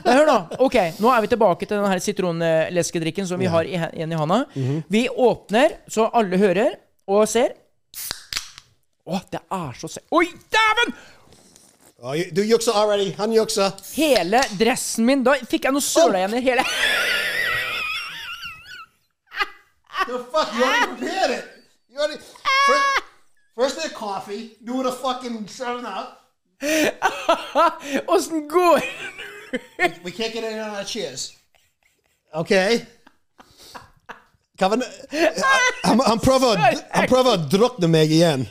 [SPEAKER 1] Men hør da, ok, nå er vi tilbake til den her sitronleskedrikken som vi har i, he- igjen i handa.
[SPEAKER 2] Mhm.
[SPEAKER 1] Vi åpner, så alle hører og ser. Å, det er så se... Oi, dæven!
[SPEAKER 2] Oh, you, du jukser already. Han jukser.
[SPEAKER 1] Hele dressen min, da fikk jeg noe søla igjen i hele... *laughs*
[SPEAKER 2] The fuck? You already prepared it. You already. First, first the coffee. Do the fucking seven up.
[SPEAKER 1] Åssen går
[SPEAKER 2] We can't get any on our cheers. Okay. Kevin, han, han prøver å- han prøver å drukne meg igjen.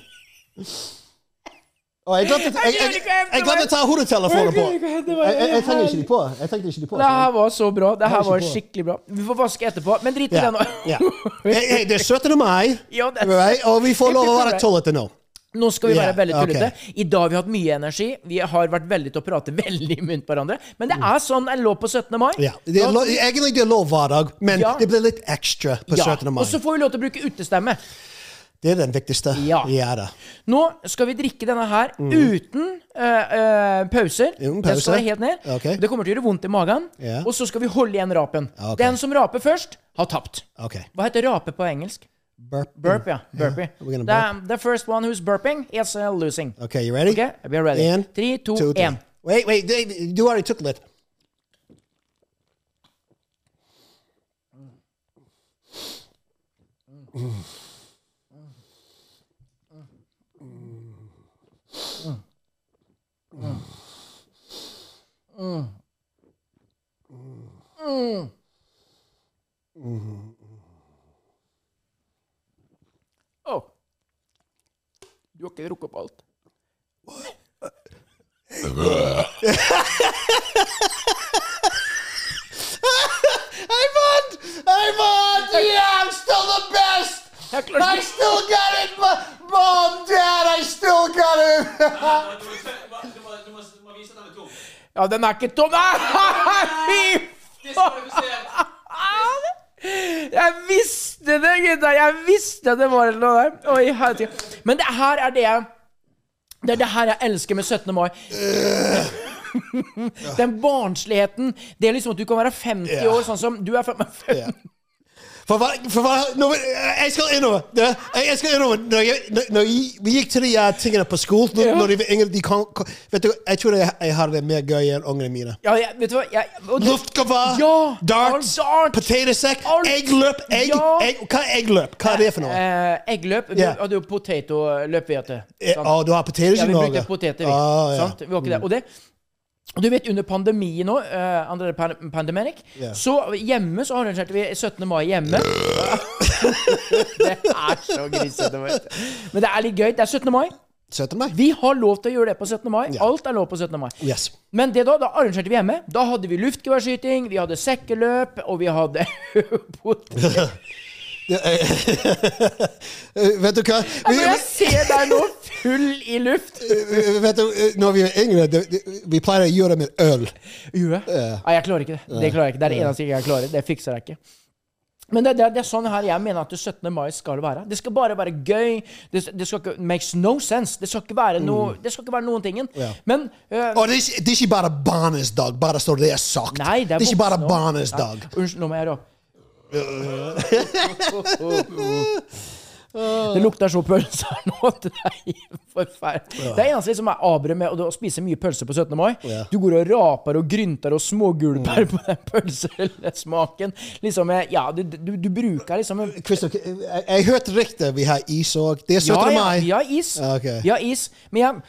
[SPEAKER 2] Å, jeg glemte jeg- jeg- jeg- jeg glemte å ta hodetelefonen på.
[SPEAKER 1] Jeg glemte hva jeg
[SPEAKER 2] Jeg jeg- jeg tenkte
[SPEAKER 1] gjorde.
[SPEAKER 2] ikke de på. Jeg tenkte ikke de på.
[SPEAKER 1] Det her var så bra. Det her
[SPEAKER 2] Hør ikke
[SPEAKER 1] var
[SPEAKER 2] på.
[SPEAKER 1] skikkelig bra. Vi får vaske etterpå, men drit i
[SPEAKER 2] Ja,
[SPEAKER 1] det nå. *laughs*
[SPEAKER 2] ja. Hey, hey, det er 17. mai,
[SPEAKER 1] Ja, det er-
[SPEAKER 2] right? og vi får lov å være tullete nå.
[SPEAKER 1] Nå skal vi
[SPEAKER 2] Ja,
[SPEAKER 1] være veldig
[SPEAKER 2] ok.
[SPEAKER 1] tullete. I dag har vi hatt mye energi. Vi har vært veldig til å prate *laughs* veldig i munnen på hverandre. Men det er sånn en lå på 17. mai.
[SPEAKER 2] Mm. Ja. Det er
[SPEAKER 1] Da-
[SPEAKER 2] lo, egentlig det er lov hver dag, men
[SPEAKER 1] Ja.
[SPEAKER 2] det blir litt ekstra på
[SPEAKER 1] Ja,
[SPEAKER 2] 17. mai.
[SPEAKER 1] Og så får vi lov til å bruke utestemme.
[SPEAKER 2] Det er den viktigste.
[SPEAKER 1] Ja.
[SPEAKER 2] da.
[SPEAKER 1] Nå skal vi drikke denne her uten eh, eh, pauser.
[SPEAKER 2] Mhm. Uten
[SPEAKER 1] Den skal
[SPEAKER 2] pauser.
[SPEAKER 1] være helt ned.
[SPEAKER 2] Ok.
[SPEAKER 1] Det kommer til å gjøre vondt i magen.
[SPEAKER 2] Ja.
[SPEAKER 1] Og så skal vi holde igjen rapen.
[SPEAKER 2] Ok.
[SPEAKER 1] Den som raper først, har tapt.
[SPEAKER 2] Ok.
[SPEAKER 1] Hva heter rape på engelsk?
[SPEAKER 2] Burp.
[SPEAKER 1] Burp, ja. Burpee.
[SPEAKER 2] We're gonna
[SPEAKER 1] The, the first one who's burping is uh, losing.
[SPEAKER 2] Okay, you ready?
[SPEAKER 1] Okay, we are ready.
[SPEAKER 2] And
[SPEAKER 1] Three, two,
[SPEAKER 2] two, three.
[SPEAKER 1] and.
[SPEAKER 2] Wait, wait, Dave, you already took it.
[SPEAKER 1] Oh. Du har ikke drukket opp alt.
[SPEAKER 2] I won! I won! Yeah, I'm still the best! I still got it! Mo- Mom, Dad, I still got it!
[SPEAKER 1] Ja, den er ikke tom. *laughs* Nei, fy faen! Jeg visste det, gutta! Jeg visste det var noe der. Oi, herregud. Men det her er det jeg Det er det her jeg elsker med 17.
[SPEAKER 2] *laughs*
[SPEAKER 1] mai. Den barnsligheten. Det er liksom at du kan være 50 år, sånn som du er 55.
[SPEAKER 2] For hva, for hva nå, Jeg skal innover! Det- Jeg, jeg skal innover. Når, jeg, når- når jeg, vi gikk til de eh, tingene på skolen når,
[SPEAKER 1] Ja.
[SPEAKER 2] når de, ingen, de kom, kom, Vet du, jeg tror jeg, jeg har det mer gøy enn ungene mine.
[SPEAKER 1] *laughs* Ja, jeg, vet du hva jeg, og det-
[SPEAKER 2] Luftgevær,
[SPEAKER 1] Ja,
[SPEAKER 2] darts,
[SPEAKER 1] dart.
[SPEAKER 2] potato sack, eggløp egg,
[SPEAKER 1] Ja.
[SPEAKER 2] egg, Hva er eggløp? Hva er det for noe?
[SPEAKER 1] Eh, eggløp. Vi
[SPEAKER 2] Ja.
[SPEAKER 1] hadde jo potetoløp, vet du.
[SPEAKER 2] Eh,
[SPEAKER 1] sant?
[SPEAKER 2] å, du har
[SPEAKER 1] Ja,
[SPEAKER 2] poteter i
[SPEAKER 1] vi
[SPEAKER 2] Norge?
[SPEAKER 1] brukte poteter, vi.
[SPEAKER 2] Ah, ja.
[SPEAKER 1] sant? Vi var ikke der. Og det, og du vet, under pandemien nå, eh, under pan pandemic,
[SPEAKER 2] Ja.
[SPEAKER 1] så hjemme så arrangerte vi 17. mai
[SPEAKER 2] *laughs*
[SPEAKER 1] hjemme. det er så grisete. vet du. Men det er litt gøy. Det er 17. mai.
[SPEAKER 2] 17. mai.
[SPEAKER 1] Vi har lov til å gjøre det på 17. mai. Alt er lov på 17. mai.
[SPEAKER 2] Yes.
[SPEAKER 1] Men det da, da arrangerte vi hjemme. Da hadde vi luftgeværskyting, vi hadde sekkeløp, og vi hadde *laughs* potet...
[SPEAKER 2] Ja, eh, *laughs* eh, vet du hva? Vi,
[SPEAKER 1] Når jeg ser deg nå full i luft
[SPEAKER 2] vi- vet du, eh, når vi er yngre, det, det, vi pleier å gjøre det med øl.
[SPEAKER 1] Gjorde jeg? Nei, jeg klarer ikke det. Det klarer jeg ikke. Det er det eneste jeg klarer. Det fikser jeg ikke. Men det, det, det er sånn her jeg mener at det 17. mai skal være. Det skal bare være gøy. Det, det skal ikke makes no sense. Det skal ikke være, noe, det skal ikke være noen tingen.
[SPEAKER 2] Mm. Ja.
[SPEAKER 1] Men eh,
[SPEAKER 2] Og det er ikke- det er ikke bare barnets dag, bare så det er sagt.
[SPEAKER 1] Nei, det er
[SPEAKER 2] ikke bare
[SPEAKER 1] voksne også.
[SPEAKER 2] barnets
[SPEAKER 1] Nei,
[SPEAKER 2] dag.
[SPEAKER 1] Unnskyld, nå må jeg gjøre opp. Det lukter så pølse her *laughs* nå at det er helt forferdelig. Det er eneste som jeg avbryter med og det er å spise mye pølse på 17. mai.
[SPEAKER 2] Ja. Mm.
[SPEAKER 1] Du går og raper og grynter og smågulper på den pølsesmaken. Liksom, eh, ja, du, du, du bruker liksom en
[SPEAKER 2] Christopher, jeg, jeg hørte riktig. Vi har is òg. Det er 17.
[SPEAKER 1] ja,
[SPEAKER 2] mai.
[SPEAKER 1] Ja, vi har is.
[SPEAKER 2] Ja, ok.
[SPEAKER 1] Vi har is. Men jeg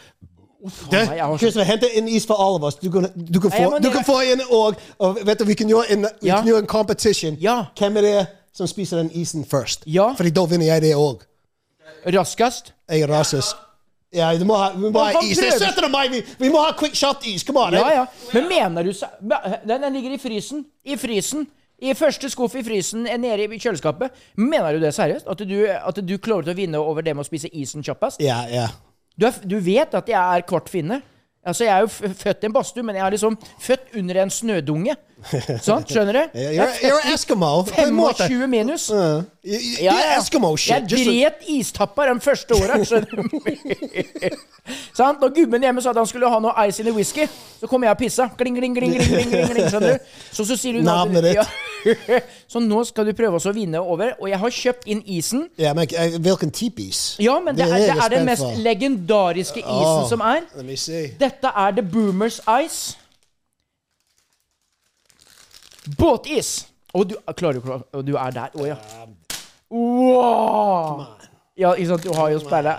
[SPEAKER 1] Uff, faen
[SPEAKER 2] Det,
[SPEAKER 1] meg, jeg har så
[SPEAKER 2] Christopher, hente en is for alle av oss. Du kan, du kan
[SPEAKER 1] Ja,
[SPEAKER 2] få,
[SPEAKER 1] men
[SPEAKER 2] du
[SPEAKER 1] jeg-
[SPEAKER 2] kan få en òg. Og vet du, vi kan gjøre en, vi
[SPEAKER 1] Ja.
[SPEAKER 2] kan gjøre en competition.
[SPEAKER 1] Ja.
[SPEAKER 2] Hvem er det som spiser den isen først?
[SPEAKER 1] Ja.
[SPEAKER 2] Fordi da vinner jeg det òg.
[SPEAKER 1] Raskest.
[SPEAKER 2] Jeg er rasist. Ja, du må ha, vi må
[SPEAKER 1] Hva
[SPEAKER 2] ha
[SPEAKER 1] faen
[SPEAKER 2] is. Det er
[SPEAKER 1] prøver-
[SPEAKER 2] 17. mai. Vi, vi må ha quick shot-is. Come on.
[SPEAKER 1] Ja,
[SPEAKER 2] eh?
[SPEAKER 1] ja. Men mener du så Ba- Den, den ligger i frysen. I frysen. I første skuff i frysen eh, nede i kjøleskapet. Mener du det seriøst? At du, at du klarer til å vinne over det med å spise isen kjappest?
[SPEAKER 2] Ja, ja.
[SPEAKER 1] Du, er, f- du vet at jeg er kvart finne. Altså, Jeg er jo f født i en badstue, men jeg er liksom født under en
[SPEAKER 2] *laughs*
[SPEAKER 1] snødunge. Sånn, skjønner du?
[SPEAKER 2] You're, you're
[SPEAKER 1] *laughs*
[SPEAKER 2] Eskimo. på en måte.
[SPEAKER 1] 25 minus.
[SPEAKER 2] Uh, you, you, you're Eskimo oh, shit.
[SPEAKER 1] Jeg
[SPEAKER 2] just-
[SPEAKER 1] dret istappa de første åra. Sant? Når gubben hjemme sa at han skulle ha noe ice in the whisky, så kom jeg og pissa. Kling, kling, kling, kling, kling, kling, kling, skjønner du? Så, så sier du nå-
[SPEAKER 2] Navnet ditt.
[SPEAKER 1] Ja. *laughs* Så nå skal du prøve også å vinne over. Og jeg har kjøpt inn isen.
[SPEAKER 2] Ja, men eh, hvilken type is?
[SPEAKER 1] Ja, men det
[SPEAKER 2] Det er
[SPEAKER 1] er, det
[SPEAKER 2] jeg
[SPEAKER 1] er den
[SPEAKER 2] spent
[SPEAKER 1] mest
[SPEAKER 2] for.
[SPEAKER 1] legendariske isen
[SPEAKER 2] Åh.
[SPEAKER 1] som er.
[SPEAKER 2] Let me see.
[SPEAKER 1] Dette er The Boomers Ice. Båtis! Og du klarer jo ikke Og du er der. Å ja. Wow! Ja, ikke sant? Du har jo speila.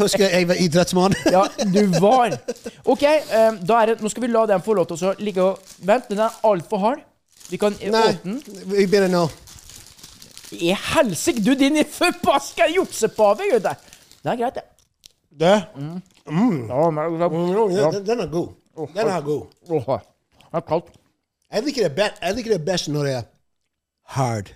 [SPEAKER 2] Husker jeg var idrettsmann.
[SPEAKER 1] *laughs* Ja,
[SPEAKER 2] *laughs*
[SPEAKER 1] du var. OK, eh, da er det, nå skal vi la den få lov til å så ligge og Vent, den er altfor hard. Vi kan eh,
[SPEAKER 2] Nei,
[SPEAKER 1] åpne den.
[SPEAKER 2] vi begynner nå.
[SPEAKER 1] I helsike, du din forbaska juksepave! gutt der. Det er greit, det.
[SPEAKER 2] Det?
[SPEAKER 1] Ja, men, ja.
[SPEAKER 2] Den- Den, den er god. Den er god.
[SPEAKER 1] Åh, Det er kaldt.
[SPEAKER 2] Jeg liker det best, jeg liker det best når det er hard.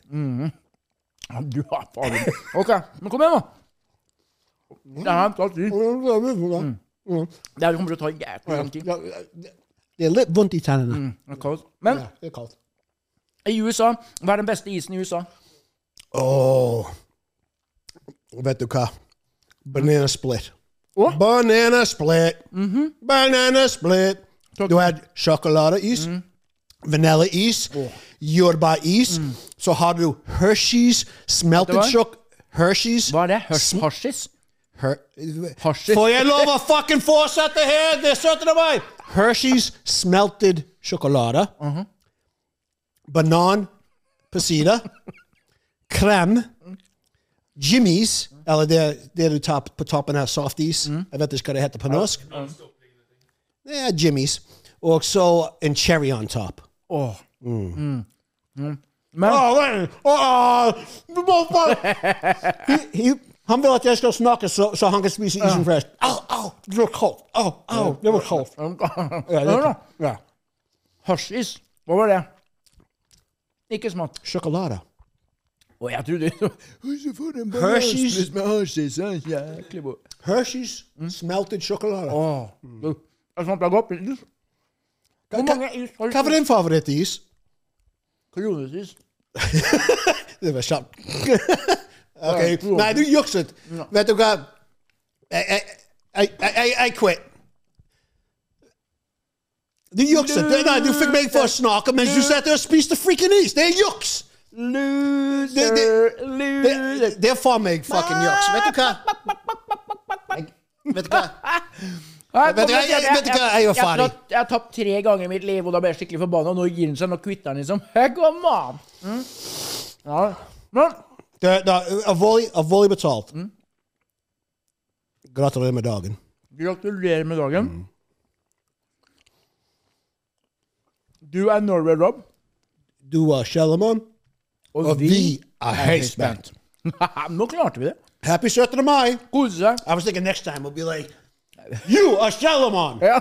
[SPEAKER 1] Ja, Du er faen OK, men kom igjen, da. Det her tar tid.
[SPEAKER 2] Mm.
[SPEAKER 1] Hm. Det her kommer til å ta jæklig lang tid.
[SPEAKER 2] Det er litt vondt i tennene.
[SPEAKER 1] Det er kaldt. Men
[SPEAKER 2] Ja, det er kaldt.
[SPEAKER 1] i USA, hva er den beste isen i USA?
[SPEAKER 2] Åh. Vet du hva? Banana split.
[SPEAKER 1] Åh?
[SPEAKER 2] Banana split. Banana split. Du har sjokoladeis, vaniljeis, jordbæris. Så har du Hershey's
[SPEAKER 1] Vet
[SPEAKER 2] smelted
[SPEAKER 1] du hva?
[SPEAKER 2] sjok... Hershey's
[SPEAKER 1] Hva er det? Hørs hasjis?
[SPEAKER 2] Her *laughs*
[SPEAKER 1] Hasjis.
[SPEAKER 2] Får jeg lov å fucking fortsette her? Det er 17. mai! Hershey's smelted sjokolade. Banan på sida. Krem. Jimmy's, eller det, det du tar på toppen her, softis. Jeg vet ikke hva det heter på norsk. Det er Jimmy's. Og så en cherry on top. Oh. Mm.
[SPEAKER 1] Åh.
[SPEAKER 2] Men, oh, wait. Oh, oh, *laughs* he, he, Han vil at jeg skal snakke, så, så han kan spise isen først. Au, au, det var kaldt. Au, au, det var kaldt. Ja, det
[SPEAKER 1] Hør
[SPEAKER 2] er
[SPEAKER 1] da. Hasjis. Hva var det? Ikke smått.
[SPEAKER 2] sjokolade.
[SPEAKER 1] Og jeg trodde *laughs*
[SPEAKER 2] Hershey's-
[SPEAKER 1] med hasjis. ja, Jæklig god.
[SPEAKER 2] Hershey's smelted sjokolade.
[SPEAKER 1] Mm. Jeg smakte godt på is.
[SPEAKER 2] Oh
[SPEAKER 1] Hvor mange is har du
[SPEAKER 2] Hva var din favorittis?
[SPEAKER 1] Kronesis.
[SPEAKER 2] Det var kjapt.
[SPEAKER 1] Ja,
[SPEAKER 2] ok.
[SPEAKER 1] klart.
[SPEAKER 2] Nei, du jukset. Vet du hva? Jeg- Jeg jeg- jeg- jeg- jeg quit. Du jukset. Du, nei, du fikk meg for å snakke mens du satt der og spiste freaking is. Det er juks! Det, det, det, det er for meg fucking juks. Vet du hva? Vet du hva?
[SPEAKER 1] Nei,
[SPEAKER 2] Vet du hva,
[SPEAKER 1] kom igjen,
[SPEAKER 2] jeg- vet du hva, jeg er jo
[SPEAKER 1] jeg- jeg-
[SPEAKER 2] ferdig.
[SPEAKER 1] jeg- Jeg har tapt tre ganger i mitt liv, og da ble jeg skikkelig forbanna. Nå gir han seg, nå kvitter han liksom. Hey, Come on! Mm. Ja. Men
[SPEAKER 2] Det, det er alvorlig, alvorlig betalt. Gratulerer med dagen.
[SPEAKER 1] gratulerer med dagen.
[SPEAKER 2] Mm.
[SPEAKER 1] Du er Norway Rob,
[SPEAKER 2] Du er Shellerman,
[SPEAKER 1] og,
[SPEAKER 2] og vi er høyspent.
[SPEAKER 1] *laughs* nå klarte vi det.
[SPEAKER 2] Happy 17. mai.
[SPEAKER 1] Kose seg.
[SPEAKER 2] I was thinking next time we'll be like, you are Shalomon.
[SPEAKER 1] Yeah.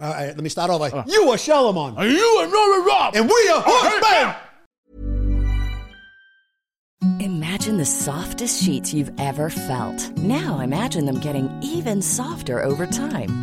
[SPEAKER 2] All right, let me start over. You are Shalomon.
[SPEAKER 1] And you are Norway Rob.
[SPEAKER 2] And we are Horseman.
[SPEAKER 3] Imagine the softest sheets you've ever felt. Now imagine them getting even softer over time.